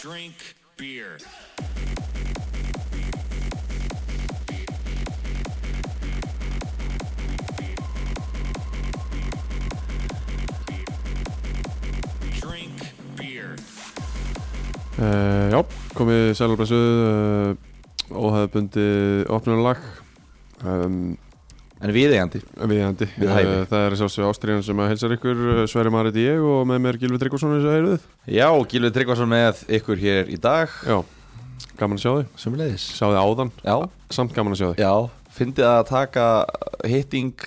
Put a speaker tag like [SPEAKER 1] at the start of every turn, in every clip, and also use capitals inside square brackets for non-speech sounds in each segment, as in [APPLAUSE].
[SPEAKER 1] drink beer. Drink beer.
[SPEAKER 2] Uh, já, komið sælarblæsuð uh, óhæðbundi opnunarlag um,
[SPEAKER 3] En viðeigandi
[SPEAKER 2] viðhandi
[SPEAKER 3] Við hæfi.
[SPEAKER 2] það er sjálfsög ástriðan sem að helsar ykkur uh, Sverri Marit ég og með mér Gylfi Tryggvason eins og heyrðuð
[SPEAKER 3] Já, Gilvi Tryggvason með ykkur hér í dag
[SPEAKER 2] Já, gaman að sjá þig
[SPEAKER 3] Sumleðis
[SPEAKER 2] Sjá þig áðan,
[SPEAKER 3] Já,
[SPEAKER 2] samt gaman að sjá þig
[SPEAKER 3] já Fyndið að taka hitting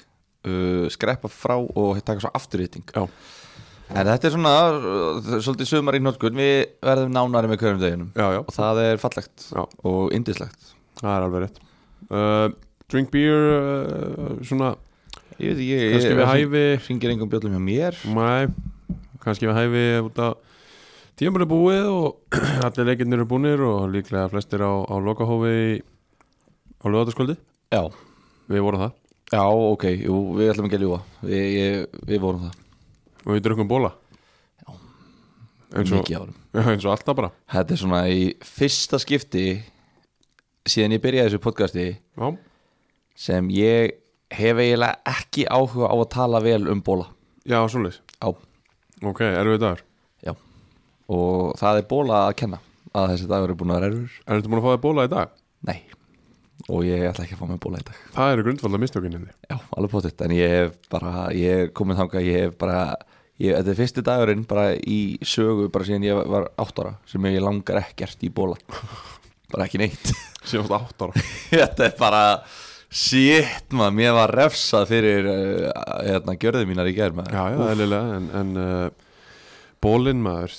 [SPEAKER 3] uh, Skreppa frá og taka svo aftur hitting
[SPEAKER 2] Já.
[SPEAKER 3] En þetta er svona uh, Svolítið sumar í nótkun Við verðum nánari með hverjum deginum
[SPEAKER 2] Já, já,
[SPEAKER 3] Og það er fallegt
[SPEAKER 2] Já.
[SPEAKER 3] Og indislegt
[SPEAKER 2] það er alveg rétt uh, Drink beer, uh, svona
[SPEAKER 3] Ég veit ekki
[SPEAKER 2] kannski við hæfi
[SPEAKER 3] Hringir engum bjöllum hjá mér
[SPEAKER 2] Mæ, kannski við hæfi út að tímur er búið og [CLEARS THROAT] allir leikirnir eru búnir og líklega flestir á, á lokahófi í- á lögataskvöldi
[SPEAKER 3] Já
[SPEAKER 2] Við vorum það
[SPEAKER 3] Já, ok, jú, við ætlum ekki að ljúa Við, ég, við vorum það
[SPEAKER 2] og við drukum bóla eins og,
[SPEAKER 3] Mikið árum
[SPEAKER 2] Já, [LAUGHS] eins og alltaf bara
[SPEAKER 3] Þetta er svona í fyrsta skipti síðan ég byrjaði þessu podcasti
[SPEAKER 2] já,
[SPEAKER 3] sem ég hef eiginlega ekki áhuga á að tala vel um bóla
[SPEAKER 2] já svoleiðis
[SPEAKER 3] á.
[SPEAKER 2] ok, erum við dagar
[SPEAKER 3] Já. Og það er bóla að kenna að þessi dagur er búin að vera erfur.
[SPEAKER 2] erum þú búin að fá þér bóla í dag?
[SPEAKER 3] Nei. Og ég ætla ekki að fá mér bóla í dag.
[SPEAKER 2] það eru grundvalda mistökinni
[SPEAKER 3] Já, alveg pottitt. En ég hef bara, ég er komin þangað, ég hef bara, ég, þetta er fyrsti dagurinn bara í sögu bara síðan ég var átt ára sem ég langar ekkert í bóla. bara
[SPEAKER 2] [LAUGHS]
[SPEAKER 3] ekki neitt.
[SPEAKER 2] síðast átt ára
[SPEAKER 3] [LAUGHS] þetta er bara shit maður, mér var refsað fyrir uh, hérna, gjörðu mínar í gær maður
[SPEAKER 2] já, já, eðlilega en, en uh, bólinn maður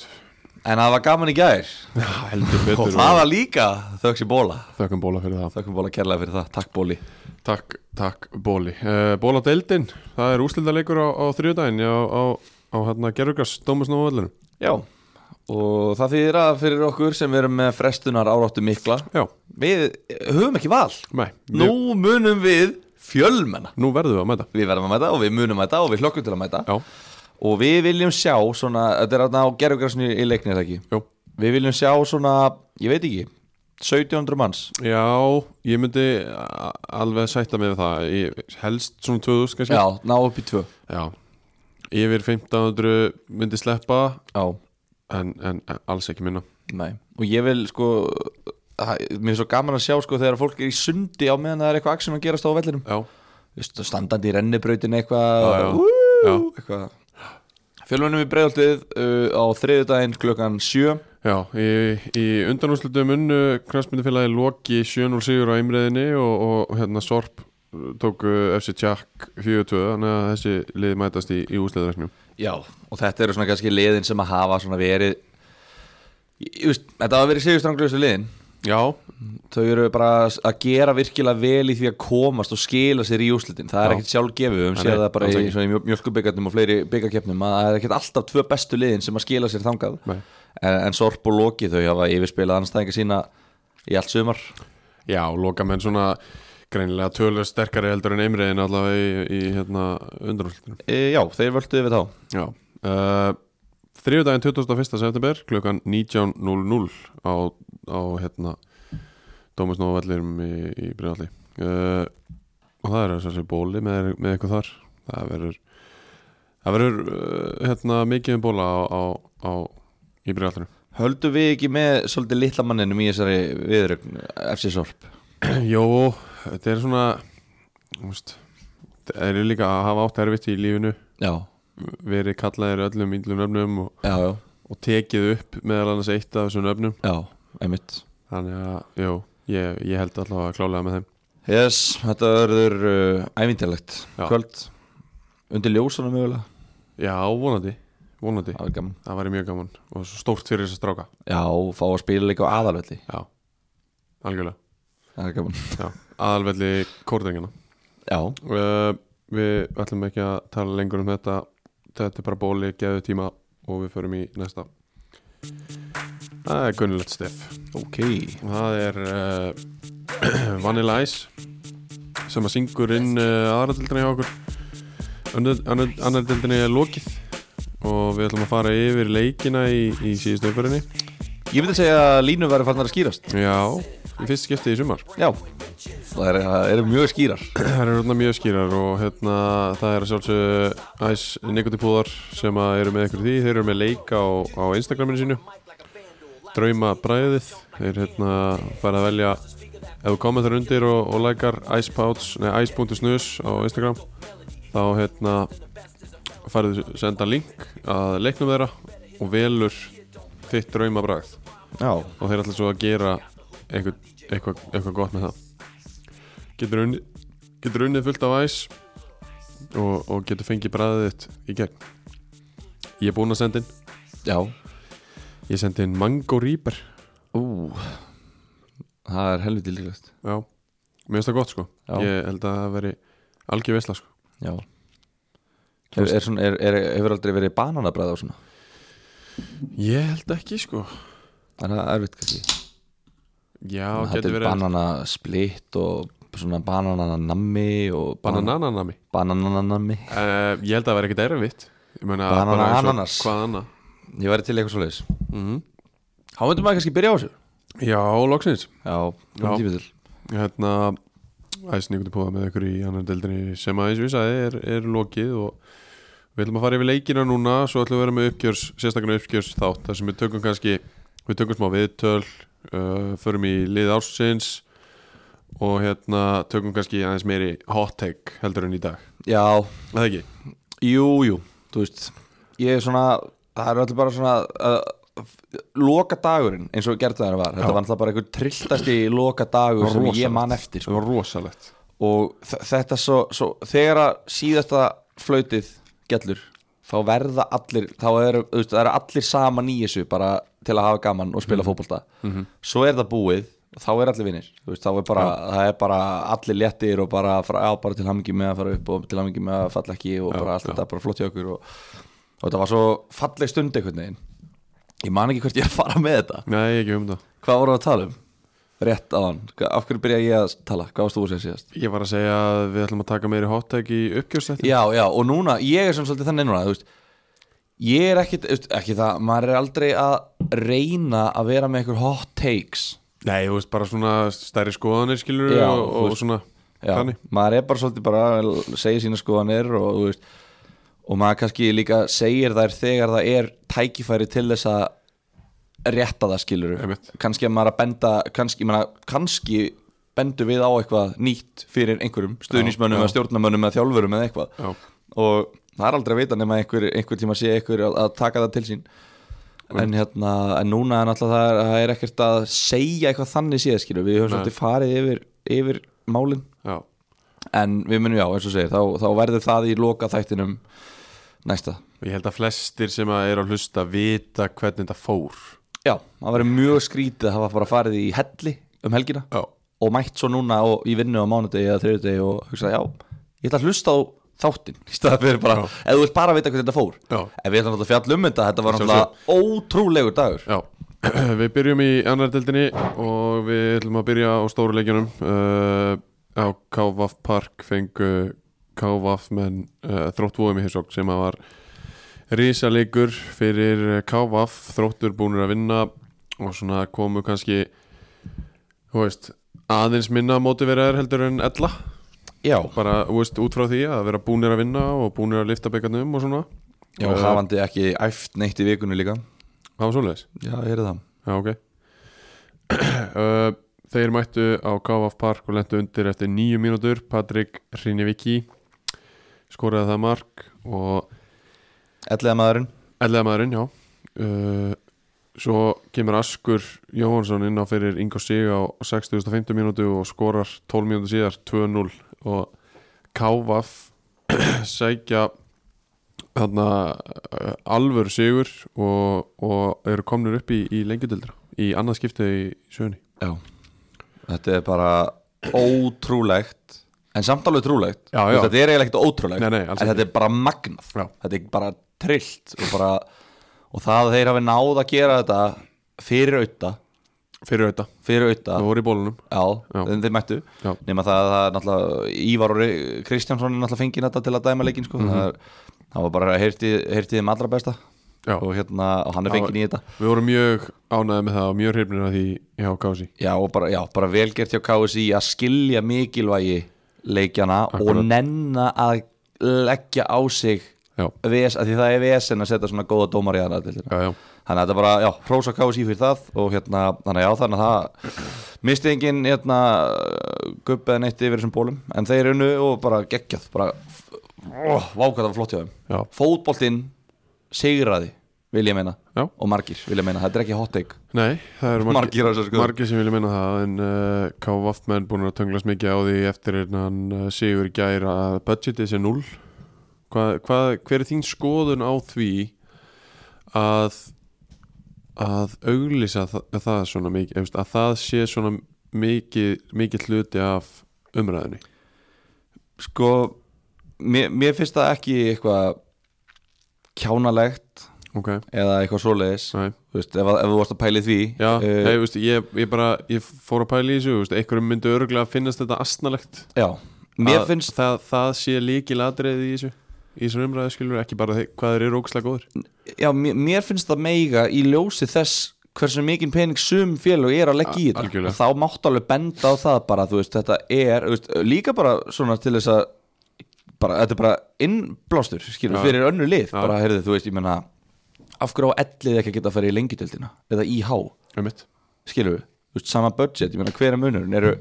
[SPEAKER 3] en það var gaman í gær
[SPEAKER 2] já, heldur
[SPEAKER 3] og
[SPEAKER 2] betur
[SPEAKER 3] það var líka þöks í bóla
[SPEAKER 2] þökkum bóla fyrir það
[SPEAKER 3] þökkum bóla kærlega fyrir það, takk bóli
[SPEAKER 2] takk, takk bóli uh, bóla deildin, það er úrslildarleikur á, á þriðudaginn á, á, á hérna Gerugars Dómasnóvallinu
[SPEAKER 3] já, og það þýðir að fyrir okkur sem erum með frestunar áráttu mikla
[SPEAKER 2] já,
[SPEAKER 3] við höfum ekki val
[SPEAKER 2] nei,
[SPEAKER 3] nú munum við fjölmenna
[SPEAKER 2] nú verðum við að mæta
[SPEAKER 3] við verðum að mæta og við munum mæta og við hlokkum til að mæta
[SPEAKER 2] já,
[SPEAKER 3] og við viljum sjá svona, þetta er að á gerðugrassinu í leiknir ekki
[SPEAKER 2] já
[SPEAKER 3] Við viljum sjá svona, ég veit ekki 1700 manns
[SPEAKER 2] Já, ég myndi a- alveg sætta mig við það ég, Helst svona 2000 kannski
[SPEAKER 3] Já, ná upp í tvö
[SPEAKER 2] Já. Yfir 1500 myndi sleppa
[SPEAKER 3] Já,
[SPEAKER 2] en, en alls ekki minna
[SPEAKER 3] nei Og ég vil sko það- Mér er svo gaman að sjá sko þegar fólk er í sundi á meðan það er eitthvað aksjum að gerast á vellinum
[SPEAKER 2] Já,
[SPEAKER 3] Vistu, Standandi í rennibrautin eitthvað
[SPEAKER 2] Já, já.
[SPEAKER 3] Ú,
[SPEAKER 2] Já.
[SPEAKER 3] Eitthvað Fjölunum í breiðaltið uh, á þriðudaginn klukkan 7
[SPEAKER 2] Já í, í undanúslutum unnu knastmyndufélagi Loki 7-0 sigur á einriðinni og, og hérna Sorp uh, tóku FC Tjakk 4-2 þannig að þessi liði mætast í, í úsliðræknum
[SPEAKER 3] Já Og þetta eru svona kannski liðin sem að hafa svona verið Ég- ég veist, Þetta hafa verið sigurstranglustu liðin
[SPEAKER 2] Já,
[SPEAKER 3] þau eru bara að gera virkilega vel í því að komast og skila sér í úslitin það er
[SPEAKER 2] Já.
[SPEAKER 3] ekkert sjálf gefið, við höfum
[SPEAKER 2] Nei,
[SPEAKER 3] séð það bara
[SPEAKER 2] alls
[SPEAKER 3] í,
[SPEAKER 2] ekki.
[SPEAKER 3] svona í mjölkubikarnum og fleiri byggarkeppnum að það er ekkert alltaf tvö bestu liðin sem að skila sér þangað
[SPEAKER 2] Nei.
[SPEAKER 3] en, en Sorp og Loki þau hafa yfirspilað anstæðinga sína í allt sumar
[SPEAKER 2] Já, loka menn svona greinilega tölur sterkari heldur en einriðin allavega í, í hérna undanúslutunum
[SPEAKER 3] e, já, þeir völdu við þá
[SPEAKER 2] Já uh, Þriðudaginn 21. september klukkan 19.00 á, á hérna Dómasnóvallirum í, í Brynalli uh, og það er þessi bóli með, með eitthvað þar það verður það verður uh, hérna mikið um bóla á, á, á í Brynallinu
[SPEAKER 3] höldum við ekki með svolítið litla manninum í þessari viðrögn FC Sorp
[SPEAKER 2] [CLEARS THROAT] Jó, þetta er svona þú veist, það eru líka að hafa átt erfitt í lífinu
[SPEAKER 3] já,
[SPEAKER 2] verið kallaðir öllum índlum öfnum og,
[SPEAKER 3] já, já,
[SPEAKER 2] og tekið upp meðal annars eitt af þessum öfnum
[SPEAKER 3] já, einmitt
[SPEAKER 2] Þannig að, jú, ég, ég held allavega að klálega með þeim
[SPEAKER 3] yes, þetta verður uh, ævindilegt
[SPEAKER 2] Já.
[SPEAKER 3] kvöld undir ljósunum mögulega,
[SPEAKER 2] Já, vonandi, vonandi
[SPEAKER 3] það er gaman
[SPEAKER 2] Það væri mjög gaman og svo stórt fyrir þess að stráka
[SPEAKER 3] Já, fá að spila líka á aðalvelli
[SPEAKER 2] Já, algjörlega
[SPEAKER 3] Það er gaman
[SPEAKER 2] Já, aðalvelli kórdengina
[SPEAKER 3] Já,
[SPEAKER 2] uh, Við ætlum ekki að tala lengur um þetta Þetta er bara bóli, geðu tíma og við förum í næsta Það er gunnulegt stef
[SPEAKER 3] ok
[SPEAKER 2] Það er uh, [CLEARS THROAT] Vanilla Ice sem að syngur inn uh, aðradildina hjá okkur annaðildinni er lokið og við ætlum að fara yfir leikina í, í síðustu umferinni
[SPEAKER 3] Ég myndi segja að línu væri fannar að skýrast
[SPEAKER 2] Já, í fyrst skipti í sumar
[SPEAKER 3] Já, það eru er mjög skýrar
[SPEAKER 2] [CLEARS THROAT] Það eru hérna mjög skýrar og hérna það er að sjálfsög æs nekotipúðar sem að eru með ykkur í því þeir eru með leik á, á Instagraminu sínu Drauma bræðið þeir hérna fara að velja ef þú komið þar undir og, og lækar ice.pouts, nei ice.snus á Instagram þá hérna farið senda link að leiknum þeirra og velur þitt drauma bræð
[SPEAKER 3] Já,
[SPEAKER 2] og þeir ætla svo að gera eitthvað, eitthvað, eitthvað gott með það getur unnið getur unnið fullt af æs og, og getur fengið bræðið þitt í gegn ég er búinn að senda inn
[SPEAKER 3] já
[SPEAKER 2] ég sendi inn mango reaper
[SPEAKER 3] Ú, það er helviti líklegt
[SPEAKER 2] já, mér finnst það gott sko
[SPEAKER 3] Já.
[SPEAKER 2] ég held að það veri algjör veisla sko
[SPEAKER 3] Já er, er svona, er, er, Hefur aldrei verið bananabræð á svona
[SPEAKER 2] ég held ekki sko
[SPEAKER 3] Það er það erfitt kannski
[SPEAKER 2] já,
[SPEAKER 3] Það
[SPEAKER 2] getur
[SPEAKER 3] er
[SPEAKER 2] verið
[SPEAKER 3] bananasplitt og svona banananami og
[SPEAKER 2] banananami
[SPEAKER 3] Banananami
[SPEAKER 2] uh, ég held að það veri ekkert erfitt Ég meina,
[SPEAKER 3] Banana
[SPEAKER 2] bara eins og
[SPEAKER 3] ananas.
[SPEAKER 2] hvað annað
[SPEAKER 3] Ég væri til eitthvað svo leiðis mm
[SPEAKER 2] Mhm.
[SPEAKER 3] -hmm. Há myndum maður kannski byrja á þessu
[SPEAKER 2] já, loksins
[SPEAKER 3] Já,
[SPEAKER 2] Já.
[SPEAKER 3] komum tími til
[SPEAKER 2] hérna æsningunni púða með ykkur í annar deildinni sem að eins og ég sagði er, er lokið og við ætlum að fara yfir leikina núna svo ætlum við að vera með uppgjörs, sérstaklega uppgjörs þátt þar sem við tökum kannski við tökum smá viðtöl uh, förum í lið ársins og hérna tökum kannski aðeins meiri hot take heldur en í dag
[SPEAKER 3] Já,
[SPEAKER 2] Er það ekki?
[SPEAKER 3] Jú, jú, þú veist Ég er svona, það er allir bara svona uh, Loka dagurinn eins og gert það var Þetta var náttúrulega bara einhver trilltasti loka dagur sem ég man eftir sko.
[SPEAKER 2] það var rosalegt
[SPEAKER 3] Og þ- þetta svo, svo þegar að síðasta flautið gellur þá verða allir þá eru, þú veist, það eru allir saman í þessu bara til að hafa gaman og spila
[SPEAKER 2] Mhm.
[SPEAKER 3] fótbolta svo er það búið og þá er allir vinnir þú veist, þá er bara, það er bara allir léttir og bara, fra, já, bara til hamingi með að fara upp og til hamingi með að falla ekki og bara allt
[SPEAKER 2] já.
[SPEAKER 3] þetta bara flott hjá okkur og, og þetta var svo falleg stund einhvern veginn ég man ekki hvert ég er að fara með þetta
[SPEAKER 2] nei, ekki um það
[SPEAKER 3] hvað voru að tala um? rétt aðan, af hverju byrja ég að tala hvað varst þú að segja síðast?
[SPEAKER 2] ég var að segja að við ætlum að taka meiri hot take í uppgjörs þetta
[SPEAKER 3] Já, já, og núna, ég er svona svolítið þannig núna, þú veist Ég er ekkit, þú veist, ekki það, maður er aldrei að reyna að vera með einhver hot takes
[SPEAKER 2] nei, þú veist bara svona stærri skoðanir skilur
[SPEAKER 3] Já,
[SPEAKER 2] og,
[SPEAKER 3] þú
[SPEAKER 2] og
[SPEAKER 3] veist.
[SPEAKER 2] svona
[SPEAKER 3] Já, maður er bara svolítið bara að segja sína skoðanir og, þú veist, og maður kannski líka segir þær þegar það er tækifæri til þess að rétta það skilur
[SPEAKER 2] Einmitt.
[SPEAKER 3] kannski að maður að benda kannski, maður, kannski bendu við á eitthvað nýtt fyrir einhverjum
[SPEAKER 2] Já,
[SPEAKER 3] stuðnismönnum
[SPEAKER 2] já.
[SPEAKER 3] eða stjórnamönnum eða þjálfurum eða eitthvað
[SPEAKER 2] Já.
[SPEAKER 3] og það er aldrei að vita nema einhver, einhver tíma sé einhver að, að taka það til sín en, hérna, en núna er náttúrulega það er, það er ekkert að segja eitthvað þannig séð skilur við höfum
[SPEAKER 2] Nei.
[SPEAKER 3] svolítið farið yfir, yfir málin
[SPEAKER 2] já.
[SPEAKER 3] en við munum já, eins og segir, þá, þá verður það í loka þættinum næsta
[SPEAKER 2] Ég held að flestir sem að eru að hlusta vita hvernig þetta fór
[SPEAKER 3] já, það verður mjög skrítið að hafa bara farið í helli um helgina
[SPEAKER 2] Já.
[SPEAKER 3] og mætt svo núna og í vinnu á mánudegi eða þriðudegi og hugsa, já, ég ætla að hlusta á þáttin, [LAUGHS] í staða fyrir bara
[SPEAKER 2] Já.
[SPEAKER 3] ef þú vilt bara vita hvernig þetta fór
[SPEAKER 2] Já.
[SPEAKER 3] en við ætlum náttúrulega að fjalla um þetta, þetta var náttúrulega ótrúlegur dagur
[SPEAKER 2] Já, [CLEARS THROAT] við byrjum í annar deildinni og við ætlum að byrja á stóru leikjunum uh, á Kávaf Park fengu Kávaf menn uh, þróttvóðum í hinsók sem að var rísaleikur fyrir Kávaf þróttur búinur að vinna og svona komu kannski þú veist, aðeins minna mótiveraður heldur en ella
[SPEAKER 3] já,
[SPEAKER 2] bara þú veist, út frá því að vera búinir að vinna og búinir að lifta byggarnum og svona
[SPEAKER 3] já
[SPEAKER 2] Eh,
[SPEAKER 3] hafandi ekki æft neitt í vikunni líka
[SPEAKER 2] Það var svoleiðis?
[SPEAKER 3] já, ég er það
[SPEAKER 2] Já, ok [CLEARS THROAT] Uh, Þeir mættu á Kávaf Park og lendu undir eftir nýju mínútur Patrik Hriniviki skoraði það mark og
[SPEAKER 3] ellega maðurinn,
[SPEAKER 2] ellega maðurinn, já uh, Svo kemur Askur Jóhansson inn á fyrir Ingo Sig á 60.50 mínútu og skorar 12 mínútu síðar 2-0 og Kávaf [CLEARS THROAT] sækja þarna uh, alvöru sigur og, og eru komnir upp í, í lengjudildra í annað skiptið í sjöunni
[SPEAKER 3] já þetta er bara ótrúlegt en samt alveg trúlegt
[SPEAKER 2] Já,
[SPEAKER 3] Þú veist,
[SPEAKER 2] já.
[SPEAKER 3] þetta er eiginlega ekkert ótrúlegt
[SPEAKER 2] Nei, nei,
[SPEAKER 3] en
[SPEAKER 2] alls
[SPEAKER 3] þetta
[SPEAKER 2] ekki.
[SPEAKER 3] er bara magnað
[SPEAKER 2] Já.
[SPEAKER 3] þetta er bara trillt og, bara, og það að þeir hafi náð að gera þetta fyrir auðta
[SPEAKER 2] fyrir auðvitað,
[SPEAKER 3] fyrir auðta
[SPEAKER 2] það voru í bólunum
[SPEAKER 3] Já,
[SPEAKER 2] Já.
[SPEAKER 3] en þeir mættu
[SPEAKER 2] Já.
[SPEAKER 3] nema það að það er náttúrulega Ívar og Ri-
[SPEAKER 2] Mhm.
[SPEAKER 3] Kristjánsson er náttúrulega fengið þetta til að dæma leikinn sko. mm -hmm. það, er- það var bara heyrtið heyrti þeim allra besta
[SPEAKER 2] Já.
[SPEAKER 3] og, hérna, og hann er fengið í þetta
[SPEAKER 2] Við vorum mjög ánægði með það og mjög hrifnir af því hjá Kási
[SPEAKER 3] já, og bara, já, bara velgert hjá KSI að skilja mikilvægi leikjana og nenna að leggja á sig
[SPEAKER 2] Já,
[SPEAKER 3] VS, að því það er VSN að setja svona góða dómar í aðra
[SPEAKER 2] já, já,
[SPEAKER 3] þannig að þetta bara, já, hrósa KSI fyrir það og hérna, þannig að já, þannig að það misti engin, hérna gubbið neitt yfir þessum bólum en þeir unnu og bara geggjað bara, oh, vákvæða var flott hjá
[SPEAKER 2] Já.
[SPEAKER 3] þeim fótboltinn sigraði vil ég meina,
[SPEAKER 2] Já.
[SPEAKER 3] og margir vil ég meina þetta er ekki hot take
[SPEAKER 2] Nei, það eru
[SPEAKER 3] Margir á þessu skoðun.
[SPEAKER 2] margir sem vilja minna það en uh, KVF menn búin að tönglast mikið á því eftir hann uh, Sigur í gær að budgetið sé 0 hva, hva, Hver er þín skoðun á því að að auglýsa það, það svona mikið efst, að það sé svona mikið, mikið hluti af umræðinni
[SPEAKER 3] sko, mér, mér finnst það ekki eitthvað kjánalegt
[SPEAKER 2] Ok,
[SPEAKER 3] eða eitthvað svoleiðis
[SPEAKER 2] næ
[SPEAKER 3] Þú veist, ef, ef þú varst að pæli því
[SPEAKER 2] Já,
[SPEAKER 3] eh,
[SPEAKER 2] nei, veist, ég, ég bara, ég fór að pæla í þessu veist, einhverjum myndi örgulega að finnast þetta astnalegt
[SPEAKER 3] já. mér
[SPEAKER 2] að
[SPEAKER 3] finnst
[SPEAKER 2] það, það sé líkil atriðið í þessu í þessu umræðu skilur ekki bara þeir- hvað þeir eru ógslag góður
[SPEAKER 3] já, mér, mér finnst það meiga í ljósi þess hversu mikinn pening sum félög er að leggja í
[SPEAKER 2] A-
[SPEAKER 3] þetta
[SPEAKER 2] algjörlega.
[SPEAKER 3] og þá máttu alveg benda á það bara þú veist, þetta er, þú veist, líka bara svona til þess að bara, þetta er bara innblástur, skilur,
[SPEAKER 2] Já.
[SPEAKER 3] fyrir önnu lið
[SPEAKER 2] Já.
[SPEAKER 3] bara, heyrðu, þú veist, ég menna af hverju á ellið ekki að geta að fara í lengjudeldina eða IH,
[SPEAKER 2] um mitt
[SPEAKER 3] skilur við, þú veist, sama budget, ég menna hver er munurinn eru,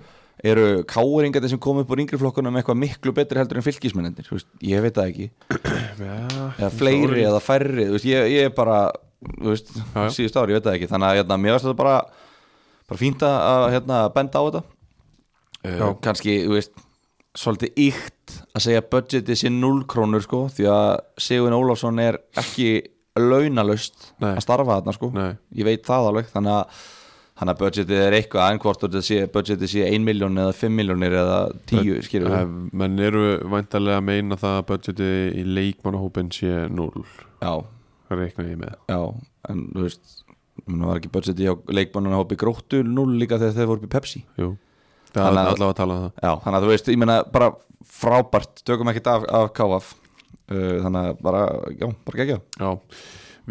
[SPEAKER 3] eru káringarnir sem kom upp úr yngri flokkunum eitthvað miklu betri heldur en fylgismennendir, þú veist, ég veit það ekki
[SPEAKER 2] Já,
[SPEAKER 3] eða fleiri eða færri þú veist, ég, ég er bara þú veist,
[SPEAKER 2] já.
[SPEAKER 3] síðust ári, ég veit það ekki þannig að hérna, mér varst þetta bara, bara fínt að að, hérna, benda á þetta
[SPEAKER 2] Já.
[SPEAKER 3] uh, kannski, þú veist svolítið ykt að segja budgetið sé 0 krónur sko, því að Sigurinn Ólafsson er ekki launalaust
[SPEAKER 2] Nei.
[SPEAKER 3] að starfa þarna sko
[SPEAKER 2] Nei.
[SPEAKER 3] ég veit það alveg, þannig að þannig að budgetið er eitthvað, en hvort þetta sé, budgetið sé 1 miljón eða 5 miljónir eða 10, skilur við,
[SPEAKER 2] Eh, menn eru væntalega að meina það að budgetið í leikmannahópin sé 0
[SPEAKER 3] já
[SPEAKER 2] reikna ég með
[SPEAKER 3] Já, en þú veist Það var ekki budgeti á leikmannuna hópi gróttu núl líka þegar þeir voru upp í Pepsi
[SPEAKER 2] Jú. það
[SPEAKER 3] Þannig
[SPEAKER 2] er
[SPEAKER 3] að-
[SPEAKER 2] allavega að tala um það
[SPEAKER 3] Já, þannig að þú veist, ég meina bara frábært Tökum ekkert af, af KF uh, Þannig að bara, já, bara gegja
[SPEAKER 2] Já,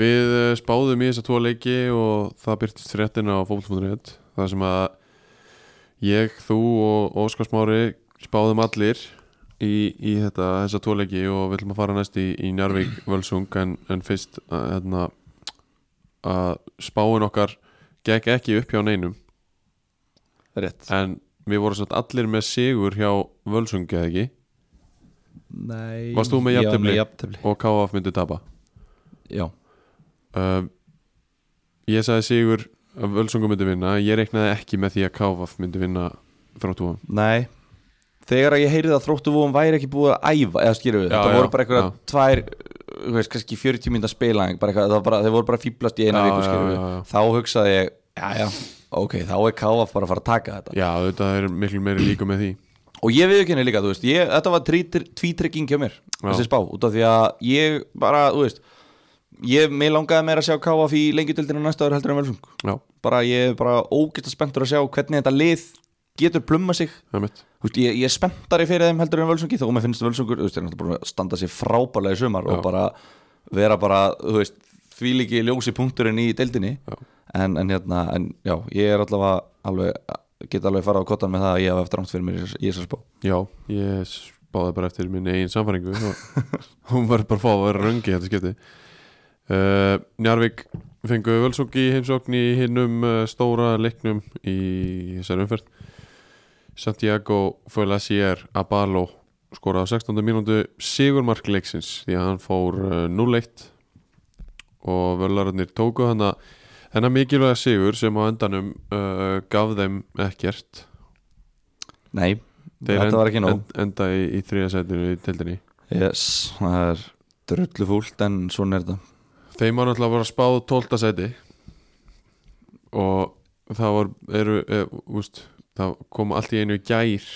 [SPEAKER 2] við eh, spáðum í þessa tvo leiki og það byrtist fréttin á fólk.net þar sem að ég, þú og Óskar Smári spáðum allir í, í þetta, þessa tvo leiki og við ætlum að fara næst í, í Njarvík Völsung en, en fyrst að, hérna, að spáin okkar gekk ekki upp hjá neinum
[SPEAKER 3] Rétt
[SPEAKER 2] en við vorum satt allir með sigur hjá Völsung eða ekki
[SPEAKER 3] Nei
[SPEAKER 2] Varst þú með
[SPEAKER 3] Já,
[SPEAKER 2] jafntefli?
[SPEAKER 3] með jafntefli
[SPEAKER 2] og KF myndi tapa
[SPEAKER 3] Já,
[SPEAKER 2] uh, Ég sagði Sigur að Völsungur myndi vinna Ég reiknaði ekki með því að Káfaf myndi vinna þráttu hann
[SPEAKER 3] nei Þegar að ég heyrði að þróttu vóum væri ekki búið að æfa Eða skilur við,
[SPEAKER 2] Já,
[SPEAKER 3] þetta
[SPEAKER 2] já,
[SPEAKER 3] voru bara eitthvað
[SPEAKER 2] já.
[SPEAKER 3] tvær Þú veist, kannski 40 mínúta spilaðing bara eitthvað, það var bara, Þeir voru bara að fýblast í eina
[SPEAKER 2] Já,
[SPEAKER 3] viku,
[SPEAKER 2] já,
[SPEAKER 3] skilur
[SPEAKER 2] já, já.
[SPEAKER 3] Þá hugsaði ég, já, já, ok, þá er KF bara að fara að taka þetta
[SPEAKER 2] Já, þetta er miklu meiri líka með því
[SPEAKER 3] og ég viðkynni líka, þú veist, ég, þetta var trítir- tvítrygging hjá mér, þessi spá, út af því að ég bara, þú veist ég, mér langaði meira að sjá KF í lengjutöldinu næsta ári heldur en velsung
[SPEAKER 2] Já,
[SPEAKER 3] bara, ég er bara ógæsta spenntur að sjá hvernig þetta lið getur plumma sig
[SPEAKER 2] það er mitt
[SPEAKER 3] þú veist, ég, ég er spenntari fyrir þeim heldur en völsungi þó mér finnst völsungur, þú veist, þeir eru náttúrulega búin að standa sér frábælega í sumar og
[SPEAKER 2] Já.
[SPEAKER 3] bara vera bara, þú veist, því líki ljósi punkturinn í deildinni en, en hérna, en já, ég er allavega alveg, get alveg farað á kottan með það að ég hef eftir ámt fyrir mér í þess- í þessar spá
[SPEAKER 2] Já, ég spáði bara eftir minni eigin samfæringu og hún var bara að fá að vera röngi í þetta skipti uh, Njarvík fengu Völsung í heimsókn í hinnum uh, stóra leiknum í þessari umferð Santiago Fölasier Abalo skoraði á 16. mínútu sigurmark leiksins því að hann fór uh, 0-1 og völararnir tóku hann að hennar mikilvæga sigur sem á endanum uh, gaf þeim ekkert
[SPEAKER 3] Nei,
[SPEAKER 2] Þeir
[SPEAKER 3] þetta var ekki nóg
[SPEAKER 2] en- enda í, í þriða sætinu í tildinni
[SPEAKER 3] yes, það er drullu fúlt en svona er þetta
[SPEAKER 2] Þeim var náttúrulega bara spáð 12. sæti og það var eru, e, úst, það kom allt í einu í gær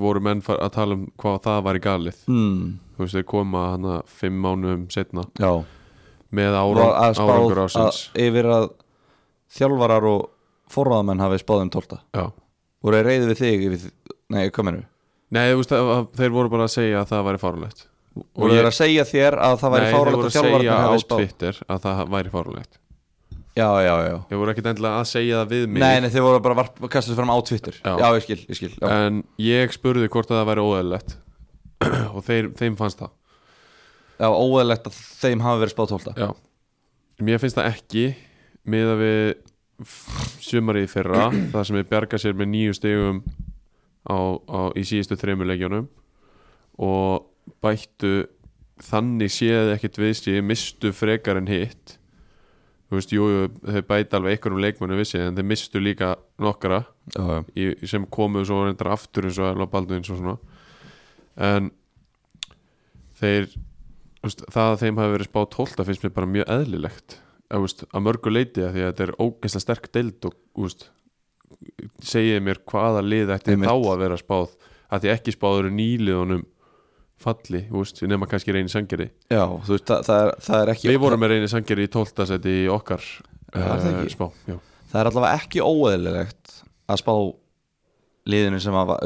[SPEAKER 2] voru menn far, að tala um hvað það var í galið
[SPEAKER 3] hmm,
[SPEAKER 2] þú veist þeir koma hana fimm mánuðum setna
[SPEAKER 3] Já,
[SPEAKER 2] með ára,
[SPEAKER 3] var að spáð
[SPEAKER 2] árangur
[SPEAKER 3] að,
[SPEAKER 2] ásins
[SPEAKER 3] yfir að þjálfarar og forráðamenn hafi spáð um tólta
[SPEAKER 2] Já.
[SPEAKER 3] voru þeir reyði við þig yfir, nei, kominu
[SPEAKER 2] Nei, þú veist, að, að, þeir voru bara að segja að það væri farulegt
[SPEAKER 3] og þeir eru að segja þér að það væri
[SPEAKER 2] Nei, þeir
[SPEAKER 3] fáralegt
[SPEAKER 2] voru
[SPEAKER 3] að
[SPEAKER 2] að segja
[SPEAKER 3] þjálfararnir
[SPEAKER 2] á
[SPEAKER 3] hefði spáð
[SPEAKER 2] Twitter að það væri fárulegt
[SPEAKER 3] já, já, já
[SPEAKER 2] Þeir voru ekkit endilega að segja það við mig
[SPEAKER 3] Nei, nei, þeir voru bara varp, kastast fram á Twitter Já,
[SPEAKER 2] Já.
[SPEAKER 3] ég skil, ég skil já.
[SPEAKER 2] En ég spurði hvort að það væri óeðlilegt [CLEARS THROAT] Og þeir, þeim fannst það
[SPEAKER 3] já, óeðlegt að þeim hafi verið spáð 12
[SPEAKER 2] Já Mér finnst það ekki miða við f- sumarið í fyrra þar sem við bjarga sér með nýju stegum á, á, í síðustu þreymur leikjónum og bættu þannig séð ekkit við séð mistu frekar en hitt þú veist, jú, jú, þeir bæta alveg einhverjum leikmönu vissi en þeir mistu líka nokkra
[SPEAKER 3] Já, já
[SPEAKER 2] í, sem komu svo reyndar aftur eins og Erla Baldvins og svona en þeir þú veist, það að þeim hafi verið spáð 12 finnst mér bara mjög eðlilegt að, veist, að mörgu leiti að því að þetta er ógeðslega sterk deild og þú veist, segið mér hvaða lið ætti
[SPEAKER 3] Einmitt.
[SPEAKER 2] þá að vera spáð að því ekki spáður nýliðunum falli, þú veist, nema kannski reyni sangeri
[SPEAKER 3] Já, þú veist, það, það, er, það er ekki
[SPEAKER 2] við vorum með reyni sangeri í 12 seti í okkar
[SPEAKER 3] er það
[SPEAKER 2] eh,
[SPEAKER 3] ekki?
[SPEAKER 2] spá já.
[SPEAKER 3] Það er allavega ekki óeðlilegt að spá liðinu sem hafa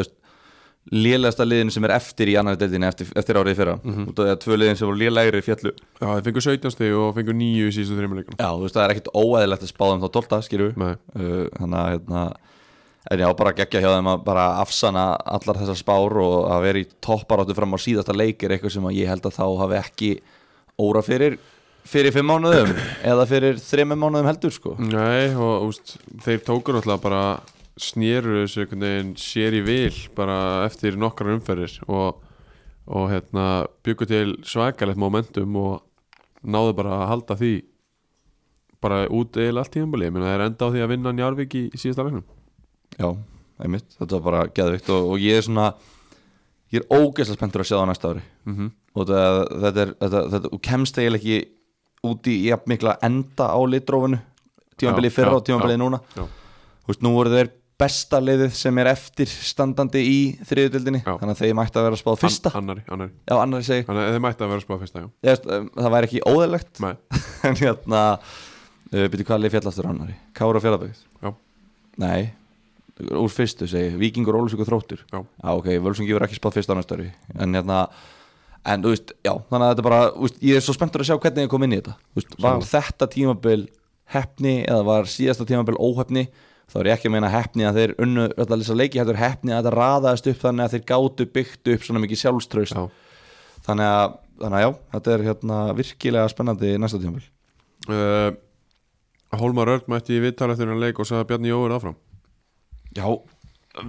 [SPEAKER 3] lélegasta liðinu sem er eftir í annar deildinu eftir, eftir árið í fyrra út af því að tvö liðin sem voru lélegri fjallu
[SPEAKER 2] já, þeir fengu 17 stig og fengu 9 í síðustu þreymurleikunum
[SPEAKER 3] Já, þú veist, það er ekkit óeðlilegt að spá þeim þá 12 skýrðu
[SPEAKER 2] Nei.
[SPEAKER 3] uh, þannig að hérna, en já, bara geggja hjá þeim að bara afsana allar þessar spár og að vera í topparáttu fram á síðasta leik er eitthvað sem að ég held að þá hafi ekki óra fyrir fyrir fimm mánuðum eða fyrir þreimum mánuðum heldur sko
[SPEAKER 2] Nei og úst, þeir tókur náttúrulega bara snýru þessu einhvern veginn sér í vil bara eftir nokkrar umferðir og, og hérna byggu til svakalegt momentum og náðu bara að halda því bara út eða allt í ennbúli ég meina þeir enda á því að vinna Njarvík í, í síðasta leiknum
[SPEAKER 3] Já, einmitt, þetta var bara geðvikt og, og ég er svona ég er ógeðslega spenntur að sjá það á næsta ári
[SPEAKER 2] Mhm.
[SPEAKER 3] -hmm. og það, þetta er þetta, þetta, og kemst eiginlega ekki út í jafn mikla enda á litrófinu tímanbilið
[SPEAKER 2] Já,
[SPEAKER 3] fyrra
[SPEAKER 2] já,
[SPEAKER 3] og tímanbilið
[SPEAKER 2] já.
[SPEAKER 3] núna
[SPEAKER 2] Já,
[SPEAKER 3] Þú veist, nú voru þeir besta liðið sem er eftir standandi í þriðutildinni
[SPEAKER 2] Já.
[SPEAKER 3] þannig að þeir mætti að vera spáð fyrsta
[SPEAKER 2] An, annari, annari
[SPEAKER 3] já, annars segi, ég,
[SPEAKER 2] Þannig að þeir mættu að vera spáð fyrsta, já
[SPEAKER 3] veist, um, það væri ekki óðalegt
[SPEAKER 2] Nei,
[SPEAKER 3] [LAUGHS] en hérna uh, byrju hvað lið fjallastur annari, Kára fjallabögð
[SPEAKER 2] Já.
[SPEAKER 3] nei, úr fyrstu segi, ég, Víkingur, Ólusvík og Þróttur Ah,
[SPEAKER 2] Já.
[SPEAKER 3] ok, Völsungi verður ekki spáð fyrsta annars störi en hérna en þú veist, já, þannig að þetta bara þú veist, ég er svo spenntur að sjá hvernig ég kom inn í þetta Þú veist, var þetta tímabil hefni eða var síðasta tímabil óhefni þá er ég ekki að meina hefni að þeir unnu öll að lýsa leiki, þetta er hefni að þetta raðaðist upp þannig að þeir gátu byggt upp svona mikið sjálfströst
[SPEAKER 2] já
[SPEAKER 3] þannig að, þannig að já, þetta er hérna virkilega spennandi næsta tímabil
[SPEAKER 2] uh, Hólmar Örn mætti í viðtal eftir hann leik og sagði að Bjarni Jóður áfram
[SPEAKER 3] já,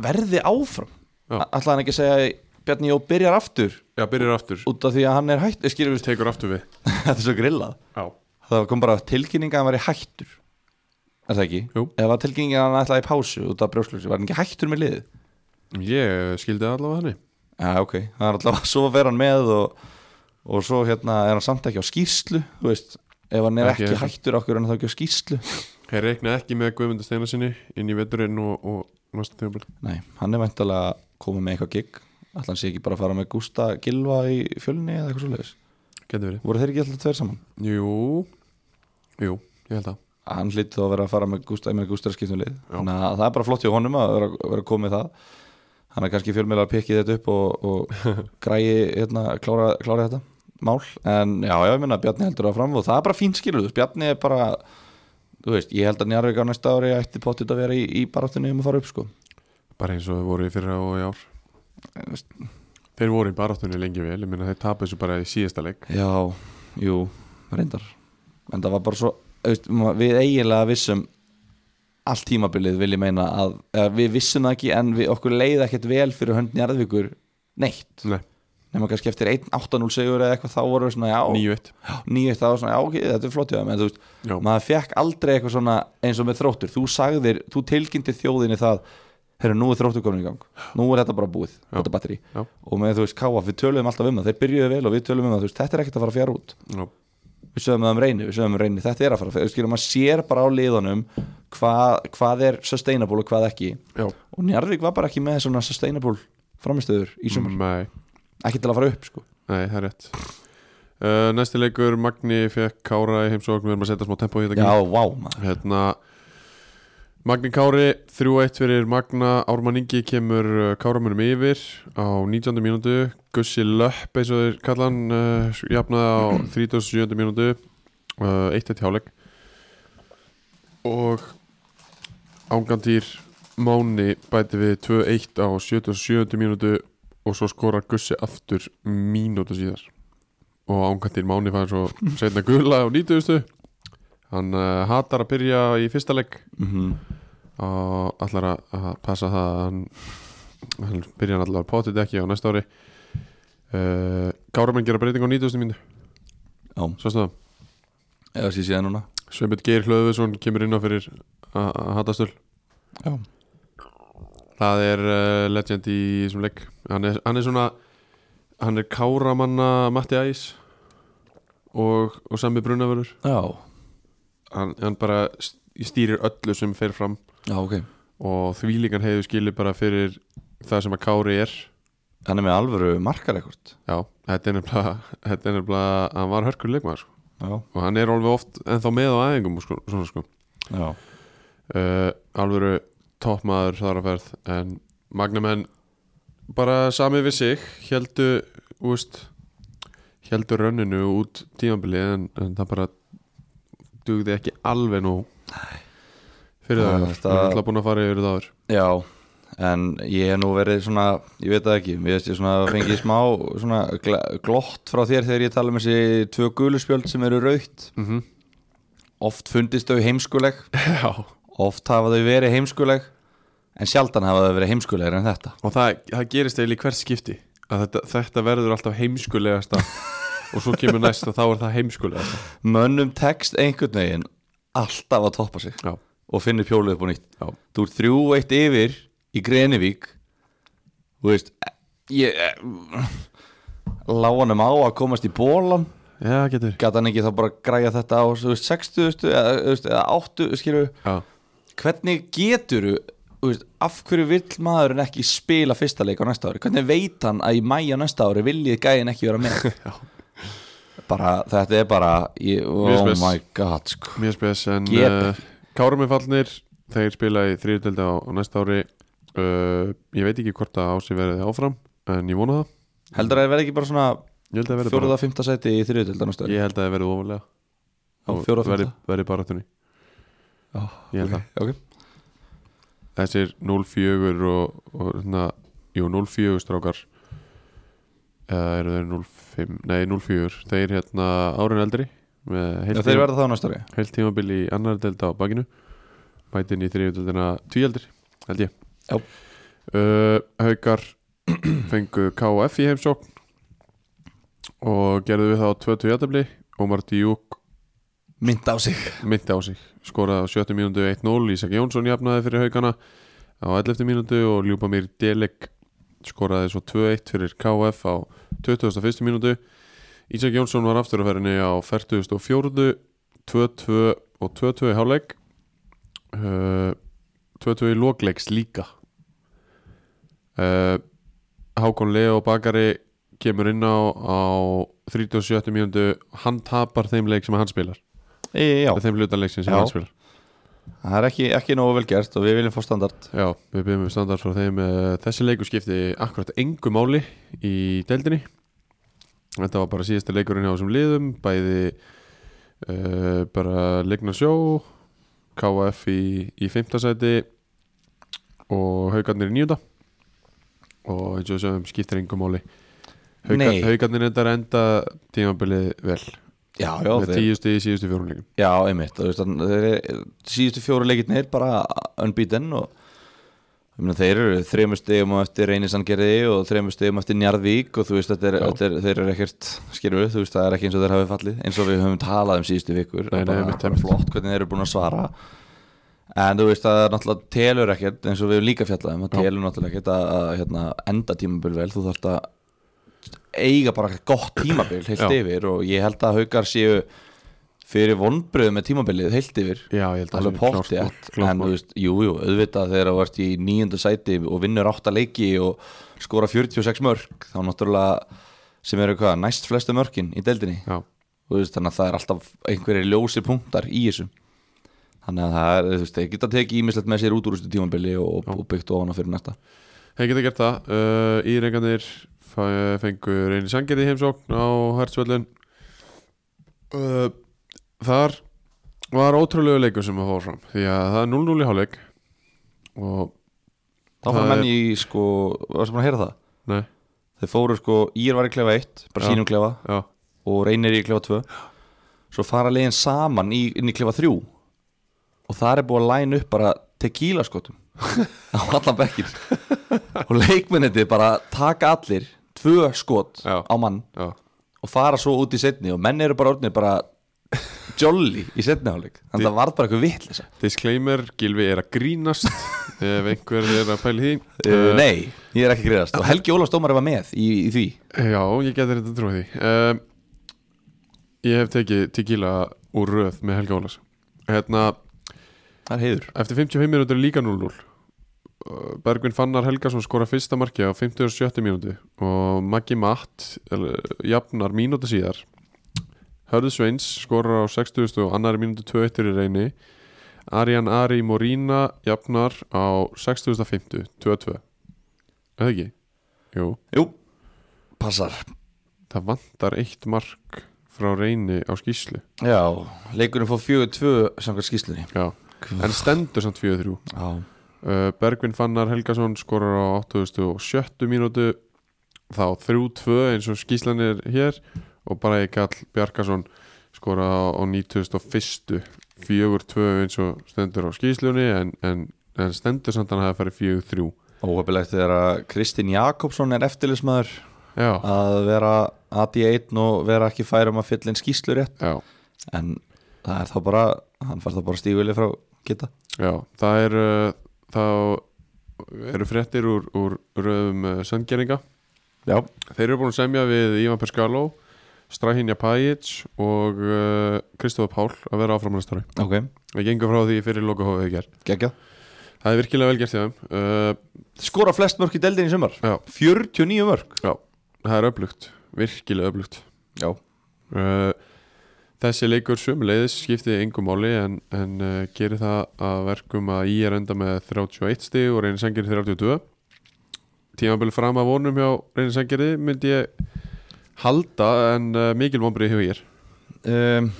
[SPEAKER 3] verði áfram
[SPEAKER 2] Já.
[SPEAKER 3] alltaf hann ekki að segja Bjarni Jó byrjar aftur
[SPEAKER 2] Já, byrjar aftur,
[SPEAKER 3] út af því að hann er hætt skilur við,
[SPEAKER 2] tekur aftur við
[SPEAKER 3] [LAUGHS] þetta er svo grillað
[SPEAKER 2] Já
[SPEAKER 3] það kom bara tilkynning að hann væri hættur er það ekki?
[SPEAKER 2] Jú.
[SPEAKER 3] eða var tilkynning að hann ætlaði í pásu út af brjósklöksi, var hann ekki hættur með liðið?
[SPEAKER 2] Ég eh, skildi það allavega henni
[SPEAKER 3] Já, ok, það er alltaf [LAUGHS] svo fer hann með og, og svo hérna er hann samt ekki á skýrslu, þú veist ef hann er
[SPEAKER 2] Ekki
[SPEAKER 3] ekki,
[SPEAKER 2] heldur.
[SPEAKER 3] hættur okkur en það ekki á skýrslu
[SPEAKER 2] Þeir reikna ekki með Guðmundur Steinar sinni inn í veturinn og, og næsta tímabil
[SPEAKER 3] Nei, hann er væntalega komið með eitthvað gig Ætla hann sé ekki bara að fara með Gústa Gilva í fjölni eða eitthvað svo leiðis
[SPEAKER 2] Geti verið
[SPEAKER 3] Voru þeir ekki alltaf tveir saman?
[SPEAKER 2] Jú, jú, ég held það
[SPEAKER 3] Hann hlýtt þá að vera að fara með Gústa, ég meina Gústa er að skipta um lið
[SPEAKER 2] Já.
[SPEAKER 3] Þannig að það er bara flott hjá honum að vera, vera komið það Hann er kannski fjölmiðlega að pikki þetta upp og, og græi hérna, klára, klára þetta mál En já, já, ég meina Bjarni heldur áfram og það er bara fín skilur þú veist, Bjarni er bara, þú veist, ég held að Njarvík á næsta ári ætti pottit að vera í, í baráttunni um að fara upp sko
[SPEAKER 2] Bara eins og þau voru í fyrra og í ár
[SPEAKER 3] En, þú veist,
[SPEAKER 2] Þeir voru í baráttunni lengi vel Ég meina þeir tapu þessu bara í síðasta leik
[SPEAKER 3] Já, jú, reyndar En það var bara svo veist, ma- Við eiginlega vissum Allt tímabilið vil ég meina að, að Við vissum það ekki en við okkur leiði ekkert vel Fyrir hönd njarðvíkur neitt
[SPEAKER 2] Nei,
[SPEAKER 3] Nefnum kannski eftir 1-8-0 segur eða eitthvað Þá voru við svona já,
[SPEAKER 2] 9-1
[SPEAKER 3] nýju Það var svona já, ok, þetta er flott hjá þeim En þú veist,
[SPEAKER 2] Já,
[SPEAKER 3] maður fekk aldrei eitthvað svona Eins og með þróttur, þú sagðir, þú tilkynnti þjóðinni það Herru, nú er þróttur komin í gang Nú er þetta bara búið,
[SPEAKER 2] Já.
[SPEAKER 3] þetta batteri
[SPEAKER 2] Já.
[SPEAKER 3] Og með þú veist, káa, við töluðum alltaf um það Þeir byrjuðu vel og við töluðum um það, þú veist, þetta er ekkert að fara að fjara út
[SPEAKER 2] já,
[SPEAKER 3] við sögum það um reyni, við sögum um reyni þetta er að fara, fyrir skilum maður sér bara á liðunum hvað, hvað er sustainable og hvað ekki
[SPEAKER 2] já
[SPEAKER 3] og Njarðvík var bara ekki með svona sustainable framistöður í sumar,
[SPEAKER 2] Nei,
[SPEAKER 3] ekki til að fara upp sko.
[SPEAKER 2] nei, það er rétt uh, Næsti leikur, Magni fekk Kára í heimsókn Við erum að setja smá tempo í þetta
[SPEAKER 3] já,
[SPEAKER 2] Gylfi.
[SPEAKER 3] vá maður
[SPEAKER 2] Hérna Magni Kári 3-1 fyrir Magna Ármann Ingi kemur uh, Káramunum yfir á 19. mínútu Gussi Löpp eins og þeir kalla hann uh, jafnaði á 37. mínútu uh, 1-1 hjáleik og ángandýr Máni bæti við 2-1 á 77. mínútu og svo skorar Gussi aftur mínútu síðar og ángandýr Máni fær svo setna gula á 90. Hann uh, hatar að byrja í fyrsta leik og allar að- að passa það að hann, hann byrja hann allar að potið ekki á næsta ári uh, Gáramenn gera breyting á 90. mínu
[SPEAKER 3] Já.
[SPEAKER 2] Svo stöðum
[SPEAKER 3] eða sé síðan núna
[SPEAKER 2] Sveinbjörn Geir Hlöðuðsson kemur inn á fyrir að að Hattastöl
[SPEAKER 3] Já.
[SPEAKER 2] Það er uh, legend í þessum leik hann er, hann er svona hann er Káramanna Matti Æs og, og Sami Brunavörður
[SPEAKER 3] Já,
[SPEAKER 2] hann, hann bara st- stýrir öllu sem fer fram
[SPEAKER 3] já ok
[SPEAKER 2] og þvílingan hefur skilið bara fyrir það sem að Kári er
[SPEAKER 3] Hann er með alvöru markarekord
[SPEAKER 2] Já, þetta er nefnilega, [LAUGHS] þetta er nefnilega hann var hörkur leikmaður sko.
[SPEAKER 3] Já,
[SPEAKER 2] og hann er alveg oft ennþá með á æfingum og sko, svona sko
[SPEAKER 3] já
[SPEAKER 2] uh, alvöru toppmaður þar að ferð en magnamenn bara sami við sig heldu, úst heldu rönninu út tímabili en, en það bara dugði ekki alveg nú fyrir það,
[SPEAKER 3] Það er
[SPEAKER 2] það,
[SPEAKER 3] þetta-
[SPEAKER 2] það er alltaf búin að fara yfir það áður
[SPEAKER 3] Já, en ég hef nú verið svona, ég veit það ekki, ég veist ég svona fengið smá svona gl- glott frá þér þegar ég tala um þessi tvö guluspjöld sem eru raukt.
[SPEAKER 2] Mhm.
[SPEAKER 3] Oft fundist þau heimskuleg,
[SPEAKER 2] Já.
[SPEAKER 3] oft hafa þau verið heimskuleg, en sjaldan hafa þau verið heimskulegir en þetta.
[SPEAKER 2] og það, það gerist eiginlega í hvert skipti að þetta, þetta verður alltaf [LAUGHS] heimskulegasta og svo kemur næst og þá er það heimskulegasta
[SPEAKER 3] Mönnum tekst einhvern veginn alltaf að toppa sig
[SPEAKER 2] Já,
[SPEAKER 3] og finnir pjólið upp og nýtt.
[SPEAKER 2] já,
[SPEAKER 3] Þú ert þrjú eitt yfir í Grenivík Þú veist ég, Láanum á að komast í bólan
[SPEAKER 2] já, getur
[SPEAKER 3] Gat hann ekki þá bara að græja þetta á þú veist, 60 eða, þú veist, eða 80 skilur
[SPEAKER 2] Já,
[SPEAKER 3] Hvernig getur veist, Af hverju vill maðurinn ekki spila fyrsta leik á næsta ári Hvernig veit hann að í mæja næsta ári viljið gæin ekki vera
[SPEAKER 2] [LAUGHS]
[SPEAKER 3] með Bara, þetta er bara ég,
[SPEAKER 2] Mjög
[SPEAKER 3] Oh
[SPEAKER 2] spes.
[SPEAKER 3] my god sko.
[SPEAKER 2] mjög spes en
[SPEAKER 3] Get.
[SPEAKER 2] uh, Kárum er fallnir þeir spila í þriðutelda á, á næsta ári uh, ég veit ekki hvort að ási verði áfram en ég vona það
[SPEAKER 3] Heldur að það verði ekki bara svona
[SPEAKER 2] ég held að það verði
[SPEAKER 3] Fjóruða, fymta sæti í þriðutildan
[SPEAKER 2] bara ég held að það verði ofalega
[SPEAKER 3] Á fjórða,
[SPEAKER 2] verði,
[SPEAKER 3] fimmta?
[SPEAKER 2] verði bara þunni ég held það
[SPEAKER 3] okay.
[SPEAKER 2] þessir 0-4 og, og svona, jú 0-4 strákar eða eru þeir 0-5 nei 0-4, þeir hérna árin eldri með heilt,
[SPEAKER 3] Já, þeir verða það á næsta ári
[SPEAKER 2] heilt tímabil í annar delta á bakinu mætin í þriðutöldina tvíaldir held ég
[SPEAKER 3] Já.
[SPEAKER 2] uh, Haukar [CLEARS THROAT] fengu KF í heimsókn og gerðu við það á 2-2 jættabli Ómar Díuk
[SPEAKER 3] Mynd á sig
[SPEAKER 2] myndi á sig skoraði á 70 mínútu 1-0 Ísak Jónsson jafnaði fyrir haugana á 11 mínútu og Ljúbamir Delek skoraði svo 2-1 fyrir KF á 21. mínútu Ísak Jónsson var aftur að ferinni á 44. 2-2 og 2-2 í hálfleik uh, 2-2 í lokleiks líka uh, Hákon Leo Bakari kemur inn á á 37. mínútu hann tapar þeim leik sem hann spilar
[SPEAKER 3] e, Já,
[SPEAKER 2] Já. þeim hlutanleiksin sem
[SPEAKER 3] Já.
[SPEAKER 2] hann spilar
[SPEAKER 3] það er ekki, ekki nógu vel gert og við viljum fá standard
[SPEAKER 2] Já, við byrjum við standart frá þeim eh, þessi leikur skipti akkurat engu máli í deildinni þetta var bara síðasta leikurinn hjá þessum liðum bæði uh, bara leikna sjó KF í, í fimmtasæti og haugarnir í nýjunda og eins og við sögum skiptir engu máli Haukar,
[SPEAKER 3] Nei.
[SPEAKER 2] haugarnir endar enda tímabilið vel
[SPEAKER 3] Já, já,
[SPEAKER 2] með
[SPEAKER 3] þeir,
[SPEAKER 2] tíu stig í síðustu fjórunleikum
[SPEAKER 3] já einmitt þú veist, þannig- þeir, eru- Síðustu fjóru leikirnir bara unbeaten og ég meina, þeir eru þremur stegum eftir Reynisangerði og þremur stegum eftir Njarðvík og þú veist, þetta er,
[SPEAKER 2] Já.
[SPEAKER 3] þetta er, þeir eru ekkert skilur við, þú veist, það er ekki eins og þeir hafi fallið eins og við höfum talað um síðustu vikur
[SPEAKER 2] Nei, nei,
[SPEAKER 3] bara,
[SPEAKER 2] einmitt,
[SPEAKER 3] bara
[SPEAKER 2] einmitt.
[SPEAKER 3] flott hvernig þeir eru búin að svara En þú veist að það náttúrulega telur ekkert eins og við höfum líka fjallað um að
[SPEAKER 2] Já.
[SPEAKER 3] telur náttúrulega ekkert að, að hérna, enda tímabil vel þú þarft að eiga bara gott tímabil heilt
[SPEAKER 2] Já.
[SPEAKER 3] yfir og ég held að haukar séu fyrir vonbröðu með tímabilið heilt yfir
[SPEAKER 2] Já, ég held að sé
[SPEAKER 3] alveg
[SPEAKER 2] klárt
[SPEAKER 3] potti
[SPEAKER 2] mál, klárt
[SPEAKER 3] en
[SPEAKER 2] mál.
[SPEAKER 3] þú veist, jú, jú, auðvitað þegar þú ert í nýjöndu sæti og vinnur átta leiki og skora 46 mörg þá náttúrulega sem eru hvað, næst flestu mörkin í deildinni
[SPEAKER 2] Já,
[SPEAKER 3] Þú veist, þannig að það er alltaf einhverjir ljósi punktar í þessu þannig að það er, þú veist, þeir geta tekið ímislegt með sér út úr þessu tímanbili og, og byggt ofan á fyrir næsta
[SPEAKER 2] Þeir geta gert það uh, Írengarnir fæ- fengu reyni sangið í heimsókn á Hertzvöllun uh, Þar var ótrúlegu leikur sem að fóra fram því að það er 0-0 í hálfleik og
[SPEAKER 3] þá fara
[SPEAKER 2] Það
[SPEAKER 3] menn í, sko, varstu búin að heyra það
[SPEAKER 2] nei,
[SPEAKER 3] þeir fóru, sko, Ír var í klefa 1 bara
[SPEAKER 2] Já.
[SPEAKER 3] sínum klefa
[SPEAKER 2] já,
[SPEAKER 3] og reynir í klefa 2 svo fara leiðin saman í, inn í klefa 3 og það er búið að læna upp bara tequila skotum [LAUGHS] á allan bekkin og leikmenniti bara taka allir tvö skot
[SPEAKER 2] Já.
[SPEAKER 3] á mann
[SPEAKER 2] já,
[SPEAKER 3] og fara svo út í setni og menn eru bara orðinir bara jolly í setni áleik þannig að það varð bara eitthvað vitt
[SPEAKER 2] disclaimer Gilvi er að grínast ef einhver er að pæli því
[SPEAKER 3] uh, Nei, ég er ekki að greiðast og Helgi Ólafs Dómar var með í, í því
[SPEAKER 2] Já, ég getur þetta trúið því um, Ég hef tekið tequila úr röð með Helga Ólas Hérna,
[SPEAKER 3] Það er heiður
[SPEAKER 2] Eftir 55 minútur er líka 0-0 Uh, Bergvin Fannar Helgason skora fyrsta marki á 57 mínútu og Maggi Matt eh, jafnar mínútu síðar Hörðu Sveins skorar á 60 og annari mínútu 2-1 í reyni Arjan Ari Morína jafnar á 60.50 2-2 Er það ekki? Jú,
[SPEAKER 3] Jú, passar
[SPEAKER 2] það vantar eitt mark frá reyni á skýslu
[SPEAKER 3] Já, leikurinn fór 4-2 samkvæmt skýslunni
[SPEAKER 2] Já, en stendur samt 4-3
[SPEAKER 3] Já
[SPEAKER 2] Uh, Bergvin Fannar Helgason skorar á 87. mínútu þá 3-2 eins og skýslan er hér og bara ég kall Bjarkason skorar á, á 91. 4-2 eins og stendur á skýslunni en, en, en stendur samt að hann hafi farið 4-3
[SPEAKER 3] Óhefilegt er að Kristinn Jakobsson er eftirlismæður
[SPEAKER 2] Já,
[SPEAKER 3] að vera AD1 og vera ekki færum að fylla inn skýslu rétt
[SPEAKER 2] já,
[SPEAKER 3] en það er þá bara, hann fær þá bara stígvili frá geta
[SPEAKER 2] já það er uh, þá eru fréttir úr, úr röðum uh, sendgeringa
[SPEAKER 3] Já
[SPEAKER 2] Þeir eru búin að semja við Ivan Perskaló Strahinja Pajic og uh, Kristofa Pál að vera áfram næstari
[SPEAKER 3] Ok,
[SPEAKER 2] Við gengum frá því fyrir lokahófið í gerð
[SPEAKER 3] geggja
[SPEAKER 2] Það er virkilega vel gert hjá þeim uh,
[SPEAKER 3] Skora flest mörk í deldin í sumar
[SPEAKER 2] Já,
[SPEAKER 3] 49 mörk
[SPEAKER 2] já, það er öflugt Virkilega öflugt
[SPEAKER 3] Já
[SPEAKER 2] uh, Þessi leikur sumuleiðis skipti engum máli en, en uh, gerir það að verkum að ég er enda með 31 stig og reynir sengir 32 Tímabili fram að vonum hjá reynir sengirði myndi ég halda en uh, mikil vonbrið hefur ég er
[SPEAKER 3] um,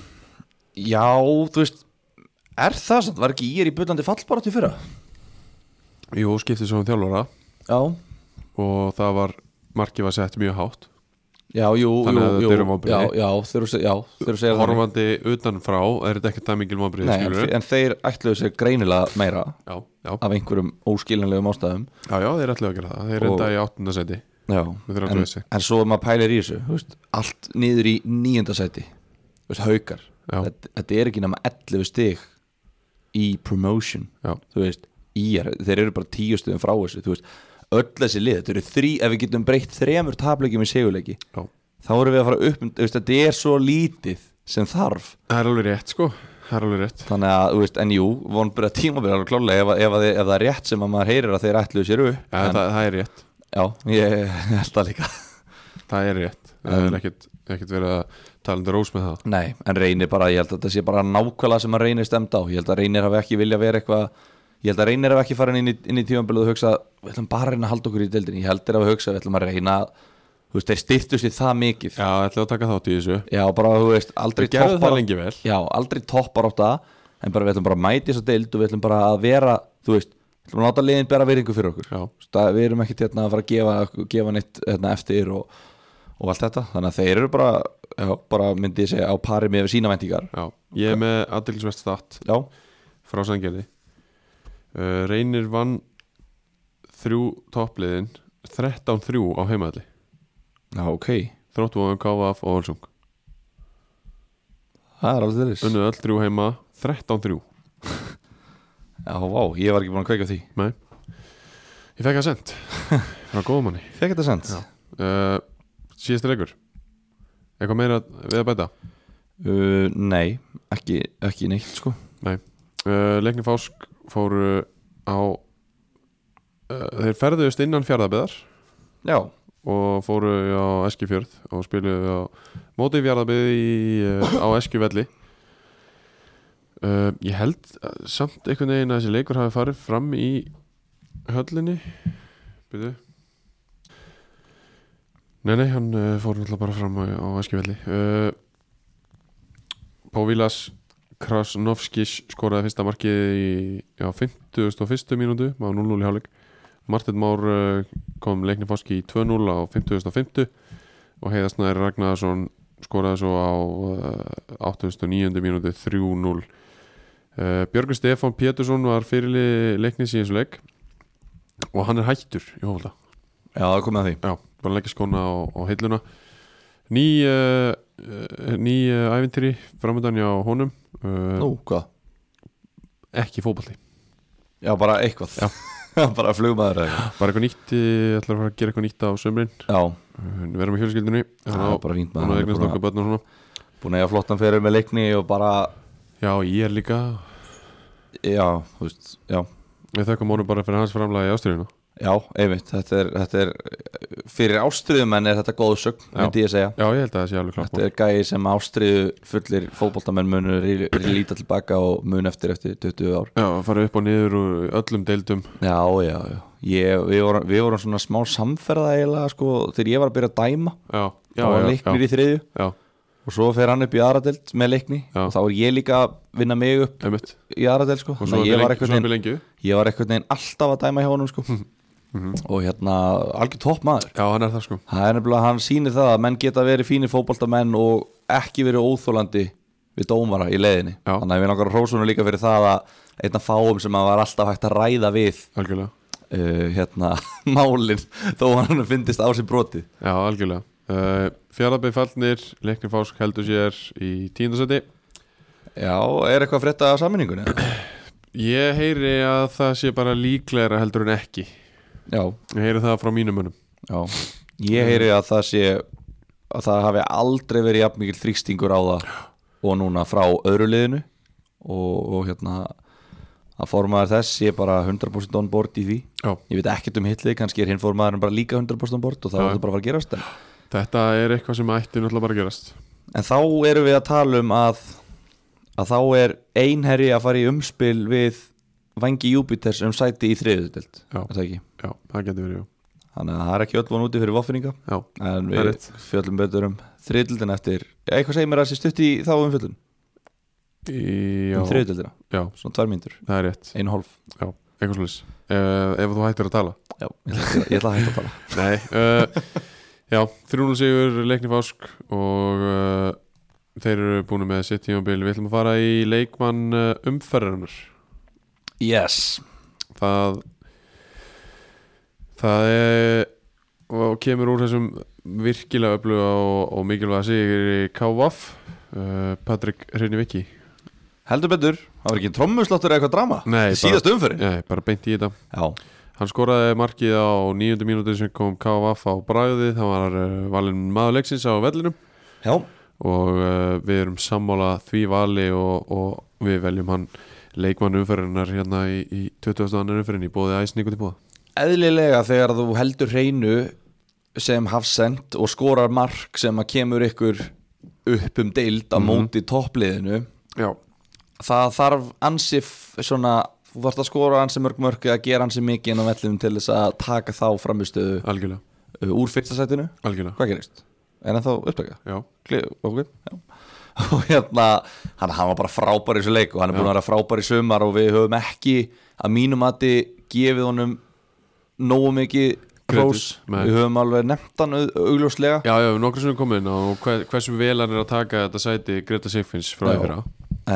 [SPEAKER 3] Já, þú veist Er það samt, var ekki ég er í bullandi fallbaráttu í fyrra?
[SPEAKER 2] Jú, skiptið svo um þjálfara
[SPEAKER 3] Já,
[SPEAKER 2] og það var, markið var sett mjög hátt
[SPEAKER 3] já, jú,
[SPEAKER 2] Þannig að
[SPEAKER 3] jú,
[SPEAKER 2] þetta eru
[SPEAKER 3] jú Já,
[SPEAKER 2] vonbrigði.
[SPEAKER 3] já, þeir eru já, þeir eru segja það
[SPEAKER 2] Horfandi utanfrá, er þetta ekkert það mikil vonbrið
[SPEAKER 3] Nei, en, en þeir ætluðu sér greinilega meira
[SPEAKER 2] Já, já,
[SPEAKER 3] af einhverjum óskiljanlegum ástæðum
[SPEAKER 2] já, já, þeir ætlaðu að gera það Þeir
[SPEAKER 3] Og-
[SPEAKER 2] enda í áttunda seti
[SPEAKER 3] Já,
[SPEAKER 2] Við þurfum að
[SPEAKER 3] en,
[SPEAKER 2] trúa þessu.
[SPEAKER 3] en svo ef maður pælir í þessu þú veist, allt niður í níunda sæti þú veist, haukar
[SPEAKER 2] Já.
[SPEAKER 3] þetta, þetta er ekki nema 11 stig í promotion
[SPEAKER 2] Já.
[SPEAKER 3] þú veist, íjar, þeir eru bara 10 stigum frá þessu þú veist, öll þessi lið þetta eru þrý, ef við getum breytt þremur tapleikjum í seguleiki,
[SPEAKER 2] já.
[SPEAKER 3] þá erum við að fara upp um- þú veist, þetta er svo lítið sem þarf
[SPEAKER 2] Það er alveg rétt sko, það er alveg rétt
[SPEAKER 3] þannig að, þú veist, en jú, von byrja tímabil alveg klálega ef, að- ef, að þið- ef það er rétt sem að maður heyrir að þeir ætluðu sér upp
[SPEAKER 2] ja, það, það er rétt,
[SPEAKER 3] já, ég held það líka
[SPEAKER 2] það er rétt Það er ekkert, ekkert verið að tala undir rós með það
[SPEAKER 3] Nei, en reynir bara, ég held að þetta sé bara nákvæmlega sem að reynir stemd á Ég held að reynir hafi ekki vilja verið eitthvað Ég held að reynir hafi ekki farin inn í, inn í tímanbölu og hugsa Við ætlum bara að reyna að halda okkur í deildinni Ég held þeir hafi hugsað, við ætlum að reyna Þú veist, þeir styrtu sér það mikið
[SPEAKER 2] Já, ætlaðu að taka þátt í þessu
[SPEAKER 3] Já, bara, þú veist, aldrei
[SPEAKER 2] Þeir gerðu það
[SPEAKER 3] toppbarátt-
[SPEAKER 2] lengi vel
[SPEAKER 3] Já, aldrei toppar átt að En bara við ætlum bara að mæti þess að deild og við ætlum bara að vera Þú veist, við ætlum að láta liðin bera veringu fyrir okkur
[SPEAKER 2] Já.
[SPEAKER 3] það, Við erum ekkert hérna að fara að gefa, gefa neitt hérna, eftir og, og allt þetta Þannig að þeir eru bara, já, bara myndi ég segja á pari með sína væntingar
[SPEAKER 2] Já, ég er með aðdilsvert statt
[SPEAKER 3] Já,
[SPEAKER 2] frá Sangerði uh, Reynir vann þrjú toppliðin 13-3 á heimaðli
[SPEAKER 3] já ok
[SPEAKER 2] Þróttvóðum, KVF og Olsung
[SPEAKER 3] Það er alveg þeiris
[SPEAKER 2] Unnuð öll þrjú heima 13-3
[SPEAKER 3] Já, vá, ég var ekki búin að kveika á því
[SPEAKER 2] Nei Ég fekk það sent Frá góðum manni
[SPEAKER 3] Fekk þetta sent
[SPEAKER 2] uh, Síðasti leikur Eitthvað meira við að bæta
[SPEAKER 3] uh, Nei, ekki, ekki neitt sko
[SPEAKER 2] Nei uh, Leikni Fásk fóru á uh, Þeir ferðuðust innan fjárðabeðar
[SPEAKER 3] Já,
[SPEAKER 2] og fóru á Eskifjörð og eh, spiluðu á móti fjárðabeði í, uh, á Eskjuvelli uh, Ég held uh, samt einhvern veginn að þessi leikur hafi farið fram í höllinni Byrju Nei, nei, hann uh, fór náttúrulega bara fram á, á Eskifjalli uh, Pávílas Krasnovskis skoraði fyrsta markið í já, 51. mínútu á 0-0 í hálfleik Martin Már uh, kom leikni fáski í 2-0 á 50.50 og heiðasnæri Ragnarsson skoraði svo á uh, 8.9. mínútu 3-0 uh, Björgur Stefán Pétursson var fyrirli leiknis í þessu leik og hann er hættur í hófalda
[SPEAKER 3] Já, það er komið að því
[SPEAKER 2] já, bara leggja skóna á, á hilluna ný uh, uh, ný uh, ævintýri framöndan hjá honum uh,
[SPEAKER 3] Nú, hvað?
[SPEAKER 2] ekki fótballi
[SPEAKER 3] Já, bara eitthvað
[SPEAKER 2] Já.
[SPEAKER 3] [LAUGHS] Bara flugmaður eða eitthvað
[SPEAKER 2] bara eitthvað nýtt, ég ætla að fara að gera eitthvað nýtt á sömrin,
[SPEAKER 3] Já,
[SPEAKER 2] uh, við erum í hjölskyldunni
[SPEAKER 3] það er bara fínt
[SPEAKER 2] hann á
[SPEAKER 3] maður Hann er
[SPEAKER 2] eignast
[SPEAKER 3] búin
[SPEAKER 2] okkur
[SPEAKER 3] að-
[SPEAKER 2] börn og svona
[SPEAKER 3] búin að eiga flottan fyrir með leikni og bara
[SPEAKER 2] já, ég er líka,
[SPEAKER 3] Já, þú veist, já
[SPEAKER 2] við þekkum honum bara fyrir hans framlega í ástriðina
[SPEAKER 3] Já, einmitt, þetta er, þetta er fyrir ástriðumenn er þetta góðu sögn,
[SPEAKER 2] Já.
[SPEAKER 3] myndi ég segja
[SPEAKER 2] já, ég held að það sé alveg klart
[SPEAKER 3] Þetta er gæði sem ástriðu fullir fótboltamenn munu rí- líta tilbaka og mun eftir eftir 20 ár
[SPEAKER 2] já, fara upp og niður úr öllum deildum
[SPEAKER 3] Já, já, já ég, við, vorum, við vorum svona smá samferða eiginlega sko, þegar ég var að byrja að dæma
[SPEAKER 2] já, já,
[SPEAKER 3] þá var
[SPEAKER 2] já,
[SPEAKER 3] leiknir
[SPEAKER 2] já,
[SPEAKER 3] í þriðju
[SPEAKER 2] já,
[SPEAKER 3] og svo fer hann upp í aðradelt með leikni
[SPEAKER 2] Já.
[SPEAKER 3] og þá er ég líka að vinna mig upp
[SPEAKER 2] einmitt
[SPEAKER 3] í aðradelt sko.
[SPEAKER 2] og
[SPEAKER 3] Þannig
[SPEAKER 2] svo
[SPEAKER 3] að
[SPEAKER 2] er
[SPEAKER 3] ég var
[SPEAKER 2] lengi-
[SPEAKER 3] einhvern
[SPEAKER 2] svo er Mhm.
[SPEAKER 3] veginn
[SPEAKER 2] við lengju
[SPEAKER 3] ég var einhvern veginn alltaf að dæma hjá honum sko. og hérna algjör topp maður
[SPEAKER 2] já, hann er það sko
[SPEAKER 3] það er nefnilega hann sýnir það að menn geta verið fínir fótboltamenn og ekki verið óþólandi við dómara í leiðinni
[SPEAKER 2] Já.
[SPEAKER 3] þannig að við langar að hrósunum líka fyrir það að einn af fáum sem að var alltaf hægt að ræða við
[SPEAKER 2] algjörlega
[SPEAKER 3] uh, hérna [LAUGHS] málin þó hann finnist á sér brotið
[SPEAKER 2] Já, algjörlega uh, Fjarlabbi fallnir, leiknir fásk heldur sér í tíundasetti
[SPEAKER 3] Já, er eitthvað að frétta af saminningunni?
[SPEAKER 2] Ég heyri að það sé bara líklegra heldur en ekki
[SPEAKER 3] Já,
[SPEAKER 2] Ég heyri það frá mínum munum
[SPEAKER 3] Já, ég heyri að það sé að það hafi aldrei verið jafn mikil þrýstingur á það og núna frá öðru liðinu og, og hérna að formaður þess sé bara 100% on board í því
[SPEAKER 2] Já,
[SPEAKER 3] ég veit ekkert um hitlið, kannski er hinn formaðurinn bara líka 100% on board og það
[SPEAKER 2] Já.
[SPEAKER 3] var það bara að fara að gerast en,
[SPEAKER 2] þetta er eitthvað sem ætti náttúrulega bara að gerast
[SPEAKER 3] en þá erum við að tala um að að þá er einherri að fara í umspil við vangi Júpiters um sæti í þriðutild
[SPEAKER 2] Já.
[SPEAKER 3] þannig
[SPEAKER 2] Já, það getur verið, jú.
[SPEAKER 3] að það er ekki öll von úti fyrir voffinninga
[SPEAKER 2] já
[SPEAKER 3] En
[SPEAKER 2] Það er
[SPEAKER 3] við
[SPEAKER 2] rétt.
[SPEAKER 3] fjöllum betur um þriðildina eftir Eitthvað segir mér að það sé stutt í þá um fjöllum
[SPEAKER 2] Í-
[SPEAKER 3] Um
[SPEAKER 2] Já,
[SPEAKER 3] þriðildina,
[SPEAKER 2] já,
[SPEAKER 3] svona tvær mínútur
[SPEAKER 2] það er rétt
[SPEAKER 3] Einu hálf
[SPEAKER 2] Já, eitthvað slis uh, Ef þú hættir að tala
[SPEAKER 3] Já, ég ætla, að- ég ætla að hætta að tala
[SPEAKER 2] [LAUGHS] Nei uh, Já, 3-0 sigur leikni fásk og uh, þeir eru búin með sitt tímabil Við ætlum að fara í leikmann uh, umferðarinnar
[SPEAKER 3] Yes
[SPEAKER 2] það það er og kemur úr þessum virkilega öfluga og, og mikilvæga sigur í KVF uh, Patrik Hreiniviki
[SPEAKER 3] Heldur betur, það var ekki trommusláttur eða eitthvað drama
[SPEAKER 2] Nei,
[SPEAKER 3] Í Síðast umfyrir
[SPEAKER 2] Nei, bara beint í þetta
[SPEAKER 3] Já,
[SPEAKER 2] hann skoraði markið á nýjöndu mínútu sem kom KVF á bræði það var uh, valinn maður leiksins á vellinum
[SPEAKER 3] já,
[SPEAKER 2] og uh, við erum sammála því vali og, og við veljum hann leikmann umferðinar hérna í, í 22. umferðin í bóði æsningu til bóða
[SPEAKER 3] eðlilega þegar þú heldur hreinu sem hafsend og skorar mark sem að kemur ykkur upp um deild á móti toppliðinu
[SPEAKER 2] Já,
[SPEAKER 3] það þarf ansi f- svona, þú þarfst að skora ansi mörg mörg að gera ansi mikið inn á vellinum til þess að taka þá framistöðu
[SPEAKER 2] algjörlega,
[SPEAKER 3] uh, úr fyrsta sætinu
[SPEAKER 2] algjörlega.
[SPEAKER 3] hvað gerist? er hann þá upptaka?
[SPEAKER 2] Já.
[SPEAKER 3] Kli- ok, já. [LAUGHS] og hérna hann, hann var bara frábær í þessu leik og hann er búin að vera frábær í sumar og við höfum ekki að mínum mati gefið honum nógu mikið krós,
[SPEAKER 2] nei.
[SPEAKER 3] við höfum alveg nefnt hann au- augljóslega
[SPEAKER 2] Já, já, nokkru sem komin og hver, hversu vel hann er að taka þetta sæti Greta Seyfins frá
[SPEAKER 3] Já.
[SPEAKER 2] yfir á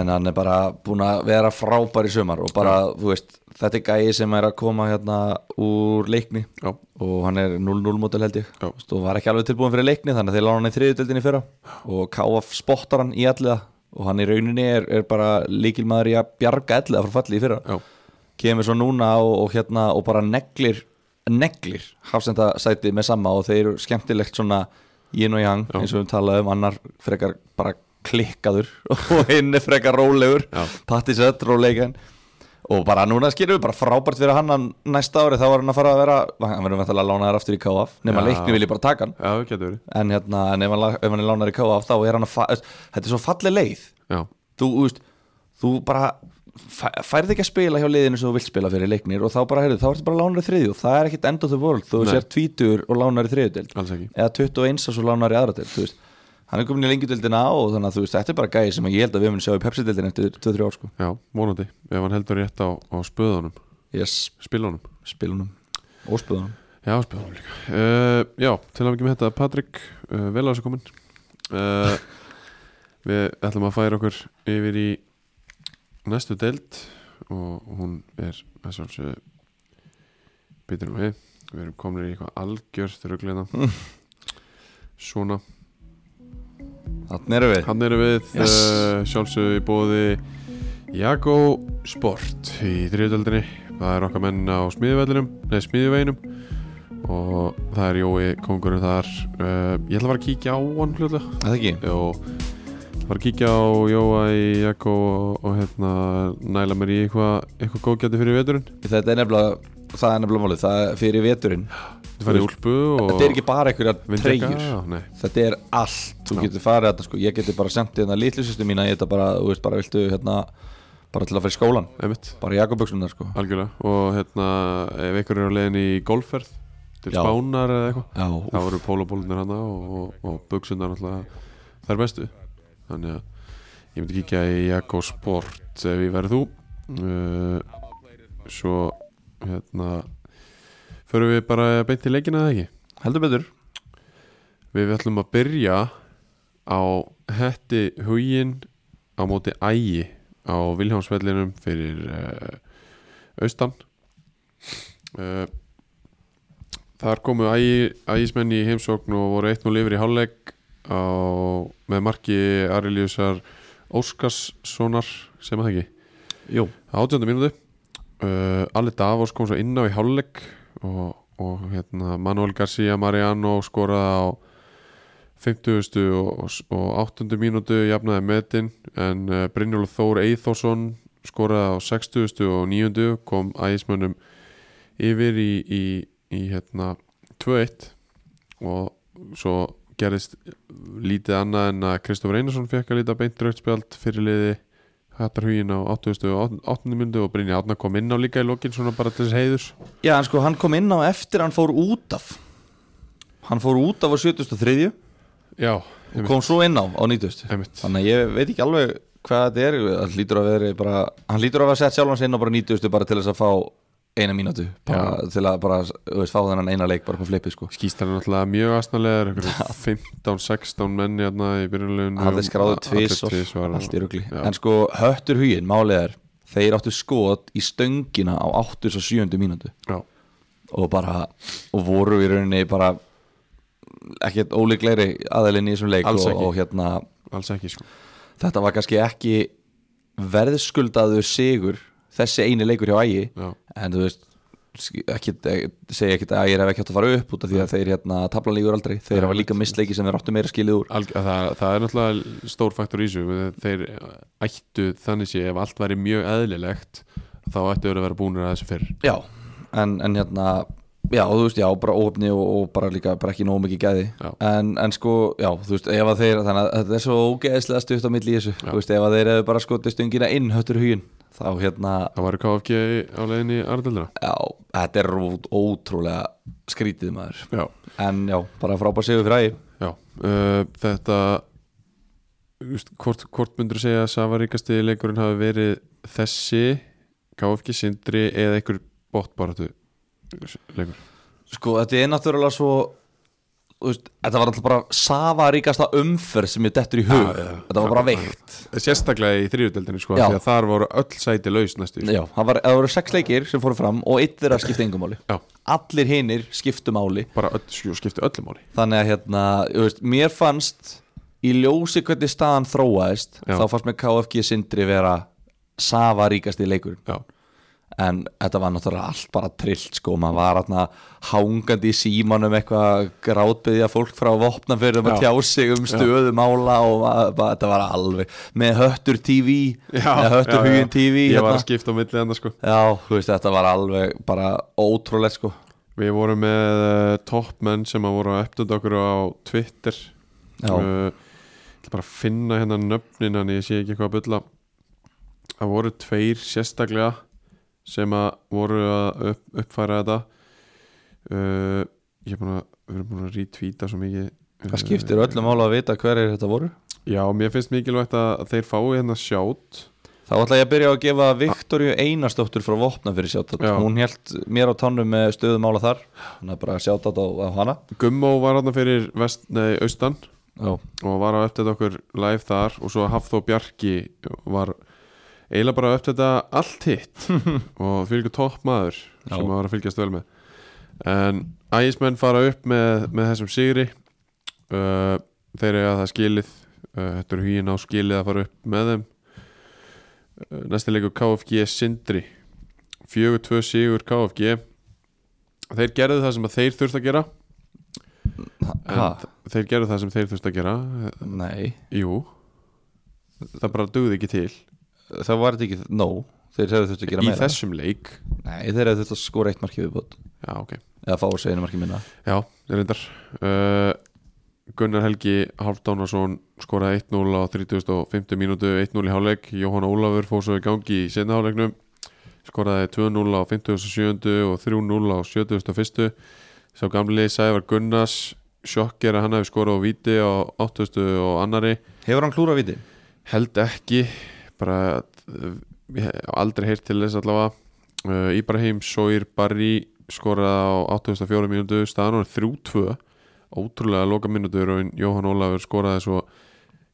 [SPEAKER 3] en hann er bara búin að vera frábær í sumar og bara, þú veist, þetta er gæi sem er að koma hérna úr leikni
[SPEAKER 2] Já,
[SPEAKER 3] og hann er 0-0 mótil held ég
[SPEAKER 2] Já.
[SPEAKER 3] og var ekki alveg tilbúin fyrir leikni þannig að þeir lána hann í þriðutöldinni fyrra og KF spottar hann í alliða og hann í rauninni er, er bara líkilmaður í að bjarga alliða frá falli í fyrra
[SPEAKER 2] já,
[SPEAKER 3] kemur svo núna og, og hérna og bara neglir, neglir hafsendasæti með sama og þeir eru skemmtilegt svona yin og yang
[SPEAKER 2] Já.
[SPEAKER 3] eins og við talaðum, annar frekar bara klikkaður [LAUGHS] og hinn er frekar rólegur,
[SPEAKER 2] Já.
[SPEAKER 3] patti sett róleikan og bara núna skilur við bara frábært fyrir hann að næsta ári þá var hann að fara að vera, hann verður vantilega að lána þær aftur í KF, nema
[SPEAKER 2] Já.
[SPEAKER 3] leikni vil ég bara taka hann
[SPEAKER 2] já, getur verið
[SPEAKER 3] en hérna, en ef hann, la- ef hann er lánar í KF þá er hann að, fa- þetta er svo falleg leið
[SPEAKER 2] Já,
[SPEAKER 3] þú, þú veist, þú bara fæ- færð ekki að spila hjá liðinu sem þú vilt spila fyrir leiknir og þá bara, heyrðu, þá ertu bara lánar í þriðju og það er ekkit end of the world, þú
[SPEAKER 2] Nei.
[SPEAKER 3] sér tvítur og lánar í þriðjudeld
[SPEAKER 2] Alls ekki.
[SPEAKER 3] eða 21 og svo lánar í aðra deild, þú veist hann er komin í lengjudeldina og þannig að þú veist, þetta er bara gæði sem ég held að við munum sjá í Pepsi-deldin eftir 2-3 ár sko
[SPEAKER 2] Já, vonandi, ef hann heldur rétt á, á spöðunum,
[SPEAKER 3] yes,
[SPEAKER 2] spilunum
[SPEAKER 3] spilunum og spilunum
[SPEAKER 2] Já, spöðunum líka uh, Já, til að ekki með þetta, Patrik uh, vel á þessu komin uh, Við ætlum að færa okkur yfir í næstu deild og hún er að sjálfsögðu bitur um við Við erum komin í eitthvað algjörð rugglina Svona
[SPEAKER 3] þannig erum við,
[SPEAKER 2] Hann eru við yes.
[SPEAKER 3] Yes.
[SPEAKER 2] sjálfsögðu í bóði Jago Sport í þriðutöldinni Það er okkar menn á smíðuvellinum Nei, smíðuveginum Og það er Jói kongurinn þar uh, Ég ætla að fara að kíkja á hann hlutlega
[SPEAKER 3] það ekki
[SPEAKER 2] Og ætla að fara að kíkja á Jóa í Jago og, og hérna næla mér í eitthvað eitthvað góðgæti fyrir veturinn
[SPEAKER 3] þetta er nefnilega, það er nefnilega málið það er fyrir veturinn,
[SPEAKER 2] Þú farið í úlpu og
[SPEAKER 3] þetta er ekki bara einhverjar
[SPEAKER 2] vindjakka,
[SPEAKER 3] treyjur
[SPEAKER 2] já, Nei,
[SPEAKER 3] þetta er allt, þú
[SPEAKER 2] Já.
[SPEAKER 3] getur farið þetta sko, ég getur bara sendið hérna litlusustu mína ég þetta bara, þú veist, bara viltu hérna bara til að fara í skólan,
[SPEAKER 2] einmitt
[SPEAKER 3] bara jakoböksunar sko
[SPEAKER 2] Algjörlega Og hérna ef einhver er á leiðin í golfferð Til
[SPEAKER 3] Já.
[SPEAKER 2] spánar eða eitthvað
[SPEAKER 3] já,
[SPEAKER 2] Það voru pólabólunir hana og, og, og buksunar náttúrulega þær bestu Þannig að ég myndi kíkja í Jakko Sport ef ég verði þú uh, Svo hérna Förum við bara beint í leikina eða ekki
[SPEAKER 3] heldur betur
[SPEAKER 2] Við ætlum að byrja á hetti hugin á móti ægi á Vilhjámsvellinum fyrir uh, austan uh, Þar komu ægi, ægismenn í heimsókn og voru 1-0 yfir í hálfleik á, með marki Arilíusar Óskarssonar sem að það ekki
[SPEAKER 3] Jú.
[SPEAKER 2] átjönda mínúti uh, Alli Davos kom svo inn á í hálfleik og, og hérna Manuel Garcia Mariano skoraði á 50. og, og 8. mínútu jafnaði metin en uh, Brynjólu Þór Eithorsson skoraði á 60. og 9. kom ægismönnum yfir í, í, í hérna 2-1 og svo gerðist lítið annað en að Kristofur Einarsson fekk að líta beint rautspjald fyrir liði Hattarhugin á 88. myndu og Brynja Átna kom inn á líka í lokin svona bara til þess heiðurs
[SPEAKER 3] já, en sko hann kom inn á eftir, hann fór út af hann fór út af á 73
[SPEAKER 2] Já,
[SPEAKER 3] og
[SPEAKER 2] einmitt,
[SPEAKER 3] kom svo inn á á 90
[SPEAKER 2] einmitt.
[SPEAKER 3] þannig að ég veit ekki alveg hvað þetta er hann lítur að vera bara hann lítur að vera sett sjálfans inn á bara 90 bara til þess að fá eina mínútu bara, til að bara, þú veist, fá þennan eina leik bara på flipi sko
[SPEAKER 2] Skýstan er náttúrulega mjög aðsnarlegar 15-16 menni hérna í byrjunleginu
[SPEAKER 3] hann er skráðu tvís og allt í rugli en sko höttur hugin, málið er þeir áttu skot í stöngina á 8. og 7. mínútu
[SPEAKER 2] Já,
[SPEAKER 3] og bara, og voru í rauninni bara ekkert ólíklegri aðalinn í þessum leik
[SPEAKER 2] Alls
[SPEAKER 3] og,
[SPEAKER 2] ekki.
[SPEAKER 3] og hérna,
[SPEAKER 2] alls ekki sko
[SPEAKER 3] þetta var kannski ekki verðskuldaður sigur þessi eini leikur hjá ægi
[SPEAKER 2] Já,
[SPEAKER 3] en þú veist ekki, segja ekkert að ægir hef ekki átt að fara upp út af því að þeir hérna tablan líkur aldrei þeir hafa líka mistleiki sem þeir áttu meira skilið úr
[SPEAKER 2] Alg, að það, það er náttúrulega stór faktor í þessu þeir ættu þannig sé ef allt væri mjög eðlilegt þá ættu þeir að vera búnir að þessu fyrr
[SPEAKER 3] Já, en, en hérna Já, og þú veist, já, bara óöfni og, og bara líka bara ekki nóg mikið gæði
[SPEAKER 2] Já.
[SPEAKER 3] en, en sko, já, þú veist, ef að þeir þannig að þetta er svo ógeðslega stutt á milli í þessu þú veist, ef að þeir hefur bara skotið stöngina inn höttur hugin, þá hérna
[SPEAKER 2] það væri KFG á leiðinni í Ardaldra
[SPEAKER 3] já, þetta er rú- ótrúlega skrítið maður
[SPEAKER 2] Já,
[SPEAKER 3] en já, bara frábær sigur fyrir ægi
[SPEAKER 2] Já, uh, þetta just, hvort, hvort myndur segja að safaríkasti leikurinn hafi verið þessi KFG sindri eða einhver bóttbaratu leikur
[SPEAKER 3] Sko, þetta er náttúrulega svo þú veist, Þetta var alltaf bara safaríkasta umferð sem ég dettur í hug Þetta var bara veikt
[SPEAKER 2] Sérstaklega í þriðudeldinni sko
[SPEAKER 3] Já.
[SPEAKER 2] því að þar voru öll sæti laus næstu því, sko.
[SPEAKER 3] Já, það, var, það voru sex leikir sem fóru fram og eitt þeirra skipti engum máli
[SPEAKER 2] Já,
[SPEAKER 3] Allir hinir skiptu máli
[SPEAKER 2] bara öll, skjú, skipti öllu máli
[SPEAKER 3] Þannig að hérna, þú veist, mér fannst í ljósi hvernig staðan þróaðist
[SPEAKER 2] Já.
[SPEAKER 3] þá fannst mér KFG sindri vera safaríkasti leikurinn
[SPEAKER 2] Já,
[SPEAKER 3] en þetta var náttúrulega allt bara trillt sko, maður var hérna hangandi í símanum eitthvað grátbyðja fólk frá vopna fyrir um að
[SPEAKER 2] Já.
[SPEAKER 3] tjá sig um stöðu mála og ma- bara, þetta var alveg með höttur TV með
[SPEAKER 2] já,
[SPEAKER 3] höttur
[SPEAKER 2] já.
[SPEAKER 3] hugin TV
[SPEAKER 2] Ég var
[SPEAKER 3] hérna.
[SPEAKER 2] að skipta á milli enda sko
[SPEAKER 3] já, þú veist, þetta var alveg bara ótrúlegt sko
[SPEAKER 2] Við vorum með uh, toppmenn sem að voru að uppdönda okkur á Twitter
[SPEAKER 3] Já.
[SPEAKER 2] Uh, Ég ætla bara að finna hérna nöfnin en ég sé ekki eitthvað að bylla það voru tveir sérstaklega sem að voru að upp, uppfæra þetta uh, ég er búin að við erum búin að retweeta svo mikið Uh,
[SPEAKER 3] Það skiptir öllum ála að vita hver er þetta voru
[SPEAKER 2] já, mér finnst mikilvægt að að þeir fái hérna sjátt
[SPEAKER 3] Þá ætla ég að byrja á að gefa Viktorju Einarsdóttur frá Vopna fyrir sjátt
[SPEAKER 2] Já.
[SPEAKER 3] Hún held mér á tánum með stöðum ála þar Þannig að bara sjátt á, á hana
[SPEAKER 2] Gummó var hérna fyrir vest, nei, austan
[SPEAKER 3] Já,
[SPEAKER 2] og var að uppdata okkur live þar og svo Hafþó Bjarki var eiginlega bara að uppdata allt hitt og fyrir ykkur topp maður
[SPEAKER 3] Já.
[SPEAKER 2] sem maður var að fylgjast vel með en ægismenn fara upp með, með þessum sigri uh, þeir eru að það skilið uh, þetta eru hýin á skilið að fara upp með þeim uh, næsti leikur KFG Sindri 4-2 sigur KFG þeir gerðu það sem að þeir þurft að gera en
[SPEAKER 3] ha,
[SPEAKER 2] þeir gerðu það sem þeir þurft að gera
[SPEAKER 3] nei
[SPEAKER 2] Jú Það bara dugði ekki til
[SPEAKER 3] Það var þetta ekki, no Þeir hefðu þurft að gera
[SPEAKER 2] Í
[SPEAKER 3] meira
[SPEAKER 2] þessum leik
[SPEAKER 3] Nei, þeir hefðu þurft að skora eitt marki viðbútt
[SPEAKER 2] Já, ok
[SPEAKER 3] Eða fá að segja einu marki minna
[SPEAKER 2] Já, reyndar uh, Gunnar Helgi Halfdánarsson skoraði 1-0 á 30.50 mínútu 1-0 í hálfleik Jóhann Ólafur fór svo í gangi í senna hálfleiknum skoraði 2-0 á 57. og 3-0 á 71. Sá gamli Sævar Gunnars sjokk er að hann hefði skorað á viti á 80. og annari
[SPEAKER 3] Hefur hann klúra viti?
[SPEAKER 2] held ekki bara uh, ég hef aldrei heyrt til þess allavega uh, Íbrahim Sóir Barri skoraði á 84 mínútu staðan og 3-2 ótrúlega loka mínútur og Jóhann Ólafur skoraði svo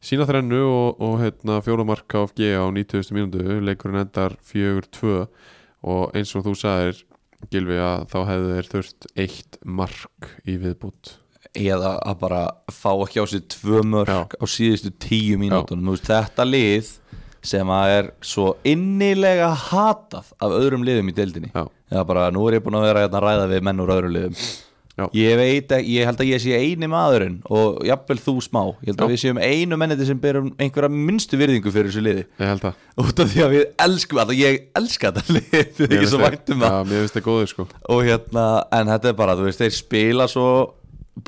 [SPEAKER 2] sína þrennu og, og hérna, fjóramark KFG á 90 mínútu leikurinn endar 4-2 og eins og þú sagðir Gilvi að þá hefðu þeir þurft eitt mark í viðbútt
[SPEAKER 3] Eða að bara fá ekki á sig tvö mörk á síðustu tíu mínútunum Þú veist, Þetta lið sem að er svo innilega hatað af öðrum liðum í deildinni
[SPEAKER 2] Já.
[SPEAKER 3] Eða bara, nú er ég búin að vera hérna að ræða við menn úr öðrum liðum
[SPEAKER 2] Já.
[SPEAKER 3] Ég veit ekki, ég held að ég sé eini maðurinn og jafnvel þú smá Ég held að
[SPEAKER 2] Já.
[SPEAKER 3] við séum einu menniti sem berum einhverja minnstu virðingu fyrir þessu liði
[SPEAKER 2] ég held það
[SPEAKER 3] út af því að við elskum alltaf ég elska þetta lið [LAUGHS] því ekki svo væntum það
[SPEAKER 2] Já, mér finnst það góður sko
[SPEAKER 3] og hérna, en þetta er bara, þú veist, þeir spila svo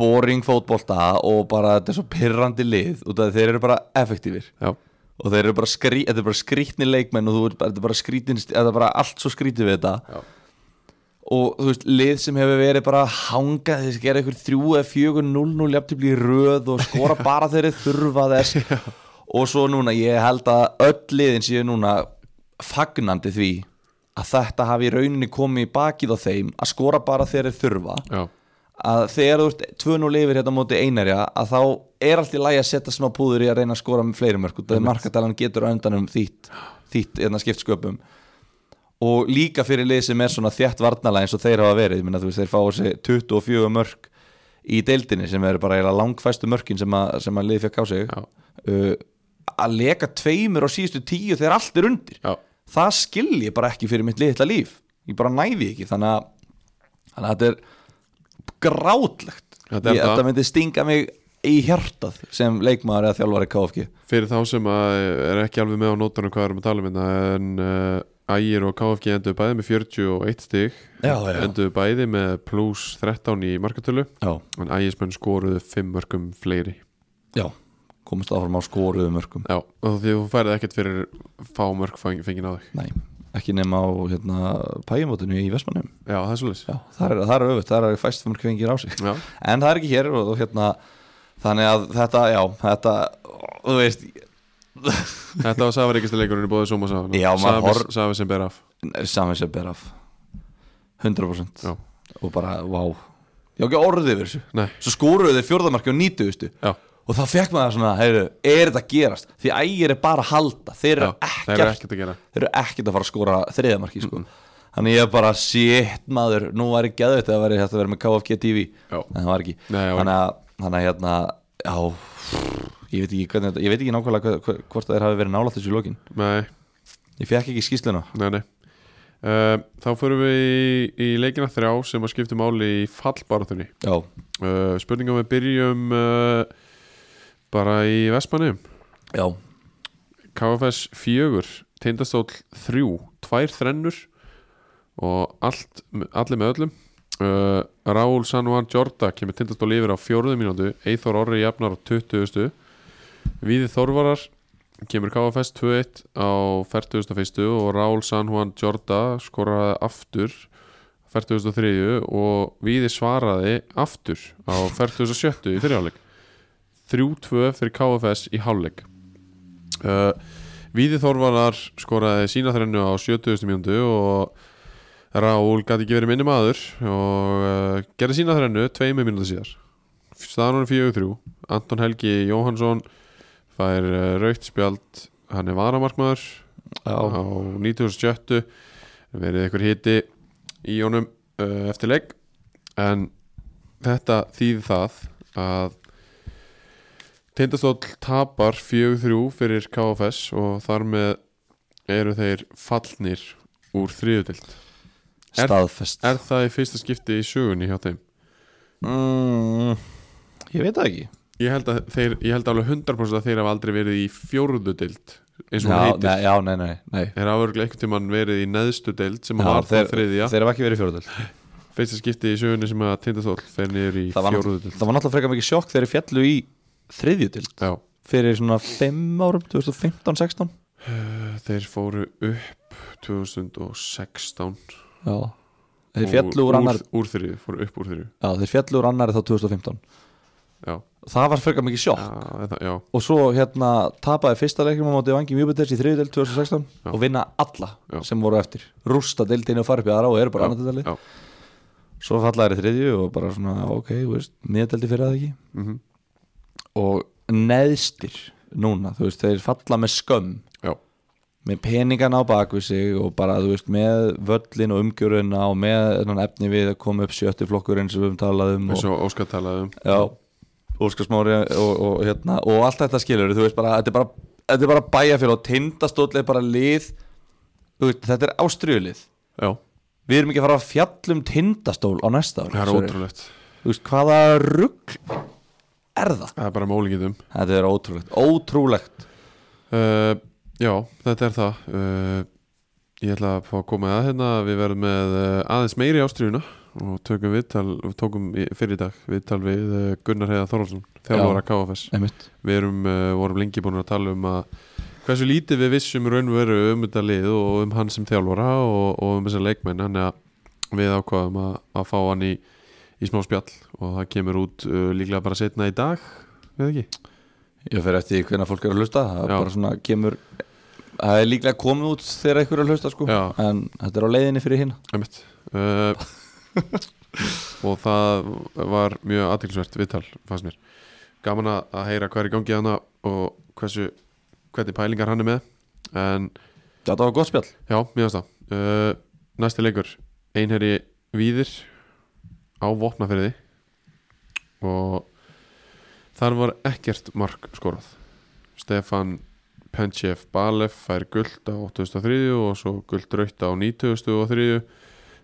[SPEAKER 3] boring fótbolta og bara þetta er svo pirrandi lið út af því þeir eru bara effektífir
[SPEAKER 2] Já,
[SPEAKER 3] og þeir eru bara skrý, þetta er bara skrýtni leikmenn og þú ert bara, þetta er bara skrýtin, þetta er bara allt svo skrýtið við þetta
[SPEAKER 2] Já.
[SPEAKER 3] og þú veist, lið sem hefur verið bara hangað, þeir gera ykkur 3 eða 4 0-0 jafn til blíð röð og skora bara þeir eru þurfa þess og svo núna, ég held að öll liðin séu núna fagnandi því að þetta hafi í rauninni komið í bakið á þeim að skora bara þeir eru þurfa
[SPEAKER 2] já
[SPEAKER 3] að þegar þú ert 2-0 yfir hérna á móti einarja að þá er allt í lagi að setja smá púður í að reyna að skora með fleiri mörg þegar markatalan getur á endanum þýtt þýtt hérna skiptsköpum og líka fyrir lið sem er svona þjætt varnalega eins og þeir hafa verið, ég minna þú veist þeir fá þessi 24 mörg í deildinni sem eru bara eiginlega langfæstu mörkin sem að, sem að liði fekk á sig
[SPEAKER 2] Já.
[SPEAKER 3] uh, að leka tveimur á síðustu tíu þegar allt er undir
[SPEAKER 2] Já.
[SPEAKER 3] það skil ég bara ekki fyrir mitt litla líf ég bara næði ekki þannig að, þannig að þetta er grátlegt
[SPEAKER 2] Þetta er
[SPEAKER 3] Ég-
[SPEAKER 2] það.
[SPEAKER 3] þetta myndi stinga mig í hjartað sem leikmaður eða þjálfari KFG
[SPEAKER 2] fyrir þá sem að eh, er ekki alveg með á nótunum hvað erum að tala um hérna en uh, Ægir og KFG endur bæði með 41 stig
[SPEAKER 3] Já, já.
[SPEAKER 2] endur bæði með pluss 13 í markatölu
[SPEAKER 3] já,
[SPEAKER 2] en Ægismenn skoruðu 5 mörgum fleiri
[SPEAKER 3] já komast áfram á skoruðu mörgum
[SPEAKER 2] já, og því þú færði ekkert fyrir fá mörg fang- fengin á þig
[SPEAKER 3] nei, ekki nema á hérna, pæjumótinu í Vestmannum
[SPEAKER 2] já, það er svolítið
[SPEAKER 3] já, það er, það er öfutt, það er fæst mörg kvingir á sig
[SPEAKER 2] Já.
[SPEAKER 3] en það er ekki hér og, og hérna þannig að þetta, já, þetta þú veist,
[SPEAKER 2] þetta var safaríkista leikurinn í bóðið Soma Safa
[SPEAKER 3] Já, maður
[SPEAKER 2] Safi,
[SPEAKER 3] horf-
[SPEAKER 2] Safi sem ber af
[SPEAKER 3] samið sem ber af 100%
[SPEAKER 2] Já.
[SPEAKER 3] og bara, vá ég á ekki orðið yfir þessu
[SPEAKER 2] Nei.
[SPEAKER 3] svo skóruðu þeir fjórðamarki og nýtuðustu
[SPEAKER 2] Já.
[SPEAKER 3] og þá fekk maður svona, heyrðu, er þetta að gerast því ægir er bara að halda þeir eru
[SPEAKER 2] Já, þeir eru
[SPEAKER 3] ekkert
[SPEAKER 2] ekkert að gera.
[SPEAKER 3] þeir eru ekkert að fara að skóra þriðamarki sko. þannig ég bara, shit maður nú var ég geðvægt að vera þetta að vera með KFG TV
[SPEAKER 2] Já.
[SPEAKER 3] en það var ekki
[SPEAKER 2] Nei, já,
[SPEAKER 3] þannig að, þannig að hérna, já ég veit ekki, hvernig, þetta- ég veit ekki nákvæmlega hve- hve- hvort þeir hafi verið nálægt þessu í lokin
[SPEAKER 2] nei,
[SPEAKER 3] ég fekk ekki skýsluna
[SPEAKER 2] nei, nei Uh, þá förum við í, í leikina þrjá sem að skipta máli í fallbaratunni
[SPEAKER 3] já,
[SPEAKER 2] uh, spurningum við byrjum uh, bara í Vestmannum
[SPEAKER 3] já,
[SPEAKER 2] KFS 4, Tindastóll 3 tvær þrennur og allt, allir með öllum uh, Raúl Sanvan Jorda kemur Tindastóll yfir á fjóruðu mínútu Eithor Orri jafnar á 20 Viði Þorvarar kemur KFS 2-1 á 41. og Raúl San Juan Jorda skoraði aftur 43. og Víði svaraði aftur á 47. í fyrirháleik 3-2 fyrir KFS í háleik uh, Víði Þorvarar skoraði sína þrennu á 70. mjöndu og Raúl gæti ekki verið minni maður og uh, gerði sína þrennu tveimur mínútur síðar staðan hann 4-3 Anton Helgi Jóhansson fær uh, raukt spjald hann er varamarkmaður á 97 verið einhver hiti í honum uh, eftir leik en þetta þýði það að Tindastóll tapar 4-3 fyrir KFS og þar með eru þeir fallnir úr þriðutild Er-
[SPEAKER 3] staðfest
[SPEAKER 2] Er það í fyrsta skipti í sögunni hjá þeim?
[SPEAKER 3] mm, ég veit það ekki
[SPEAKER 2] Ég held, að þeir, ég held alveg 100% að þeir hafa aldrei verið í fjórðu deild eins og hún
[SPEAKER 3] já,
[SPEAKER 2] heitir
[SPEAKER 3] nei, já, nei, nei, nei.
[SPEAKER 2] Þeir hafa örgulega einhvern tímann verið í neðstu deild sem
[SPEAKER 3] Já,
[SPEAKER 2] var
[SPEAKER 3] þeir,
[SPEAKER 2] það þriðja
[SPEAKER 3] þeir hafa ekki verið fjóruðöld
[SPEAKER 2] fyrsta skipti í sögunni sem að Tindastóll fer niður í
[SPEAKER 3] það var,
[SPEAKER 2] fjórðu
[SPEAKER 3] náttúrulega-
[SPEAKER 2] deild
[SPEAKER 3] það var náttúrulega frekar mikið sjokk þegar þeir fjallu í þriðjutild
[SPEAKER 2] Já,
[SPEAKER 3] fyrir svona 5 árum, 2015-16
[SPEAKER 2] þeir fóru upp 2016
[SPEAKER 3] já, þeir fjallu úr annar
[SPEAKER 2] úr þriðju, fóru upp úr þriðju
[SPEAKER 3] já, þeir fjallu úr annari þá 2015
[SPEAKER 2] Já,
[SPEAKER 3] það var frekar mikið sjokk
[SPEAKER 2] já, þetta, já,
[SPEAKER 3] og svo hérna tapaði fyrsta leiknum á móti vangi mjögbeters í þriðjutild 2016
[SPEAKER 2] Já.
[SPEAKER 3] og vinna alla
[SPEAKER 2] Já.
[SPEAKER 3] sem voru eftir rústa deildinu og fara upp í aðra og eru bara
[SPEAKER 2] já,
[SPEAKER 3] annar deildali
[SPEAKER 2] já.
[SPEAKER 3] svo fallaði þeir í þriðju og bara svona ok, þú veist, miðdeldi fyrir það ekki
[SPEAKER 2] Mhm.
[SPEAKER 3] og neðstir núna, þú veist, þeir falla með skömm
[SPEAKER 2] já.
[SPEAKER 3] með peningana á bakvið sig og bara, þú veist, með völlin og umgjöruna og með þennan efni við að koma upp sjötti flokkurinn sem við höfum talað um
[SPEAKER 2] eins og Óskar talaði um
[SPEAKER 3] já, Óskar Smári og, og, hérna, og allt þetta skilur þú veist bara, þetta er bara, þetta er bara bæjarfélag og tindastóll er bara lið þú veist, þetta er ástriðulið
[SPEAKER 2] Já,
[SPEAKER 3] við erum ekki að fara að fjallum tindastól á næsta ári
[SPEAKER 2] það er
[SPEAKER 3] sorry.
[SPEAKER 2] ótrúlegt
[SPEAKER 3] þú veist, hvaða rugg er það?
[SPEAKER 2] Það er bara mólingið um
[SPEAKER 3] Þetta er ótrúlegt, ótrúlegt
[SPEAKER 2] Uh, já, þetta er það uh, Ég ætla að fá að koma að hérna Við verðum með uh, aðeins meiri ástríðuna og tökum viðtal, tókum í- fyrir í dag viðtal við uh, Gunnar Heiða Þorvaldsson þjálfara KFS
[SPEAKER 3] Einmitt.
[SPEAKER 2] Við erum, uh, vorum lengi búin að tala um að hversu lítið við vissum raunveru um þetta lið og um hann sem þjálfara og, og um þessa leikmenn hann að við ákvaðum að, að fá hann í, í smá spjall og það kemur út uh, líklega bara setna í dag við ekki?
[SPEAKER 3] Ég fer eftir því hvernig fólk er að hlusta það er
[SPEAKER 2] Já.
[SPEAKER 3] bara svona kemur það er líklega komið út þegar einhver er að hlusta sko.
[SPEAKER 2] Já.
[SPEAKER 3] en þetta er á leiðinni fyrir hinn
[SPEAKER 2] Einmitt. Uh, og það var mjög aðtilsvert viðtal, fannst mér gaman að að heyra hvað er í gangi hana og hversu, hvernig pælingar hann er með en
[SPEAKER 3] Þetta var gott spjall
[SPEAKER 2] já, mjög aðstá uh, næsti leikur, einherji Víðir á vopnaferði og þar var ekkert mark skorað Stefan Penchef Balef fær guld á 2003 og svo guld raut á 2003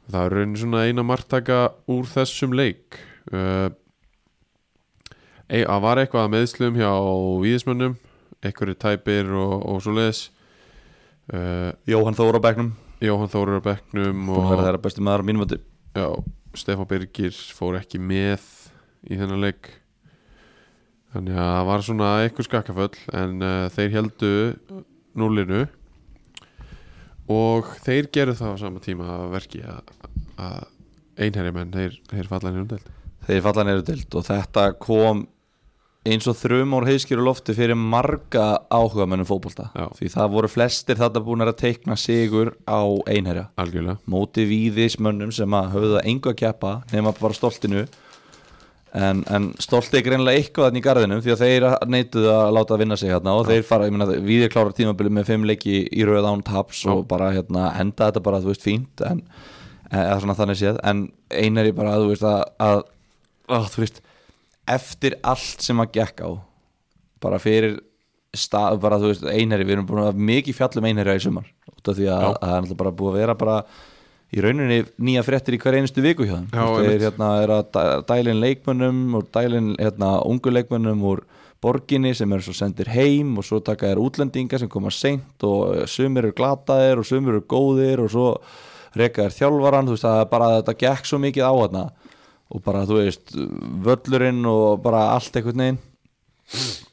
[SPEAKER 2] það er raunin svona eina marktaka úr þessum leik uh, ei, að var eitthvað að meðslum hjá víðismönnum einhverju tæpir og, og svo leiðis uh,
[SPEAKER 3] Jóhann Þóra á bekknum
[SPEAKER 2] Jóhann Þórur á bekknum
[SPEAKER 3] Búin að vera
[SPEAKER 2] og
[SPEAKER 3] þeirra besti maður á mínum vöndi
[SPEAKER 2] já, Stefán Birgir fór ekki með í þennan leik þannig að það var svona eitthvað skakkaföll en uh, þeir heldu núlinu og þeir gerðu það á sama tíma að verki að, að einherjumenn, þeir, þeir falla henni umdelt
[SPEAKER 3] Þeir falla neyru dild og þetta kom eins og þrum úr heiskýru lofti fyrir marga áhuga mönnum fótbolta
[SPEAKER 2] Já.
[SPEAKER 3] því það voru flestir þetta búin að teikna sigur á einherja
[SPEAKER 2] algjörlega
[SPEAKER 3] móti víðismönnum sem að höfðu það engu að keppa nema bara stoltinu en, en stolti er greinlega eitthvað þannig í garðinum því að þeir neituðu að láta vinna sig hérna og þeir fara, ég meina víðir klárar tímabilið með fimm leiki í röð án taps og bara hérna henda þetta bara, þú veist, fínt en, eh, eða svona þannig séð en einar ég bara, þú veist, að, að ó, þú veist, eftir allt sem að gekk á bara fyrir stað, bara þú veist, einherri, við erum búin að hafa mikið fjallum einherja í sumar, út af því að
[SPEAKER 2] Já.
[SPEAKER 3] að það er náttúrulega bara búið að vera bara í rauninni nýja fréttir í hver einustu viku hjá þeim
[SPEAKER 2] Já,
[SPEAKER 3] Þú veist,
[SPEAKER 2] einmitt.
[SPEAKER 3] þeir hérna er að dæ- dælin leikmönnum og dælin hérna ungu leikmönnum úr borginni sem eru svo sendir heim og svo taka þér útlendinga sem koma seint og eh, sumir eru glataðir og sumir eru góðir og svo reka þér þjálfaran, þú veist það er bara að þetta gekk svo mikið á hérna og bara þú veist völlurinn og bara allt einhvern veginn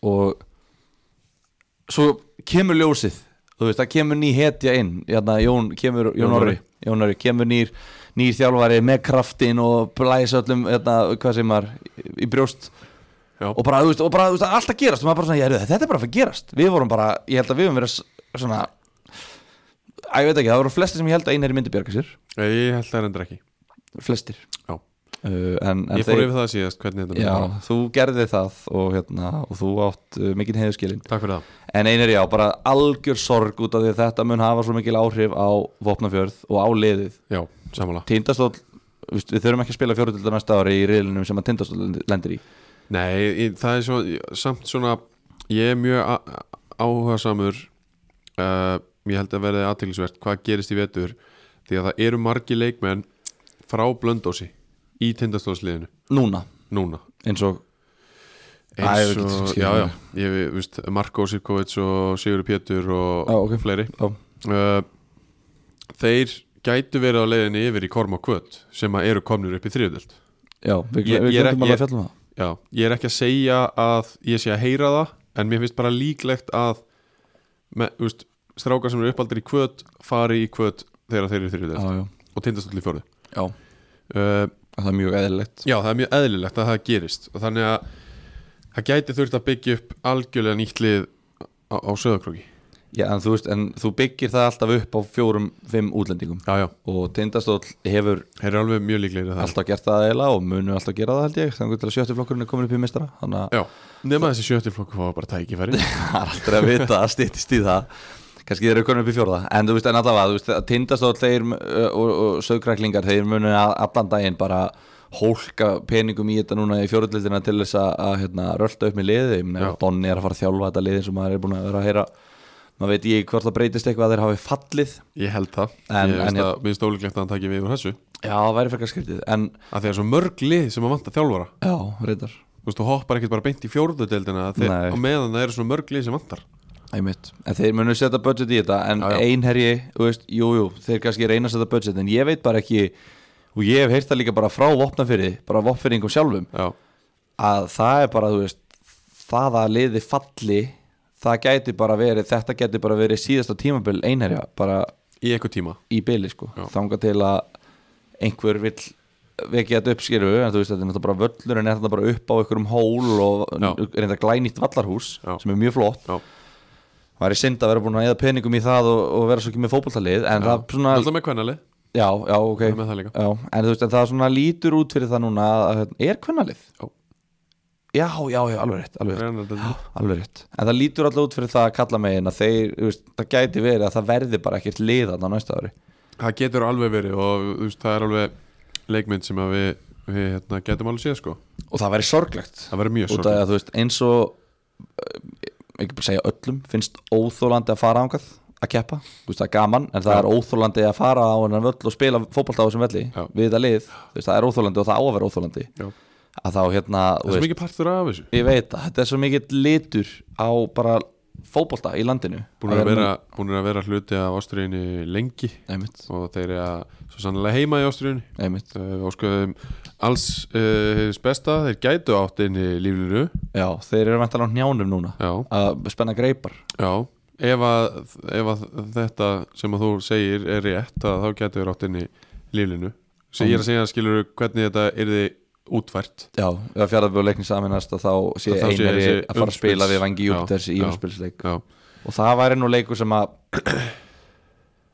[SPEAKER 3] og svo kemur ljósið þú veist, það kemur ný hetja inn Jana, Jón, kemur, Jón,
[SPEAKER 2] Jón
[SPEAKER 3] Orri
[SPEAKER 2] Orri.
[SPEAKER 3] Jón Orri, kemur nýr, nýr þjálfari með kraftin og blæsa öllum jana, hvað sem var, í brjóst
[SPEAKER 2] Já.
[SPEAKER 3] og bara, þú veist, og bara, þú veist, allt að gerast og maður bara svona, "Heyrðu, þetta er bara að fara að gerast við vorum bara, ég held að við höfum verið s- svona að ég veit ekki, það voru flestir sem ég held að einherri myndi bjarga sér
[SPEAKER 2] Ég held það er endur ekki
[SPEAKER 3] flestir
[SPEAKER 2] Já.
[SPEAKER 3] uh, en, en
[SPEAKER 2] Ég fór yfir það síðast hvernig þetta myndi
[SPEAKER 3] já,
[SPEAKER 2] fara.
[SPEAKER 3] þú gerði það og, hérna, og þú átt uh, mikinn heiðuskilin
[SPEAKER 2] Takk fyrir það
[SPEAKER 3] En einar já, bara algjör sorg út af því að þetta mun hafa svo mikil áhrif á Vopnafjörð og á liðið
[SPEAKER 2] Já, samanlega
[SPEAKER 3] Tindastóll, við, við þurfum ekki að spila fjóruðilda næsta ári í riðlinum sem að Tindastóll lendir í
[SPEAKER 2] Nei, í- það er svo, samt svona ég er mjög á- áhuga samur uh, ég held að verði aðtilsvert hvað gerist í vetur því að það eru margi leikmenn frá blöndósi í tindastofsliðinu
[SPEAKER 3] Núna,
[SPEAKER 2] núna
[SPEAKER 3] eins og Æ,
[SPEAKER 2] eins
[SPEAKER 3] við getum
[SPEAKER 2] og,
[SPEAKER 3] skilið
[SPEAKER 2] já,
[SPEAKER 3] það.
[SPEAKER 2] já, ég vi- veist Marko Sirkovits og Sigur Pétur og
[SPEAKER 3] Já, ok.
[SPEAKER 2] fleiri
[SPEAKER 3] Já.
[SPEAKER 2] uh, þeir gætu verið á leiðinni yfir í Korma Kvöt sem að eru komnir upp í þriðudelt
[SPEAKER 3] Já, við,
[SPEAKER 2] Ég-
[SPEAKER 3] ég, við
[SPEAKER 2] ég er
[SPEAKER 3] glemdum
[SPEAKER 2] ekki-
[SPEAKER 3] alveg að fjalla um það
[SPEAKER 2] Já, ég er ekki að segja að ég sé að heyra það en mér finnst bara líklegt að með, úst, strákar sem eru uppaldir í kvöt fari í kvöt þegar þeir eru þriðið
[SPEAKER 3] Já, já,
[SPEAKER 2] og tindastóll í fjóruð
[SPEAKER 3] já,
[SPEAKER 2] uh,
[SPEAKER 3] það er mjög eðlilegt
[SPEAKER 2] Já, það er mjög eðlilegt að það gerist og þannig að það gæti þurft að byggja upp algjörlega nýtt lið á, á söðakróki
[SPEAKER 3] Já, en þú veist, en þú byggir það alltaf upp á fjórum, fimm útlendingum
[SPEAKER 2] Já, já,
[SPEAKER 3] og Tindastóll hefur
[SPEAKER 2] þeir eru alveg mjög líklegir að það
[SPEAKER 3] alltaf gert það eiginlega og munu alltaf gera það held ég þannig til að sjötti flokkurinn er komin upp í mistara þannig að
[SPEAKER 2] Já, nema þessi sjöttilflokku fá bara
[SPEAKER 3] [LAUGHS]
[SPEAKER 2] tækifæri
[SPEAKER 3] það er aldrei að vita að stýttist í það kannski þeir eru komin upp í fjórða en þú veist en allavega, þú veist, að tindastóll þeir uh, og, og sögkræklingar, þeir munu að allan daginn bara hólka peningum í þetta núna í fjórðlildina til þess að, að hérna, rölda upp með liði Ég meina,
[SPEAKER 2] Já.
[SPEAKER 3] ef Donni er að fara að þjálfa þetta liði sem maður er búin að vera að heyra maður veit ég hvort það breytist eitthvað að þeir hafi fallið
[SPEAKER 2] Ég held það,
[SPEAKER 3] En-
[SPEAKER 2] ég
[SPEAKER 3] en-
[SPEAKER 2] veist að minnst ólíklegt að hann taki við úr þessu
[SPEAKER 3] já, það væri frekar skriftið, en
[SPEAKER 2] að því að svo mörg lið sem að vanta þjálfara
[SPEAKER 3] já, reyndar
[SPEAKER 2] þú veist, þú hoppar ekkert bara beint í fjórðu deildina
[SPEAKER 3] Nei.
[SPEAKER 2] þegar á meðan það eru svona mörg lið sem vantar
[SPEAKER 3] Einmitt. En þeir munu setja budget í þetta en
[SPEAKER 2] Já, já.
[SPEAKER 3] einherji, þú veist, jú, jú, þeir kannski reyna að setja budget en ég veit bara ekki og ég hef heyrt það líka bara frá vopnafyrði bara vopnfyrringum sjálfum
[SPEAKER 2] já,
[SPEAKER 3] að það er bara, þú veist, það að liði falli það gæti bara verið, þetta gæti bara verið síðasta tímabil einherja, bara
[SPEAKER 2] í eitthvað tíma
[SPEAKER 3] í byli sko,
[SPEAKER 2] Já.
[SPEAKER 3] þanga til að einhver vill vekja þetta upp skilu, en þú veist, þetta er náttúrulega bara völlur en er þetta bara upp á einhverjum hól og
[SPEAKER 2] Já.
[SPEAKER 3] reynda glænýtt vallarhús
[SPEAKER 2] Já.
[SPEAKER 3] sem er mjög flott
[SPEAKER 2] já.
[SPEAKER 3] Það væri synd að vera búin að eða peningum í það og, og vera svo ekki með fótboltalið en það svona,
[SPEAKER 2] alltaf með kvennalið,
[SPEAKER 3] já, já, ok
[SPEAKER 2] það er með það líka
[SPEAKER 3] já, en þú veist, en það svona lítur út fyrir það núna að, að hérna, er kvennalið?
[SPEAKER 2] Já.
[SPEAKER 3] Já, já, já, alveg rétt, alveg rétt
[SPEAKER 2] Reynar-
[SPEAKER 3] alveg rétt, en það lítur alltaf út fyrir það að kalla megin að þeir, þú veist, það gæti verið að það verði bara ekkert lið þarna á næsta ári
[SPEAKER 2] það getur alveg verið og þú veist, það er alveg leikmynd sem að við, við hérna, getum alveg séð sko
[SPEAKER 3] og það væri sorglegt
[SPEAKER 2] það verður mjög
[SPEAKER 3] út af
[SPEAKER 2] sorglega
[SPEAKER 3] að þú veist, eins og eh, ekki bara segja öllum, finnst óþólandi að fara ángað að keppa, þú veist það er gaman en það
[SPEAKER 2] Já.
[SPEAKER 3] er óþólandi að fara á hennan völl og spila fótbolta á þessum velli
[SPEAKER 2] Já.
[SPEAKER 3] við þetta lið, þú veist það er óþólandi og það á að vera óþólandi
[SPEAKER 2] Já.
[SPEAKER 3] að þá
[SPEAKER 2] það
[SPEAKER 3] hérna, þú
[SPEAKER 2] er
[SPEAKER 3] veist,
[SPEAKER 2] svo mikið partur af þessu
[SPEAKER 3] ég veit að þetta er svo mikið litur á bara fótbolta í landinu
[SPEAKER 2] búin að vera, búnir að vera hluti af Ástriðinni lengi
[SPEAKER 3] einmitt,
[SPEAKER 2] og þeir eru að svo sannlega heima í Ástriðinni
[SPEAKER 3] einmitt,
[SPEAKER 2] við óskuðum alls uh, hins besta, þeir gætu átt inn í líflinu
[SPEAKER 3] já, þeir eru vantan á njánum núna
[SPEAKER 2] já,
[SPEAKER 3] að spenna greipar
[SPEAKER 2] Já, ef að, ef að þetta sem að þú segir er rétt að þá getur við rátt inn í líflinu sem ég er að segja skilur hvernig þetta yrði útvært
[SPEAKER 3] Já, ef fjárðabjóðleikni saminast að þá sé
[SPEAKER 2] Að þá sé
[SPEAKER 3] einari
[SPEAKER 2] þessi
[SPEAKER 3] að fara að spila
[SPEAKER 2] umspils-
[SPEAKER 3] við vangi
[SPEAKER 2] Já,
[SPEAKER 3] Júpiters í
[SPEAKER 2] já.
[SPEAKER 3] umspilsleik
[SPEAKER 2] Já.
[SPEAKER 3] og það væri nú leikur sem að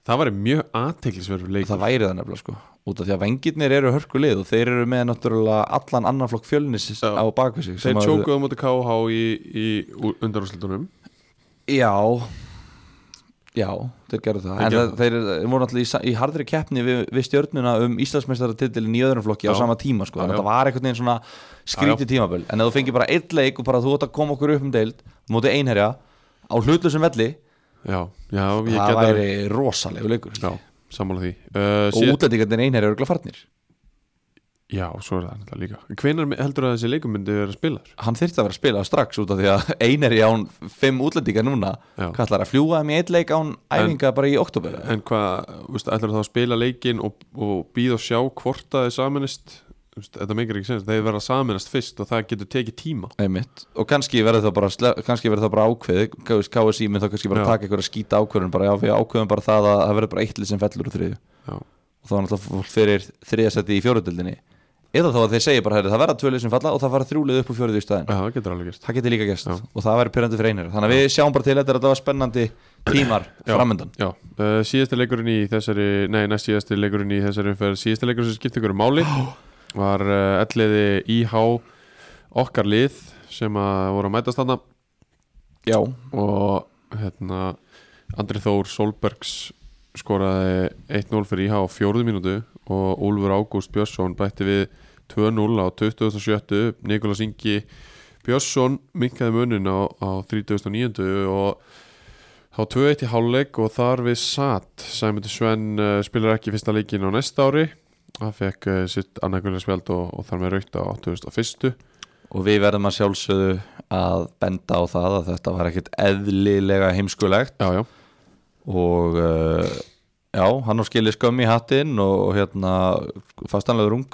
[SPEAKER 2] Það væri mjög aðteglisverður leik
[SPEAKER 3] það væri það nefnilega sko út af því að vengirnir eru hörkulið og þeir eru með náttúrulega allan annan flokk fjölnis
[SPEAKER 2] Já.
[SPEAKER 3] á bakvið sig sem
[SPEAKER 2] Þeir
[SPEAKER 3] að-
[SPEAKER 2] tjókuðu á móti KH í, í undanúrslutunum
[SPEAKER 3] já já, þeir gerðu það
[SPEAKER 2] Þeir
[SPEAKER 3] en
[SPEAKER 2] gerðu
[SPEAKER 3] það, þeir voru náttúrulega í, sa- í hardri keppni við, við stjörnuna um Íslandsmeistaratitilin í öðrum flokki á
[SPEAKER 2] Já.
[SPEAKER 3] sama tíma sko
[SPEAKER 2] Já,
[SPEAKER 3] þannig
[SPEAKER 2] já.
[SPEAKER 3] að það var einhvern veginn svona skrítið tímabil en ef þú fengir bara einn leik og bara þú átt að koma okkur upp um deild mótið einherja á hlutlusum velli
[SPEAKER 2] Já, já, ég
[SPEAKER 3] það
[SPEAKER 2] geta
[SPEAKER 3] væri rosalegu leikur
[SPEAKER 2] Já, sammála því uh,
[SPEAKER 3] og útlendingarnir einherja eru örugglega farnir
[SPEAKER 2] Já, svo er það náttúrulega líka Hvenær heldur að þessi leikum myndi vera spilaður?
[SPEAKER 3] hann þyrfti að vera að spila strax út af því að einari án fimm útlendingar núna
[SPEAKER 2] Já.
[SPEAKER 3] hvað ætlar að fljúa þeim í eitt leik án æfinga bara í oktober
[SPEAKER 2] En hvað, ætlar það að spila leikinn og, og býða og sjá hvort að þið samanist þú veist, þetta meikir ekki sens þeir verða að sameinast fyrst og það getur tekið tíma
[SPEAKER 3] Einmitt. og kannski verður það bara, sle- kannski verður það bara ákveð KSI minn þá kannski bara
[SPEAKER 2] Já.
[SPEAKER 3] taka einhverja skýta ákveðun bara já, við ákveðum bara það að það verður bara eitt lið sem fellur úr þriðju
[SPEAKER 2] já,
[SPEAKER 3] og þá er náttúrulega fólk fyrir þriðasætti í fjóruðildinni eða þá að þeir segja bara "Heyrðu, það verða tvö lið sem falla og það fara þrjú lið upp úr fjóruðu í staðin
[SPEAKER 2] já það getur alveg gerst
[SPEAKER 3] það getur líka gæst og það verður pyrrandi fyrir einir þannig að við sjáum bara til þetta er alltaf spennandi tímar
[SPEAKER 2] Já.
[SPEAKER 3] framöndan
[SPEAKER 2] Já, uh, síðasti leikurinn í þessari Nei, næst síðasti leikurinn í þessari umferð Síðasti leikurinn sem skipti ykkur um máli Var uh, elliði IH Okkar lið sem að voru að mætast þarna
[SPEAKER 3] já,
[SPEAKER 2] Og hérna Andri Þór Solbergs skoraði 1-0 fyrir IH á fjórðu mínútu og Úlfur Ágúst Björnsson bætti við 2-0 á 27. Nikolas Ingi Björnsson minkaði munin á, á 39. og þá 2-1 í hálfleik og þar við satt Sæmundi Sven uh, spilar ekki fyrsta leikin á næsta ári hann fekk uh, sitt annarkulega spjald og, og þar með raukt á 2001
[SPEAKER 3] og við verðum að sjálfsögðu að benda á það að þetta var ekkit eðlilega heimskulegt
[SPEAKER 2] já, já,
[SPEAKER 3] og uh, já, hann á skilið skömmi í hattinn og, og hérna fastanlega rung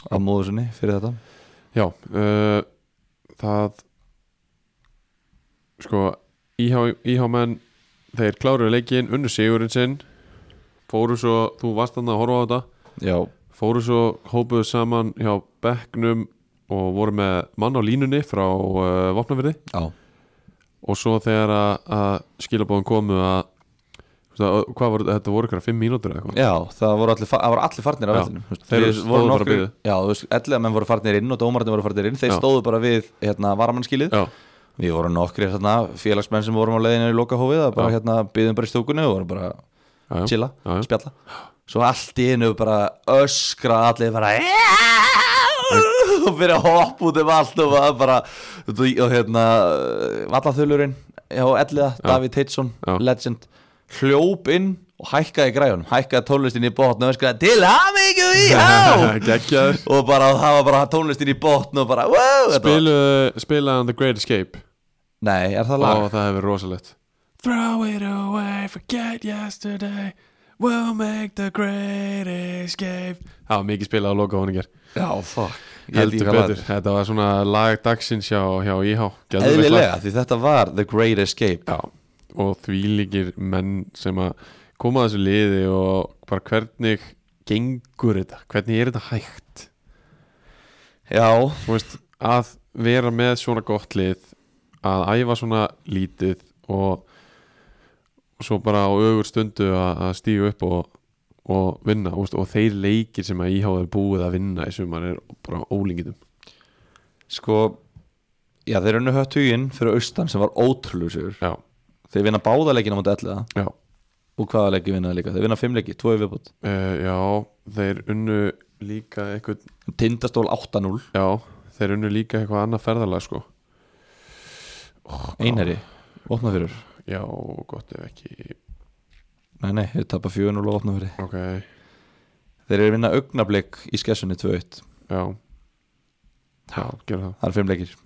[SPEAKER 3] á móðu sinni fyrir þetta
[SPEAKER 2] já uh, það sko IH, IH menn þeir kláruðu leikin unnu sigurinn sinn fóru svo, þú varst þannig að horfa á þetta
[SPEAKER 3] já,
[SPEAKER 2] fóru svo hópuðu saman hjá Becknum og voru með mann á línunni frá uh, Vopnafyrði
[SPEAKER 3] já,
[SPEAKER 2] og svo þegar að, að skilabóðum komu að þú veist að- hvað voru þetta voru ykkur að fimm mínútur eða eitthvað
[SPEAKER 3] já það voru allir, fa- það voru allir farnir
[SPEAKER 2] Já,
[SPEAKER 3] af vellinum þú veist.
[SPEAKER 2] þeir
[SPEAKER 3] Við
[SPEAKER 2] stóðu
[SPEAKER 3] vorum
[SPEAKER 2] bara að
[SPEAKER 3] nokkrir-
[SPEAKER 2] bíða.
[SPEAKER 3] já, þú veist, ellega menn voru farnir inn og dómarnir voru farnir inn þeir
[SPEAKER 2] Já.
[SPEAKER 3] stóðu bara við hérna varamannskilið
[SPEAKER 2] já,
[SPEAKER 3] við vorum nokkri hérna, félagsmenn sem vorum á leiðinu í lokahófið að bara
[SPEAKER 2] Já.
[SPEAKER 3] hérna byðum bara í stúkunni og vorum bara
[SPEAKER 2] já, já.
[SPEAKER 3] chilla,
[SPEAKER 2] já, já.
[SPEAKER 3] spjalla svo allt í einu bara öskra allir bara [LAUGHS] og byrja að hoppa út um allt og maður bara og hérna vallathulurinn já, elliða, Davíð Teitsson,
[SPEAKER 2] Já.
[SPEAKER 3] legend hljóp inn og hækkaði græjunum, hækkaði tónlistin í botn og öskraði til hamingju í há
[SPEAKER 2] [LAUGHS] Geggjaður.
[SPEAKER 3] og bara það var bara tónlistin í botn og bara wow, þetta var-
[SPEAKER 2] Spiluðu- spilaðan The Great Escape
[SPEAKER 3] nei, er það lag?
[SPEAKER 2] og það hefur rosalegt Throw it away, forget yesterday We'll make the great escape Það var mikið spilað á loka honum hér
[SPEAKER 3] já, fuck Ég veit ekki
[SPEAKER 2] Heldur
[SPEAKER 3] hvað það er.
[SPEAKER 2] betur, þetta var svona lag dagsins hjá, hjá IH Geðveikt lag.
[SPEAKER 3] eðlilega, því þetta var The Great Escape
[SPEAKER 2] Já, og þvílíkir menn sem að koma að þessu liði og bara hvernig gengur þetta, hvernig er þetta hægt
[SPEAKER 3] já,
[SPEAKER 2] þú veist, að vera með svona gott lið, að æfa svona lítið og og svo bara á ögur stundu að, að stíu upp og, og vinna, þú veist, og þeir leikir sem að íháður búið að vinna í sumar er bara ólingitum
[SPEAKER 3] Sko Já, þeir unnu hött huginn fyrir austan sem var ótrúlega sigur
[SPEAKER 2] Já,
[SPEAKER 3] Þeir vinna báða leikina mútið elliða
[SPEAKER 2] já
[SPEAKER 3] og hvaða leiki vinna þeir líka Þeir vinna fimm leiki, tvo í viðbútt
[SPEAKER 2] Uh, já, þeir unnu líka eitthvað,
[SPEAKER 3] Tindastól 8-0,
[SPEAKER 2] já, þeir unnu líka eitthvað annað ferðalag sko
[SPEAKER 3] einherri Opna fyrir
[SPEAKER 2] Já, gott ef ekki
[SPEAKER 3] Nei, nei, þeir tapa 4-0 og opna fyrir
[SPEAKER 2] Ok,
[SPEAKER 3] Þeir eru að vinna augnablik í skessunni 2-1
[SPEAKER 2] já Já, gera það
[SPEAKER 3] Það eru fimm leikir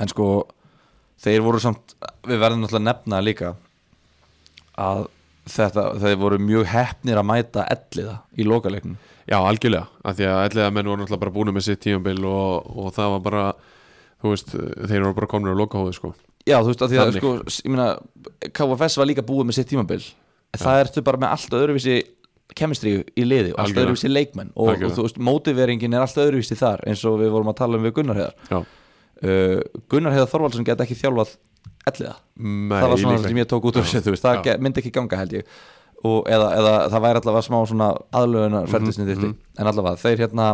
[SPEAKER 3] En sko, þeir voru samt Við verðum náttúrulega að nefna líka að þetta, þeir voru mjög heppnir að mæta elliða í lokaleiknum
[SPEAKER 2] Já, algjörlega, af því að ætliða menn voru náttúrulega bara búinu með sitt tímabil og, og það var bara, þú veist, þeir voru bara komnir á lokahóðu sko
[SPEAKER 3] Já, þú veist, að því að
[SPEAKER 2] Þannig.
[SPEAKER 3] sko, s- ég meina KFS var líka búið með sitt tímabil En það ertu bara með allt öðruvísi kemistri í liði og allt
[SPEAKER 2] Algjörlega.
[SPEAKER 3] öðruvísi leikmenn og, og
[SPEAKER 2] Algjörlega.
[SPEAKER 3] þú veist, mótiveringin er allt öðruvísi þar eins og við vorum að tala um við Gunnar Heiðar
[SPEAKER 2] Já,
[SPEAKER 3] uh, Gunnar Heiðar Þorvaldsson get ekki þjálfað elliða
[SPEAKER 2] Nei,
[SPEAKER 3] það var svona
[SPEAKER 2] líklega
[SPEAKER 3] það sem ég tók út úr
[SPEAKER 2] Já.
[SPEAKER 3] þessu, þú veist, það
[SPEAKER 2] Já.
[SPEAKER 3] ge- myndi ekki ganga held ég og eða, eða það væri allavega smá svona aðlöðunar
[SPEAKER 2] Mhm,
[SPEAKER 3] ferðlisni mm en allavega þeir hérna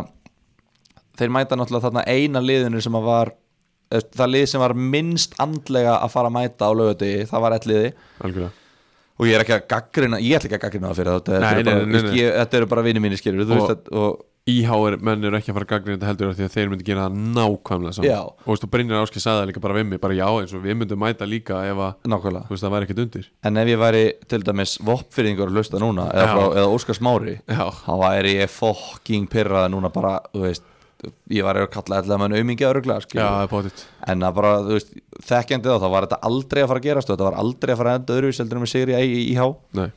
[SPEAKER 3] þeir mæta náttúrulega þarna eina liðinu sem að var eh, það lið sem var minnst andlega að fara að mæta á lögati það var ett liði
[SPEAKER 2] Algjörlega
[SPEAKER 3] og ég er ekki að gaggrina, ég ætla ekki að gaggrina það fyrir þetta þetta,
[SPEAKER 2] Nei,
[SPEAKER 3] eru bara,
[SPEAKER 2] nei, nei,
[SPEAKER 3] veist,
[SPEAKER 2] nei.
[SPEAKER 3] Ég, þetta eru bara vinni mínir skilur
[SPEAKER 2] Og-
[SPEAKER 3] og, veist, að, og
[SPEAKER 2] Íháir menn eru ekki að fara að gagna þetta heldur af því að þeir myndi gera það nákvæmlega saman
[SPEAKER 3] Já.
[SPEAKER 2] Og þú veist, þú brennir áskil sagði það líka bara við mig, bara já eins og við myndum mæta líka ef að,
[SPEAKER 3] nákvæmlega
[SPEAKER 2] þú veist, það væri ekkert undir
[SPEAKER 3] En ef ég væri til dæmis voppfyrðingur að hlusta núna eða,
[SPEAKER 2] Já.
[SPEAKER 3] frá, eða Óskar Smári
[SPEAKER 2] Já.
[SPEAKER 3] þá væri ég fokking pyrraði núna bara, þú veist ég var að kalla allavega með aumingi
[SPEAKER 2] Já,
[SPEAKER 3] öruglega
[SPEAKER 2] potið
[SPEAKER 3] en að bara, þú veist, þekkjandi þá þá var þetta aldrei að fara að gerast og þetta var aldrei að fara að enda öðruvíseldur með Sigri í IH
[SPEAKER 2] Nei,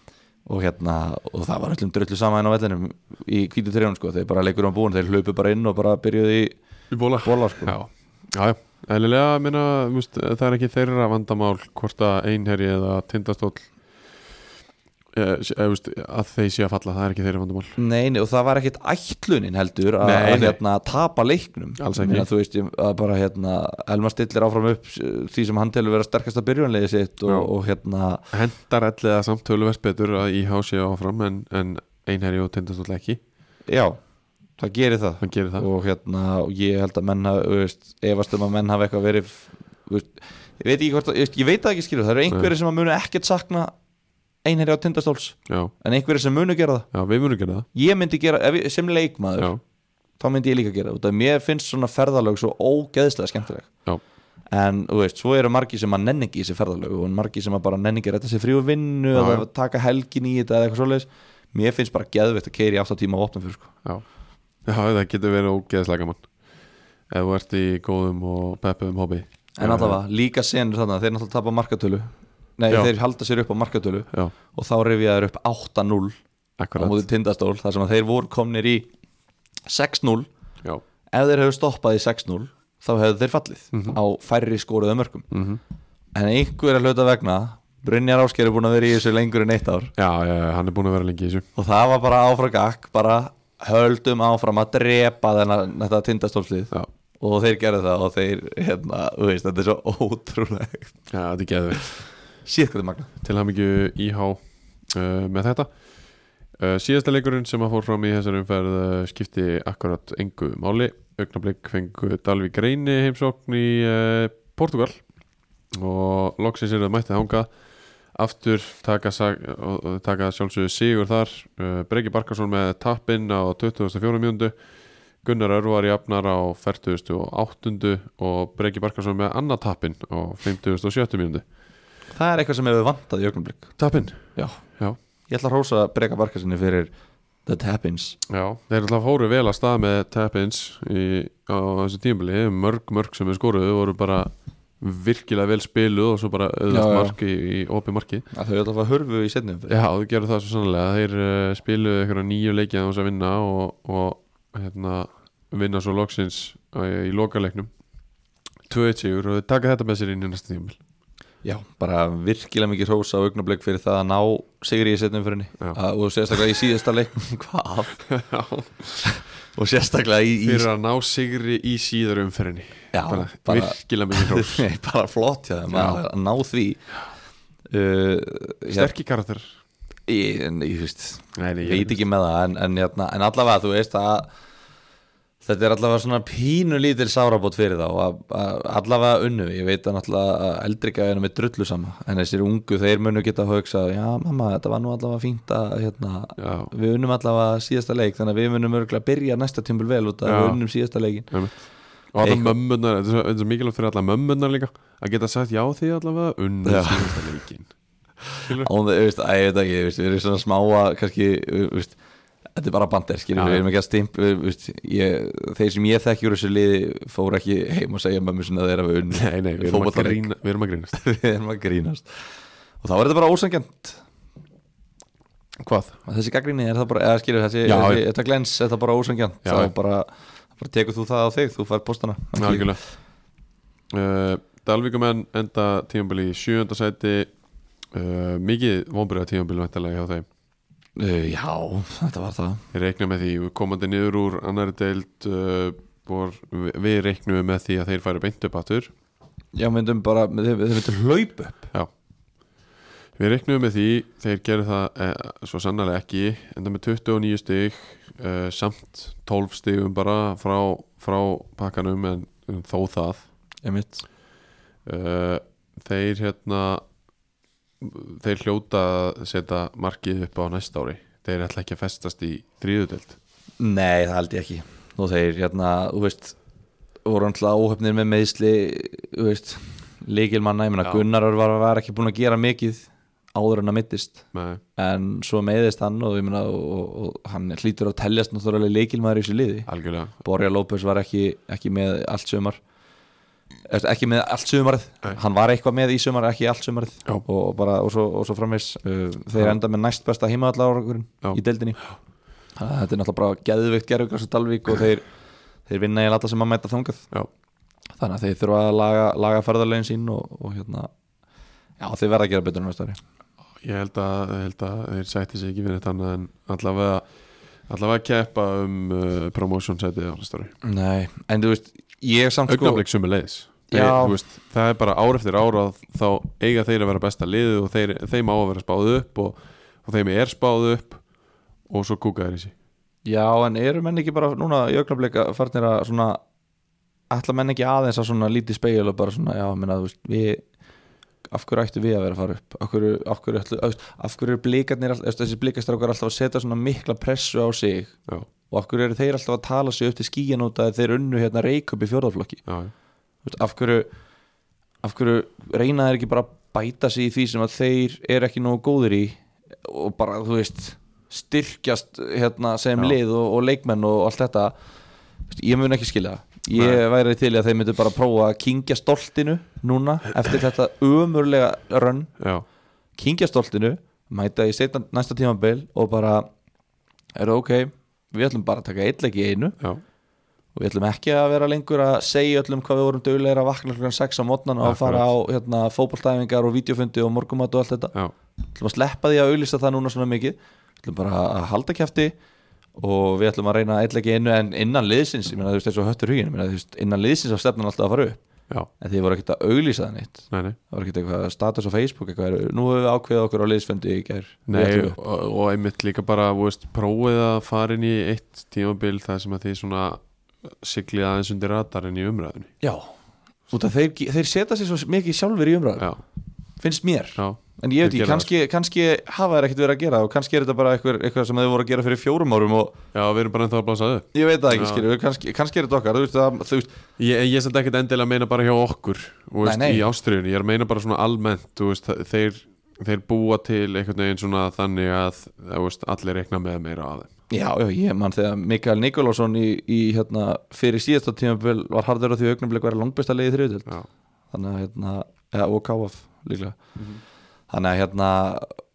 [SPEAKER 3] og hérna, og það var öllum drullu sama inn á vellinum í kvítu trefnum sko, þeir bara leikur um búin, þeir hlupu bara inn og bara byrjuðu í
[SPEAKER 2] Í bóla
[SPEAKER 3] bóla sko
[SPEAKER 2] Já, já, já. eðlilega minna, mjúst, það er ekki þeirra vandamál hvort að einherji eða tindastóll eh, sé- eh, mjúst, að þeir sé að falla, það er ekki þeirra vandamál
[SPEAKER 3] Nei, nei, og það var ekkit ætlunin heldur að,
[SPEAKER 2] Nei,
[SPEAKER 3] að
[SPEAKER 2] nei.
[SPEAKER 3] hérna, tapa leiknum
[SPEAKER 2] Alls
[SPEAKER 3] Ég
[SPEAKER 2] ekki.
[SPEAKER 3] meina, Þú veist, ég- að bara hérna Elmar stillir áfram upp s- því sem hann telur vera sterkasta byrjunlega sitt og,
[SPEAKER 2] Já.
[SPEAKER 3] og hérna,
[SPEAKER 2] Hendar elliða samt töluvert betur að IH sé áfram en, en einherji og tindastóll ekki
[SPEAKER 3] já það gerir það
[SPEAKER 2] hann gerir það
[SPEAKER 3] og hérna, og ég held að menn hafi, þú veist, efast um að menn hafi eitthvað verið f- þú veist, ég veit ekki hvort að, ég veist, ég veit það ekki skilur, það eru einhverjir sem að munu ekkert sakna einherja á tindastóls
[SPEAKER 2] já,
[SPEAKER 3] en einhverjir sem munu gera það
[SPEAKER 2] já, við munum gera
[SPEAKER 3] ég myndi gera, ef ég, sem
[SPEAKER 2] það
[SPEAKER 3] leikmaður
[SPEAKER 2] já,
[SPEAKER 3] þá myndi ég líka gera það, út af mér finnst svona ferðalög svo ógeðslega skemmtileg
[SPEAKER 2] já,
[SPEAKER 3] en þú veist, svo eru margir sem að nenni ekki í þessi ferðalög og margir sem að bara nenni ekki að þetta sér fríu vinnu
[SPEAKER 2] Já,
[SPEAKER 3] eða
[SPEAKER 2] já.
[SPEAKER 3] taka helgin í þetta eða eitthvað svoleiðis mér finnst bara geðveitt að keiri í 8 tíma á opnum fyrir sko.
[SPEAKER 2] já já, það getur verið ógeðslega mann ef þú ert í góðum og peppum hobby
[SPEAKER 3] en allavega, líka senur þarna, þeir náttúrulega tapa markatölu nei,
[SPEAKER 2] Já.
[SPEAKER 3] þeir halda sér upp á markatölu
[SPEAKER 2] já,
[SPEAKER 3] og þá rifja þeir upp 8-0 á
[SPEAKER 2] akkurat
[SPEAKER 3] móti tindastól, þar sem að þeir voru komnir í 6-0
[SPEAKER 2] já,
[SPEAKER 3] ef þeir hefðu stoppað í 6-0 þá hefðu þeir fallið á færri skoruðu mörgum
[SPEAKER 2] Mhm.
[SPEAKER 3] en einhverja hluta vegna Brynjar Ásker er búin að vera í þessu lengur en eitt ár
[SPEAKER 2] já, já, já, hann er búin að vera lengi í þessu
[SPEAKER 3] og það var bara áfram gakk bara höldum áfram að drepa þennan þetta tindastólslið
[SPEAKER 2] já,
[SPEAKER 3] og þeir gerðu það og þeir hérna, þú veist, þetta er svo ótrúlegt
[SPEAKER 2] já þetta er geðveikt
[SPEAKER 3] síðan hvað þið magna
[SPEAKER 2] til hamingju IH uh, með þetta uh, síðasta leikurinn sem að fór fram í þessari umferð uh, skipti akkurat engu máli augnablík fengu Dalvi Greini heimsókn í uh, Portugal og loksins er það mættið hanga aftur taka, sag, og- og taka sjálfsögðu sigur þar uh, Breki Barkarsson með tappinn á 24. mjöndu Gunnar Örvar jafnar á 48. og Breki Barkarsson með annað tappinn á 57. mjöndu
[SPEAKER 3] það er eitthvað sem hefur vantað í augnumblík
[SPEAKER 2] Tappinn?
[SPEAKER 3] Já.
[SPEAKER 2] Já
[SPEAKER 3] ég ætla að hrósa Breka Barkarsinni fyrir The Tappins
[SPEAKER 2] Já, þeir alltaf fóru vel að stað með tap-ins í- á þessu tímabili mörg, mörg sem er skoruðu voru bara virkilega vel spiluð og svo bara auðvitað
[SPEAKER 3] Já, já.
[SPEAKER 2] mark í, í opið marki
[SPEAKER 3] að þau ætla að fá hörfu í setnum fyrir
[SPEAKER 2] Já, þú gerur það svo sannlega þeir uh, spiluðu einhverja nýju leikið að þess að vinna og, og hérna, vinna svo loksins uh, í lokaleiknum 2-1 sigur og þeir taka þetta með sér inn í næsta tímabil
[SPEAKER 3] Já, bara virkilega mikið hrósa á augnumblík fyrir það að ná sigri í setnum fyrir henni
[SPEAKER 2] Já.
[SPEAKER 3] Að- og sérstaklega í síðasta
[SPEAKER 2] [LAUGHS]
[SPEAKER 3] leiknum hvað?
[SPEAKER 2] Já.
[SPEAKER 3] og sérstaklega í, í
[SPEAKER 2] Fyrir að ná sigri í síðar umferðinni
[SPEAKER 3] Já,
[SPEAKER 2] bara,
[SPEAKER 3] bara-
[SPEAKER 2] virkilega mikið
[SPEAKER 3] [LAUGHS]
[SPEAKER 2] hrós
[SPEAKER 3] Nei, bara flott hjá þeim að að ná því uh,
[SPEAKER 2] Sterki karakter
[SPEAKER 3] ég, en, ég veist,
[SPEAKER 2] Nei, nei, ég-
[SPEAKER 3] veit ekki með það en, en, hérna, en allavega þú veist að þetta er allavega svona pínu lítil sárabót fyrir þá að, að allavega unnu, ég veit að náttúrulega að eldri gæðinu með drullu sama en þessir ungu þeir munu geta að hugsa já mamma þetta var nú allavega fínt að hérna,
[SPEAKER 2] Já.
[SPEAKER 3] við unnum allavega síðasta leik þannig að við munum örgulega byrja næsta tímpul vel út að
[SPEAKER 2] Já.
[SPEAKER 3] við unnum síðasta leikin
[SPEAKER 2] Einmitt. og alla
[SPEAKER 3] Eitthvað-
[SPEAKER 2] mömmunar, þetta er svo- þetta er svo mikilvægt fyrir alla mömmunar líka að geta sagt já því allavega unnum
[SPEAKER 3] Já.
[SPEAKER 2] síðasta leikin
[SPEAKER 3] og þú veist, að ég veit ekki, þú veist, við erum svona smá að kannski, þú veist, þetta er bara bandir, skiljum,
[SPEAKER 2] Já,
[SPEAKER 3] við
[SPEAKER 2] já.
[SPEAKER 3] erum ekki að stimp við, þú veist, ég, þeir sem ég þekki úr þessu liði fóru ekki heim og segja mömmu sinna þeirra við
[SPEAKER 2] [LAUGHS]
[SPEAKER 3] unni,
[SPEAKER 2] nei, nei, við erum, að grína, við erum að grínast
[SPEAKER 3] [LAUGHS] við erum að grínast og þá er þetta bara ósangjant
[SPEAKER 2] hvað?
[SPEAKER 3] þessi gaggrinni er það bara, eða skiljum, þessi,
[SPEAKER 2] Já,
[SPEAKER 3] þessi
[SPEAKER 2] já.
[SPEAKER 3] þetta glens er það bara ósangjant,
[SPEAKER 2] Já, já.
[SPEAKER 3] þá bara, bara tekur þú það á þig, þú fær postana ekki,
[SPEAKER 2] algjörlega uh, Dalvíkumenn enda tímabili í sjönda sæti uh, mikið vonbyrða tímabili vantarlega hjá þeim
[SPEAKER 3] Uh, já, þetta var það
[SPEAKER 2] ég reikna með því, við komandi niður úr annari deild uh, vor, við, við reiknum með því að þeir færi beint upp aftur
[SPEAKER 3] já, myndum bara, þeir, þeir myndum hlaup upp
[SPEAKER 2] Já Við reiknum með því, þeir gerðu það eh, svo sannlega ekki, enda með 29 stig eh, samt 12 stigum bara frá, frá pakkanum en, en þó það
[SPEAKER 3] ég mitt,
[SPEAKER 2] eh, þeir hérna þeir hljóta að setja markið upp á næsta ári þeir ætla ekki að festast í þriðudeld
[SPEAKER 3] Nei, það held ég ekki Nú þeir, hérna, þú veist voru alltaf óhöfnir með meðsli þú veist, leikilmanna ég meina
[SPEAKER 2] Já.
[SPEAKER 3] Gunnarur var, var ekki búin að gera mikið áður en að mittist
[SPEAKER 2] Nei,
[SPEAKER 3] en svo meiðist hann og ég meina og, og, og hann hlýtur að teljast náttúrulega leikilmaður í þessu liði
[SPEAKER 2] algjörlega
[SPEAKER 3] Borja López var ekki, ekki með allt sömar Eftir, ekki með allt sumarið hann var eitthvað með í sumarið, ekki allt sumarið
[SPEAKER 2] Já.
[SPEAKER 3] og, bara, og svo, og svo framvegs uh, þeir enda með næst besta heimaðalláragurinn
[SPEAKER 2] Já.
[SPEAKER 3] í deildinni Þannig að þetta er náttúrulega bara geðveikt gerðugræs og dalvík og þeir, þeir vinna í lata sem að mæta þangað
[SPEAKER 2] Já,
[SPEAKER 3] þannig að þeir þurfa að laga, laga ferðarlegin sín og, og hérna já þeir verða að gera betur en næstari
[SPEAKER 2] ég held að, held að þeir sætti sig ekki við þetta annað en allavega allavega keppa um uh, promotion setið á næsta ári
[SPEAKER 3] nei, en þú veist ég samt sko
[SPEAKER 2] augnablik sumu leiðis
[SPEAKER 3] Já.
[SPEAKER 2] veist, það er bara ár eftir ár að þá eiga þeir að vera besta liðið og þeir, þeim á að vera spáð upp og, og þeim er spáð upp og svo kúka þeir í sig
[SPEAKER 3] já en eru menn ekki bara núna í augnablik að farnir að svona ætla menn ekki aðeins að svona lítið speil og bara svona já, minna, þú veist, við af hverju ættu við að vera að fara upp af hverju, af hverju, ætlu, af, af hverju eru blikarnir all- þessi blikastrákar alltaf að setja svona mikla pressu á sig
[SPEAKER 2] já,
[SPEAKER 3] og af hverju eru þeir alltaf að tala sig upp til skíin út að þeir unnu hérna reikup í fjórðaflokki
[SPEAKER 2] já,
[SPEAKER 3] Þú veist, af hverju af hverju reyna þeir ekki bara að bæta sig í því sem að þeir eru ekki nógu góðir í og bara þú veist styrkjast hérna sem
[SPEAKER 2] Já.
[SPEAKER 3] lið og, og leikmenn og allt þetta Þú veist, ég mun ekki skilja það ég væri til í að þeir myndu bara prófa að kingja stoltinu núna eftir þetta umurlega rönn
[SPEAKER 2] já,
[SPEAKER 3] kingja stoltinu, mæta í seinna- næsta tímabil og bara eru ok, við ætlum bara að taka eitt leik í einu
[SPEAKER 2] já,
[SPEAKER 3] og við ætlum ekki að vera lengur að segja öllum hvað við vorum dögulegir að vakna klukkan 6 á mótnan og að fara á hérna, fótboltæfingar og vídeofundi og morgumat og allt þetta
[SPEAKER 2] já, já,
[SPEAKER 3] en þið voru ekkert að auðlýsa það neitt
[SPEAKER 2] nei, nei
[SPEAKER 3] það voru ekkert eitthvað status á Facebook eitthvað, er- nú hefur við ákveðið okkur á liðsfundi í gær Við
[SPEAKER 2] Nei,
[SPEAKER 3] ætlum
[SPEAKER 2] og,
[SPEAKER 3] upp.
[SPEAKER 2] og einmitt líka bara þú veist, prófið að fara inn í eitt tímabil þar sem að þið svona siglið aðeins undir radarinn í umræðunni
[SPEAKER 3] já, út af þeir, þeir setja sér svo mikið sjálfur í umræðu,
[SPEAKER 2] Já,
[SPEAKER 3] finnst mér
[SPEAKER 2] já,
[SPEAKER 3] En ég veit
[SPEAKER 2] Þeir
[SPEAKER 3] ekki,
[SPEAKER 2] gera
[SPEAKER 3] kannski, kannski hafa þær ekkert verið að gera og kannski er þetta bara eitthvað, eitthvað sem þau voru að gera fyrir fjórum árum og
[SPEAKER 2] já, við erum bara ennþá að blása upp
[SPEAKER 3] ég veit það ekki,
[SPEAKER 2] Já.
[SPEAKER 3] skilju, kannski, kannski er þetta okkar, þú veist það, þú veist,
[SPEAKER 2] Ég, ég sent ekkert endilega að meina bara hjá okkur þú veist,
[SPEAKER 3] Nei, nei.
[SPEAKER 2] í ástriðunni, ég er að meina bara svona almennt þú veist, þa- þeir, þeir búa til einhvern veginn svona þannig að þú veist, allir reikna með meira af þeim
[SPEAKER 3] já, já, ég mann þegar Mikael Nikolásson í, í, hérna, fyrir síðasta tímabil var harður á því augnumleik verið langbesta leiði þriðutöld,
[SPEAKER 2] Já,
[SPEAKER 3] þannig að, hérna, ja, og KF líklega,
[SPEAKER 2] Mhm.
[SPEAKER 3] þannig að, hérna,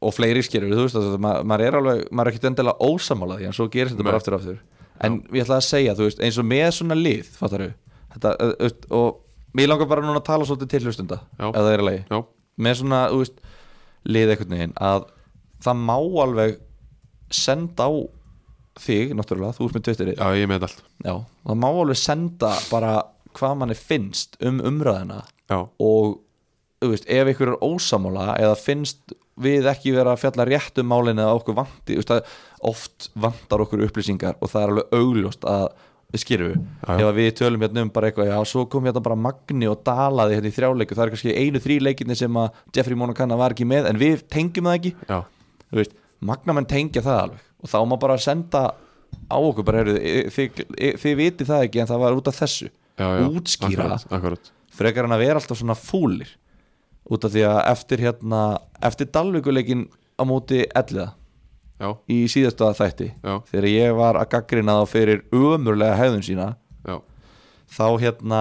[SPEAKER 3] og fleiri skilju, þú veist, það, maður, maður er alveg, maður er ekkert endilega ósamála því, en svo gerist þetta bara
[SPEAKER 2] Nei.
[SPEAKER 3] aftur og aftur, en ég ætla að segja, þú veist, eins og með svona lið, fattar þetta, ö, ö, og mér langar bara núna að tala svolítið til hlustunda,
[SPEAKER 2] Já.
[SPEAKER 3] ef það er að lagi,
[SPEAKER 2] já,
[SPEAKER 3] með svona, þú veist, lið einhvern veginn, að það má alveg senda á þig, náttúrulega, þú ert með tvittirið,
[SPEAKER 2] já, ég með allt
[SPEAKER 3] já, það má alveg senda bara hvað manni finnst um umræðina
[SPEAKER 2] Já,
[SPEAKER 3] og þú veist, ef ykkur er ósamála eða finnst við ekki vera að fjalla rétt um málinu eða okkur vanti þú veist, að oft vantar okkur upplýsingar og það er alveg augljóst að við
[SPEAKER 2] Já,
[SPEAKER 3] skýrum
[SPEAKER 2] já.
[SPEAKER 3] ef að við tölum hérna um bara eitthvað já, svo kom hérna bara Magni og Dalaði hérna í þrjáleiku, það er kannski einu þrý leikinni sem að Jeffrey Monacanna var ekki með en við tengjum það ekki,
[SPEAKER 2] já,
[SPEAKER 3] þú veist Magnamenn tengja það alveg og þá má bara senda á okkur bara, heyrðu, þið, þið, þið viti það ekki en það var út af þessu
[SPEAKER 2] já, já
[SPEAKER 3] útskýra
[SPEAKER 2] Akkurat, akkurat.
[SPEAKER 3] frekar hann að vera alltaf svona fúlir út af því að eftir hérna eftir Dalvíkuleikin á móti elliða
[SPEAKER 2] Já,
[SPEAKER 3] í síðasta þætti
[SPEAKER 2] Já.
[SPEAKER 3] þegar ég var að gaggrina þá fyrir ömurlega hefðun sína
[SPEAKER 2] já,
[SPEAKER 3] þá hérna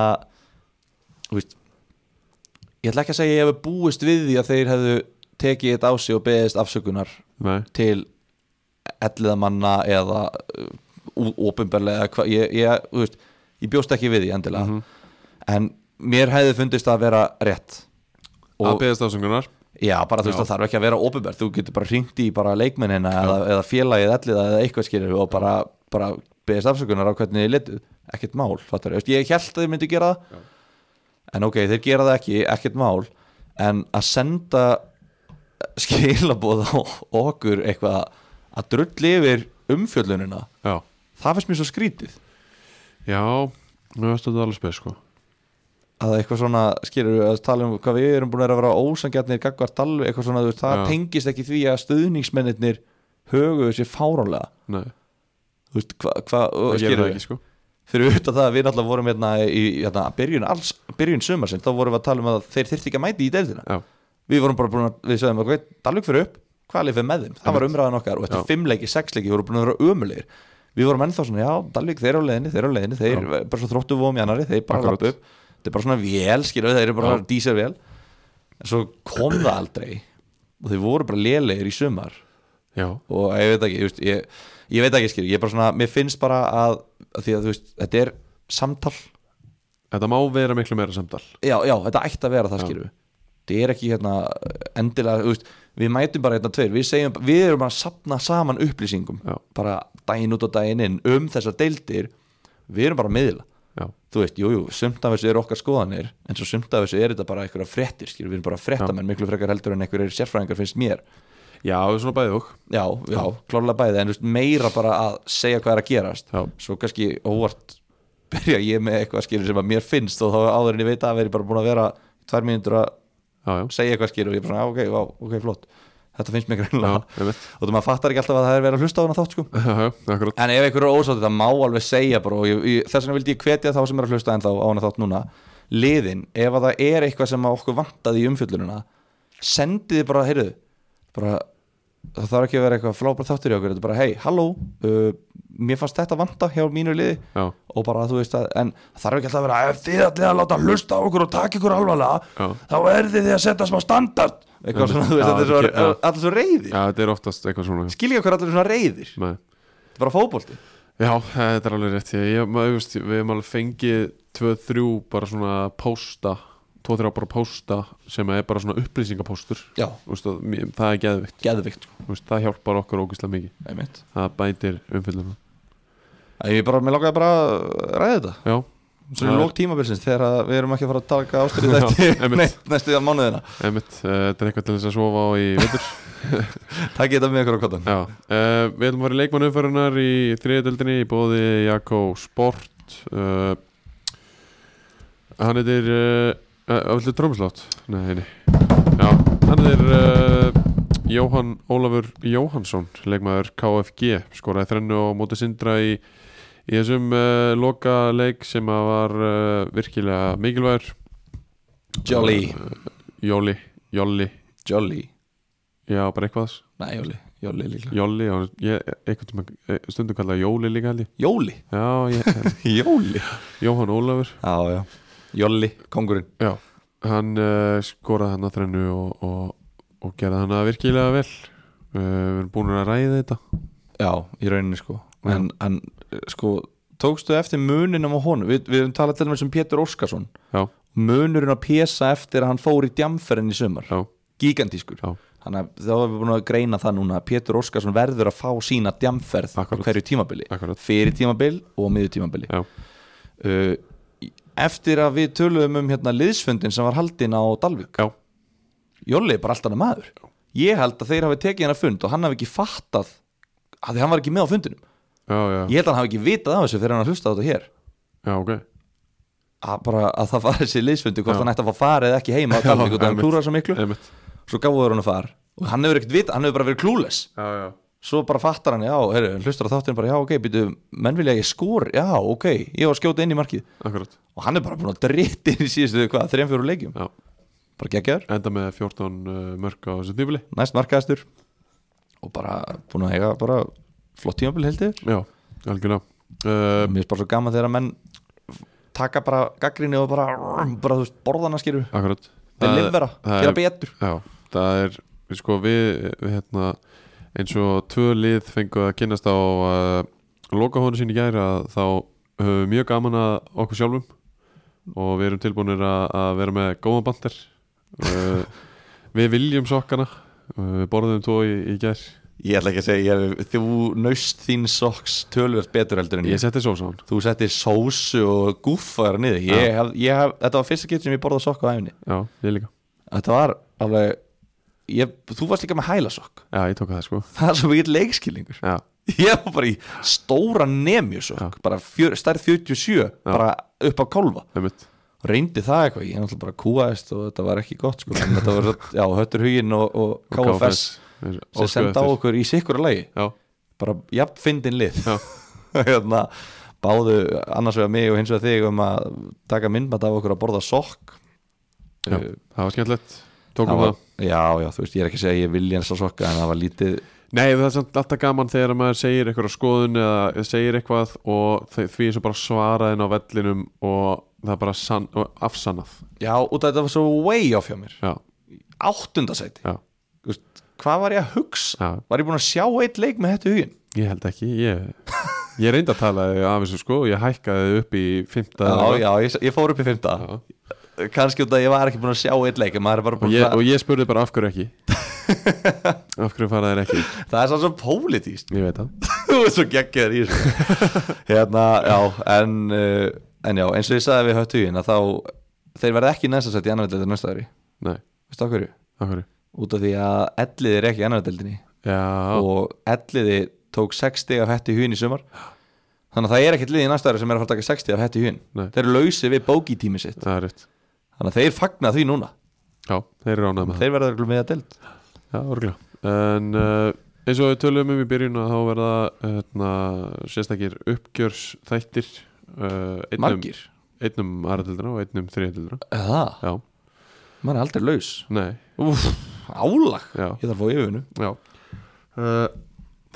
[SPEAKER 3] þú veist, ég ætla ekki að segja ég hefði búist við því að þeir hefðu tekið þetta á sig og beðist afsökunar
[SPEAKER 2] nei,
[SPEAKER 3] til elliða manna eða uh, ópenbarlega hva, ég, ég, þú veist, ég bjóst ekki við því endilega en mér hefði fundist að vera rétt
[SPEAKER 2] að
[SPEAKER 3] og
[SPEAKER 2] beðast ásöngunar
[SPEAKER 3] já, bara þú veist
[SPEAKER 2] Já.
[SPEAKER 3] það þarf ekki að vera ópenbar þú getur bara hringt í bara leikmennina eða, eða félagið elliða eða eitthvað skilur og bara, bara beðist afsökunar á hvernig þið letuð ekkert mál, fattar ég, ég held að þið myndi gera það en ok, þeir gera það ekki, ekkert mál en að senda skilabóð á okkur eitthvað að drulli yfir umfjöllunina
[SPEAKER 2] Já,
[SPEAKER 3] það finnst mér svo skrítið
[SPEAKER 2] já, mér veist þetta alveg spes sko
[SPEAKER 3] að eitthvað svona, skilur við að tala um hvað við erum búin að vera ósangjarnir gagvart alveg, eitthvað svona, þú veist, það
[SPEAKER 2] Já.
[SPEAKER 3] tengist ekki því að stuðningsmennirnir höguðu sér fáránlega
[SPEAKER 2] Nei,
[SPEAKER 3] þú veist, hvað, hva,
[SPEAKER 2] það gerir
[SPEAKER 3] skilur
[SPEAKER 2] það
[SPEAKER 3] við
[SPEAKER 2] ekki sko
[SPEAKER 3] fyrir auðvitað það að við náttúrulega vorum hérna í hérna, byrjun, alls, byrjun sumarsinn þá vorum við að tala um að þeir þyrfti ekki að mæti í deildina
[SPEAKER 2] Já,
[SPEAKER 3] við vorum bara búin að, við sögum okkur Dalvik fyrir upp, hvað lifið með þeim, það var umræðan okkar og
[SPEAKER 2] Já.
[SPEAKER 3] eftir fimm leiki, sex leiki, við vorum búin að vera ömulegir við vorum ennþá svona, já, Dalvik, þeir eru á leiðinni, þeir eru á leiðinni þeir, bara svo þróttu vóum í annari, þeir bara
[SPEAKER 2] Akkurat.
[SPEAKER 3] lappu upp þetta er bara svona vél skilur við, það eru bara ja. dísarvél en svo kom það aldrei og þau voru bara lélegir í sumar
[SPEAKER 2] já,
[SPEAKER 3] og ég veit ekki, ég, veist, ég, ég veit ekki skilur, ég er bara svona, mér finnst bara að, að því að þú veist, þetta er samtal
[SPEAKER 2] þetta má vera miklu meira samtal
[SPEAKER 3] já, já, þetta ætti að vera það skilur við þetta er ekki hérna endilega þú veist, við mætum bara hérna tveir við, segjum, við erum bara að sapna saman upplýsingum
[SPEAKER 2] Já.
[SPEAKER 3] bara daginn út og daginn inn um þessar deildir, við erum bara að miðla
[SPEAKER 2] já,
[SPEAKER 3] þú veist, jújú, jú, sumt af þessu eru okkar skoðanir en svo sumt af þessu er þetta bara einhverja fréttir skilur, við erum bara fréttamenn miklu frekar heldur en einhverjir sérfræðingar finnst mér
[SPEAKER 2] já, svona bæðið okk
[SPEAKER 3] já, já, klárlega bæði en þú veist, meira bara að segja hvað er að gerast
[SPEAKER 2] Já.
[SPEAKER 3] svo kannski óvart byrja ég með eitthvað skilur sem að mér finnst og þá áður en ég veit að veri bara búin að vera tvær mínútur að
[SPEAKER 2] já, já, [LAUGHS]
[SPEAKER 3] segja eitthvað skilur og ég er bara, "Ah, ok, vá, ok, flott þetta finnst mér
[SPEAKER 2] já,
[SPEAKER 3] greinlega
[SPEAKER 2] einmitt
[SPEAKER 3] og þú maður fattar ekki alltaf að það er verið að hlusta á hana þátt sko
[SPEAKER 2] já, já, akkurat,
[SPEAKER 3] en ef einhverju er ósátt það má alveg segja bara og ég, ég, þess vegna vildi ég hvetja þá sem er að hlusta en þá á hana þátt núna liðin, ef að það er eitthvað sem að okkur vantaði í umfjöllununa sendið þið bara, heyrðu bara, það þarf ekki að vera eitthvað flábært þáttur í okkur, þetta er bara, hei, halló uh, mér fannst þetta vanta hjá mínu liði
[SPEAKER 2] já,
[SPEAKER 3] og bara þú veist að en það þarf ekki alltaf að vera ef þið allir að láta hlusta á okkur og taka ykkur alvarlega
[SPEAKER 2] Já.
[SPEAKER 3] þá verði þið að setja smá standard eitthvað svona, þú veist,
[SPEAKER 2] Já,
[SPEAKER 3] þetta er svo,
[SPEAKER 2] þetta er- já.
[SPEAKER 3] allir svo reyðir
[SPEAKER 2] já, þetta er oftast eitthvað svona já.
[SPEAKER 3] skilja okkur allir svona reyðir
[SPEAKER 2] Nei.
[SPEAKER 3] þetta er bara fótbolti
[SPEAKER 2] Já, þetta er alveg rétt ég, ég, maður, þú veist, Við hefum alveg fengið tvö, þrjú bara svona pósta tvo, þrjá bara pósta sem er bara svona upplýsingapóstur
[SPEAKER 3] já,
[SPEAKER 2] Þú veist, og mér- það er geðvikt,
[SPEAKER 3] geðvikt sko,
[SPEAKER 2] Þú veist, það hjálpar okkur ógeðslega mikið,
[SPEAKER 3] einmitt
[SPEAKER 2] það bætir umfyllunum
[SPEAKER 3] Æ, ég bara, mér langaði bara að ræða þetta
[SPEAKER 2] Já,
[SPEAKER 3] svo er
[SPEAKER 2] Já.
[SPEAKER 3] lók tímabilsins þegar að við erum ekki að fara að taka ástyrðið
[SPEAKER 2] Já,
[SPEAKER 3] eftir
[SPEAKER 2] einmitt.
[SPEAKER 3] [LAUGHS] neitt, næstu mánuðina
[SPEAKER 2] einmitt, eh, þetta er eitthvað til þess að sofa á í veitur
[SPEAKER 3] takk ég þetta með ykkur á kottan
[SPEAKER 2] Já, uh, við ætlum að fara í leikmann umförunar í þriðjöldinni í bóði Jakko Sport uh, Hann heitir uh, uh, Viltu trómslátt? Nei, nei Já, hann heitir uh, Jóhann Ólafur Jóhansson leikmaður KFG skoraði þrennu á móti sindra í í þessum uh, loka leik sem að var uh, virkilega mikilvægur
[SPEAKER 3] Jolly,
[SPEAKER 2] Jóli, Jóli,
[SPEAKER 3] Jolly
[SPEAKER 2] já bara eitthvað
[SPEAKER 3] næ, Jolly, Jolly líklega
[SPEAKER 2] Jóli, já, ég, einhvern tíma stundum kallaði Jóli líka held ég
[SPEAKER 3] Jóli,
[SPEAKER 2] Já, ég,
[SPEAKER 3] Jóli
[SPEAKER 2] Jóhann Ólafur
[SPEAKER 3] já, já, Jolly, kongurinn
[SPEAKER 2] Já, hann uh, skoraði hann að þrennu og, og, og gerði hann að virkilega vel uh, Við erum búin að ræða þetta
[SPEAKER 3] Já, í rauninni sko
[SPEAKER 2] Já.
[SPEAKER 3] en, en eh, sko, tókstu eftir muninum á honum Við, við höfum talað til dæmis um Pétur Óskarsson
[SPEAKER 2] Já,
[SPEAKER 3] Munurinn á Pésa eftir að hann fór í djamferinn í sumar
[SPEAKER 2] já,
[SPEAKER 3] Gigantískur
[SPEAKER 2] já,
[SPEAKER 3] Þannig að þá erum við búin að greina það núna að Pétur Óskarsson verður að fá sína djamferð
[SPEAKER 2] Akkurat.
[SPEAKER 3] á hverju tímabili
[SPEAKER 2] akkurat
[SPEAKER 3] Fyrir tímabil og miður tímabili
[SPEAKER 2] Já,
[SPEAKER 3] uh, í- Eftir að við töluðum um hérna liðsfundin sem var haldin á Dalvík
[SPEAKER 2] já,
[SPEAKER 3] Jolli er bara alltaf maður Ég held að þeir hafi tekið hennar fund og hann hafi ekki fattað að því hann var ekki með á fundinum
[SPEAKER 2] já, já,
[SPEAKER 3] ég held að hann hafi ekki vitað af þessu fyrir hann að hlusta á þetta hér
[SPEAKER 2] já, ok
[SPEAKER 3] að bara að það var þessi liðsfundi hvort
[SPEAKER 2] Já.
[SPEAKER 3] hann ætti að fá farið eða ekki heima að Dalvík og það hann
[SPEAKER 2] einmitt.
[SPEAKER 3] klúrar svo miklu
[SPEAKER 2] Einmitt.
[SPEAKER 3] svo gáður hann að far og hann hefur ekkert vitað, hann hefur bara verið klúles
[SPEAKER 2] Já, já,
[SPEAKER 3] svo bara fattar hann, já, heru, hlustar á þáttinn bara já, ok, býtu, menn vilja að ég skor já, ok, ég var að skjóta inn í markið
[SPEAKER 2] akkurat
[SPEAKER 3] og hann er bara búin að dritt inn í síðustu hvað, þrejum fjóru leikjum,
[SPEAKER 2] Já,
[SPEAKER 3] bara geggjaður
[SPEAKER 2] enda með 14 uh, mörg á þessu tífili
[SPEAKER 3] næst markaðastur og bara búin að eiga bara flott tímabil heldur
[SPEAKER 2] Já, algjörlega uh,
[SPEAKER 3] mér finnst bara svo gaman þegar að menn taka bara gaggrinni og bara, bara þú veist, borðana skilur
[SPEAKER 2] Akkurat
[SPEAKER 3] delivera,
[SPEAKER 2] það
[SPEAKER 3] gera
[SPEAKER 2] er-
[SPEAKER 3] betur
[SPEAKER 2] Já, það er við sko við, við hérna, eins og tvö lið fengu að kynast á uh, lokahónu sín í gæra þá höfum við mjög gaman að okkur sjálfum og við erum tilbúinir að, að vera með góða bandir
[SPEAKER 3] [LAUGHS]
[SPEAKER 2] uh, við viljum sokkana uh, við borðum tvo í, í gær
[SPEAKER 3] Ég ætla ekki að segja, ég, þú naust þín socks tölvöld betur heldur en ég
[SPEAKER 2] ég setti svo saman
[SPEAKER 3] Þú settir sósu og gúffaður niður ég hef, ég hef, Þetta var fyrsta getur sem ég borðað sokk á æfni
[SPEAKER 2] já, ég líka,
[SPEAKER 3] Þetta var alveg ég, Þú varst líka með hælasokk
[SPEAKER 2] já ég tók að það sko
[SPEAKER 3] Það er svo mikið leikskilningur [LAUGHS]
[SPEAKER 2] já,
[SPEAKER 3] Ég var bara í stóra nemjusokk bara fjör, stærð 47 bara upp á kálfa
[SPEAKER 2] einmitt
[SPEAKER 3] Reyndi það eitthvað, ég er náttúrulega bara kúaðist og þetta var ekki gott sko en Þetta var, svo- já, höttur huginn og, og KFS
[SPEAKER 2] við
[SPEAKER 3] sem
[SPEAKER 2] óskuðum
[SPEAKER 3] senda á
[SPEAKER 2] eftir.
[SPEAKER 3] okkur í sikkura lagi
[SPEAKER 2] já,
[SPEAKER 3] bara jafn fyndin lið
[SPEAKER 2] Já.
[SPEAKER 3] [LAUGHS] hérna, báðu annars vegar mig og hins vegar þig um að taka myndband af okkur að borða sokk
[SPEAKER 2] já,
[SPEAKER 3] Eh,
[SPEAKER 2] það var skemmtilegt tókum
[SPEAKER 3] var,
[SPEAKER 2] það
[SPEAKER 3] já, já, þú veist, ég er ekki að segja að ég vilja eins að sokka en það var lítið
[SPEAKER 2] Nei, það er samt alltaf gaman þegar maður segir eitthvað skoðun eða segir eitthvað og þe- því er svo bara svaraðin á vellinum og það er bara san, afsannað
[SPEAKER 3] já, út af þetta var svo way off hjá mér
[SPEAKER 2] já,
[SPEAKER 3] áttundasæti
[SPEAKER 2] já,
[SPEAKER 3] Vist, hvað var ég að hugsa
[SPEAKER 2] Já.
[SPEAKER 3] var ég búinn að sjá eitt leik með þetta í hugin
[SPEAKER 2] ég held ekki ég, ég reyndi að tala þig af þessu sko og ég hækkaði þig upp í fymta
[SPEAKER 3] já, já, ég, ég fór upp í fymta kannski út af að ég var ekki búinn að sjá eitt leik en maður er bara
[SPEAKER 2] og
[SPEAKER 3] búinn
[SPEAKER 2] ég,
[SPEAKER 3] að
[SPEAKER 2] og ég spurði bara af hverju
[SPEAKER 3] [LAUGHS]
[SPEAKER 2] ekki af hverju fara þér ekki
[SPEAKER 3] það er svo svo pólitíst
[SPEAKER 2] ég veit það
[SPEAKER 3] þú er svo geggjör í þessu
[SPEAKER 2] [LAUGHS]
[SPEAKER 3] hérna, já, en uh, en já, eins og ég sagði við höttu hugin að þá þeir verða ekki næsta sæti í annar deildin næsta ári
[SPEAKER 2] nei,
[SPEAKER 3] veistu á hverju?
[SPEAKER 2] af hverju
[SPEAKER 3] út af því að elliði er ekki í annar deildinni
[SPEAKER 2] já,
[SPEAKER 3] og elliði tók 60 af hætti hugin í sumar þannig að það er ekkert liðið í næsta ári sem er að fara að taka 60 af hætti hugin
[SPEAKER 2] Nei.
[SPEAKER 3] þeir eru lausið við bókitími sitt
[SPEAKER 2] það er rétt
[SPEAKER 3] þannig að þeir fagna því núna
[SPEAKER 2] já, þeir eru ánægð með það
[SPEAKER 3] þeir verða örugglega með að deild
[SPEAKER 2] já, örgulega en uh, eins og við tölum um í byrjun að þá verða hérna, sérstakir uppgjörsþættir uh, einn um-
[SPEAKER 3] margir
[SPEAKER 2] einn um aðratildina og einn um þriðatildina
[SPEAKER 3] það,
[SPEAKER 2] já,
[SPEAKER 3] maður er aldrei laus
[SPEAKER 2] nei,
[SPEAKER 3] Úf, álag,
[SPEAKER 2] já,
[SPEAKER 3] ég þarf að fá yfirvinnu
[SPEAKER 2] já. Uh,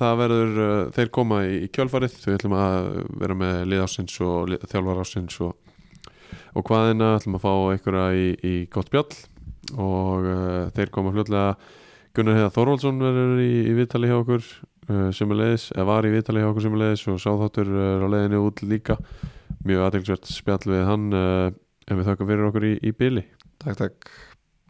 [SPEAKER 2] það verður uh, þeir koma í, í kjálfarið við ætlum að vera með liðásins og lið, þjálfarásins og, og hvaðina, ætlum að fá einhverja í, í gott bjall og uh, þeir koma fljótlega Gunnar Heiða Þorvaldsson verður í, í viðtali hjá okkur uh, sem er leiðis, eða var í viðtali hjá okkur sem er leiðis og sáþáttur er á leiðinni út líka eh, mjög aðeinsvert spjall við hann uh, en við þökkum fyrir okkur í, í byli
[SPEAKER 3] takk, takk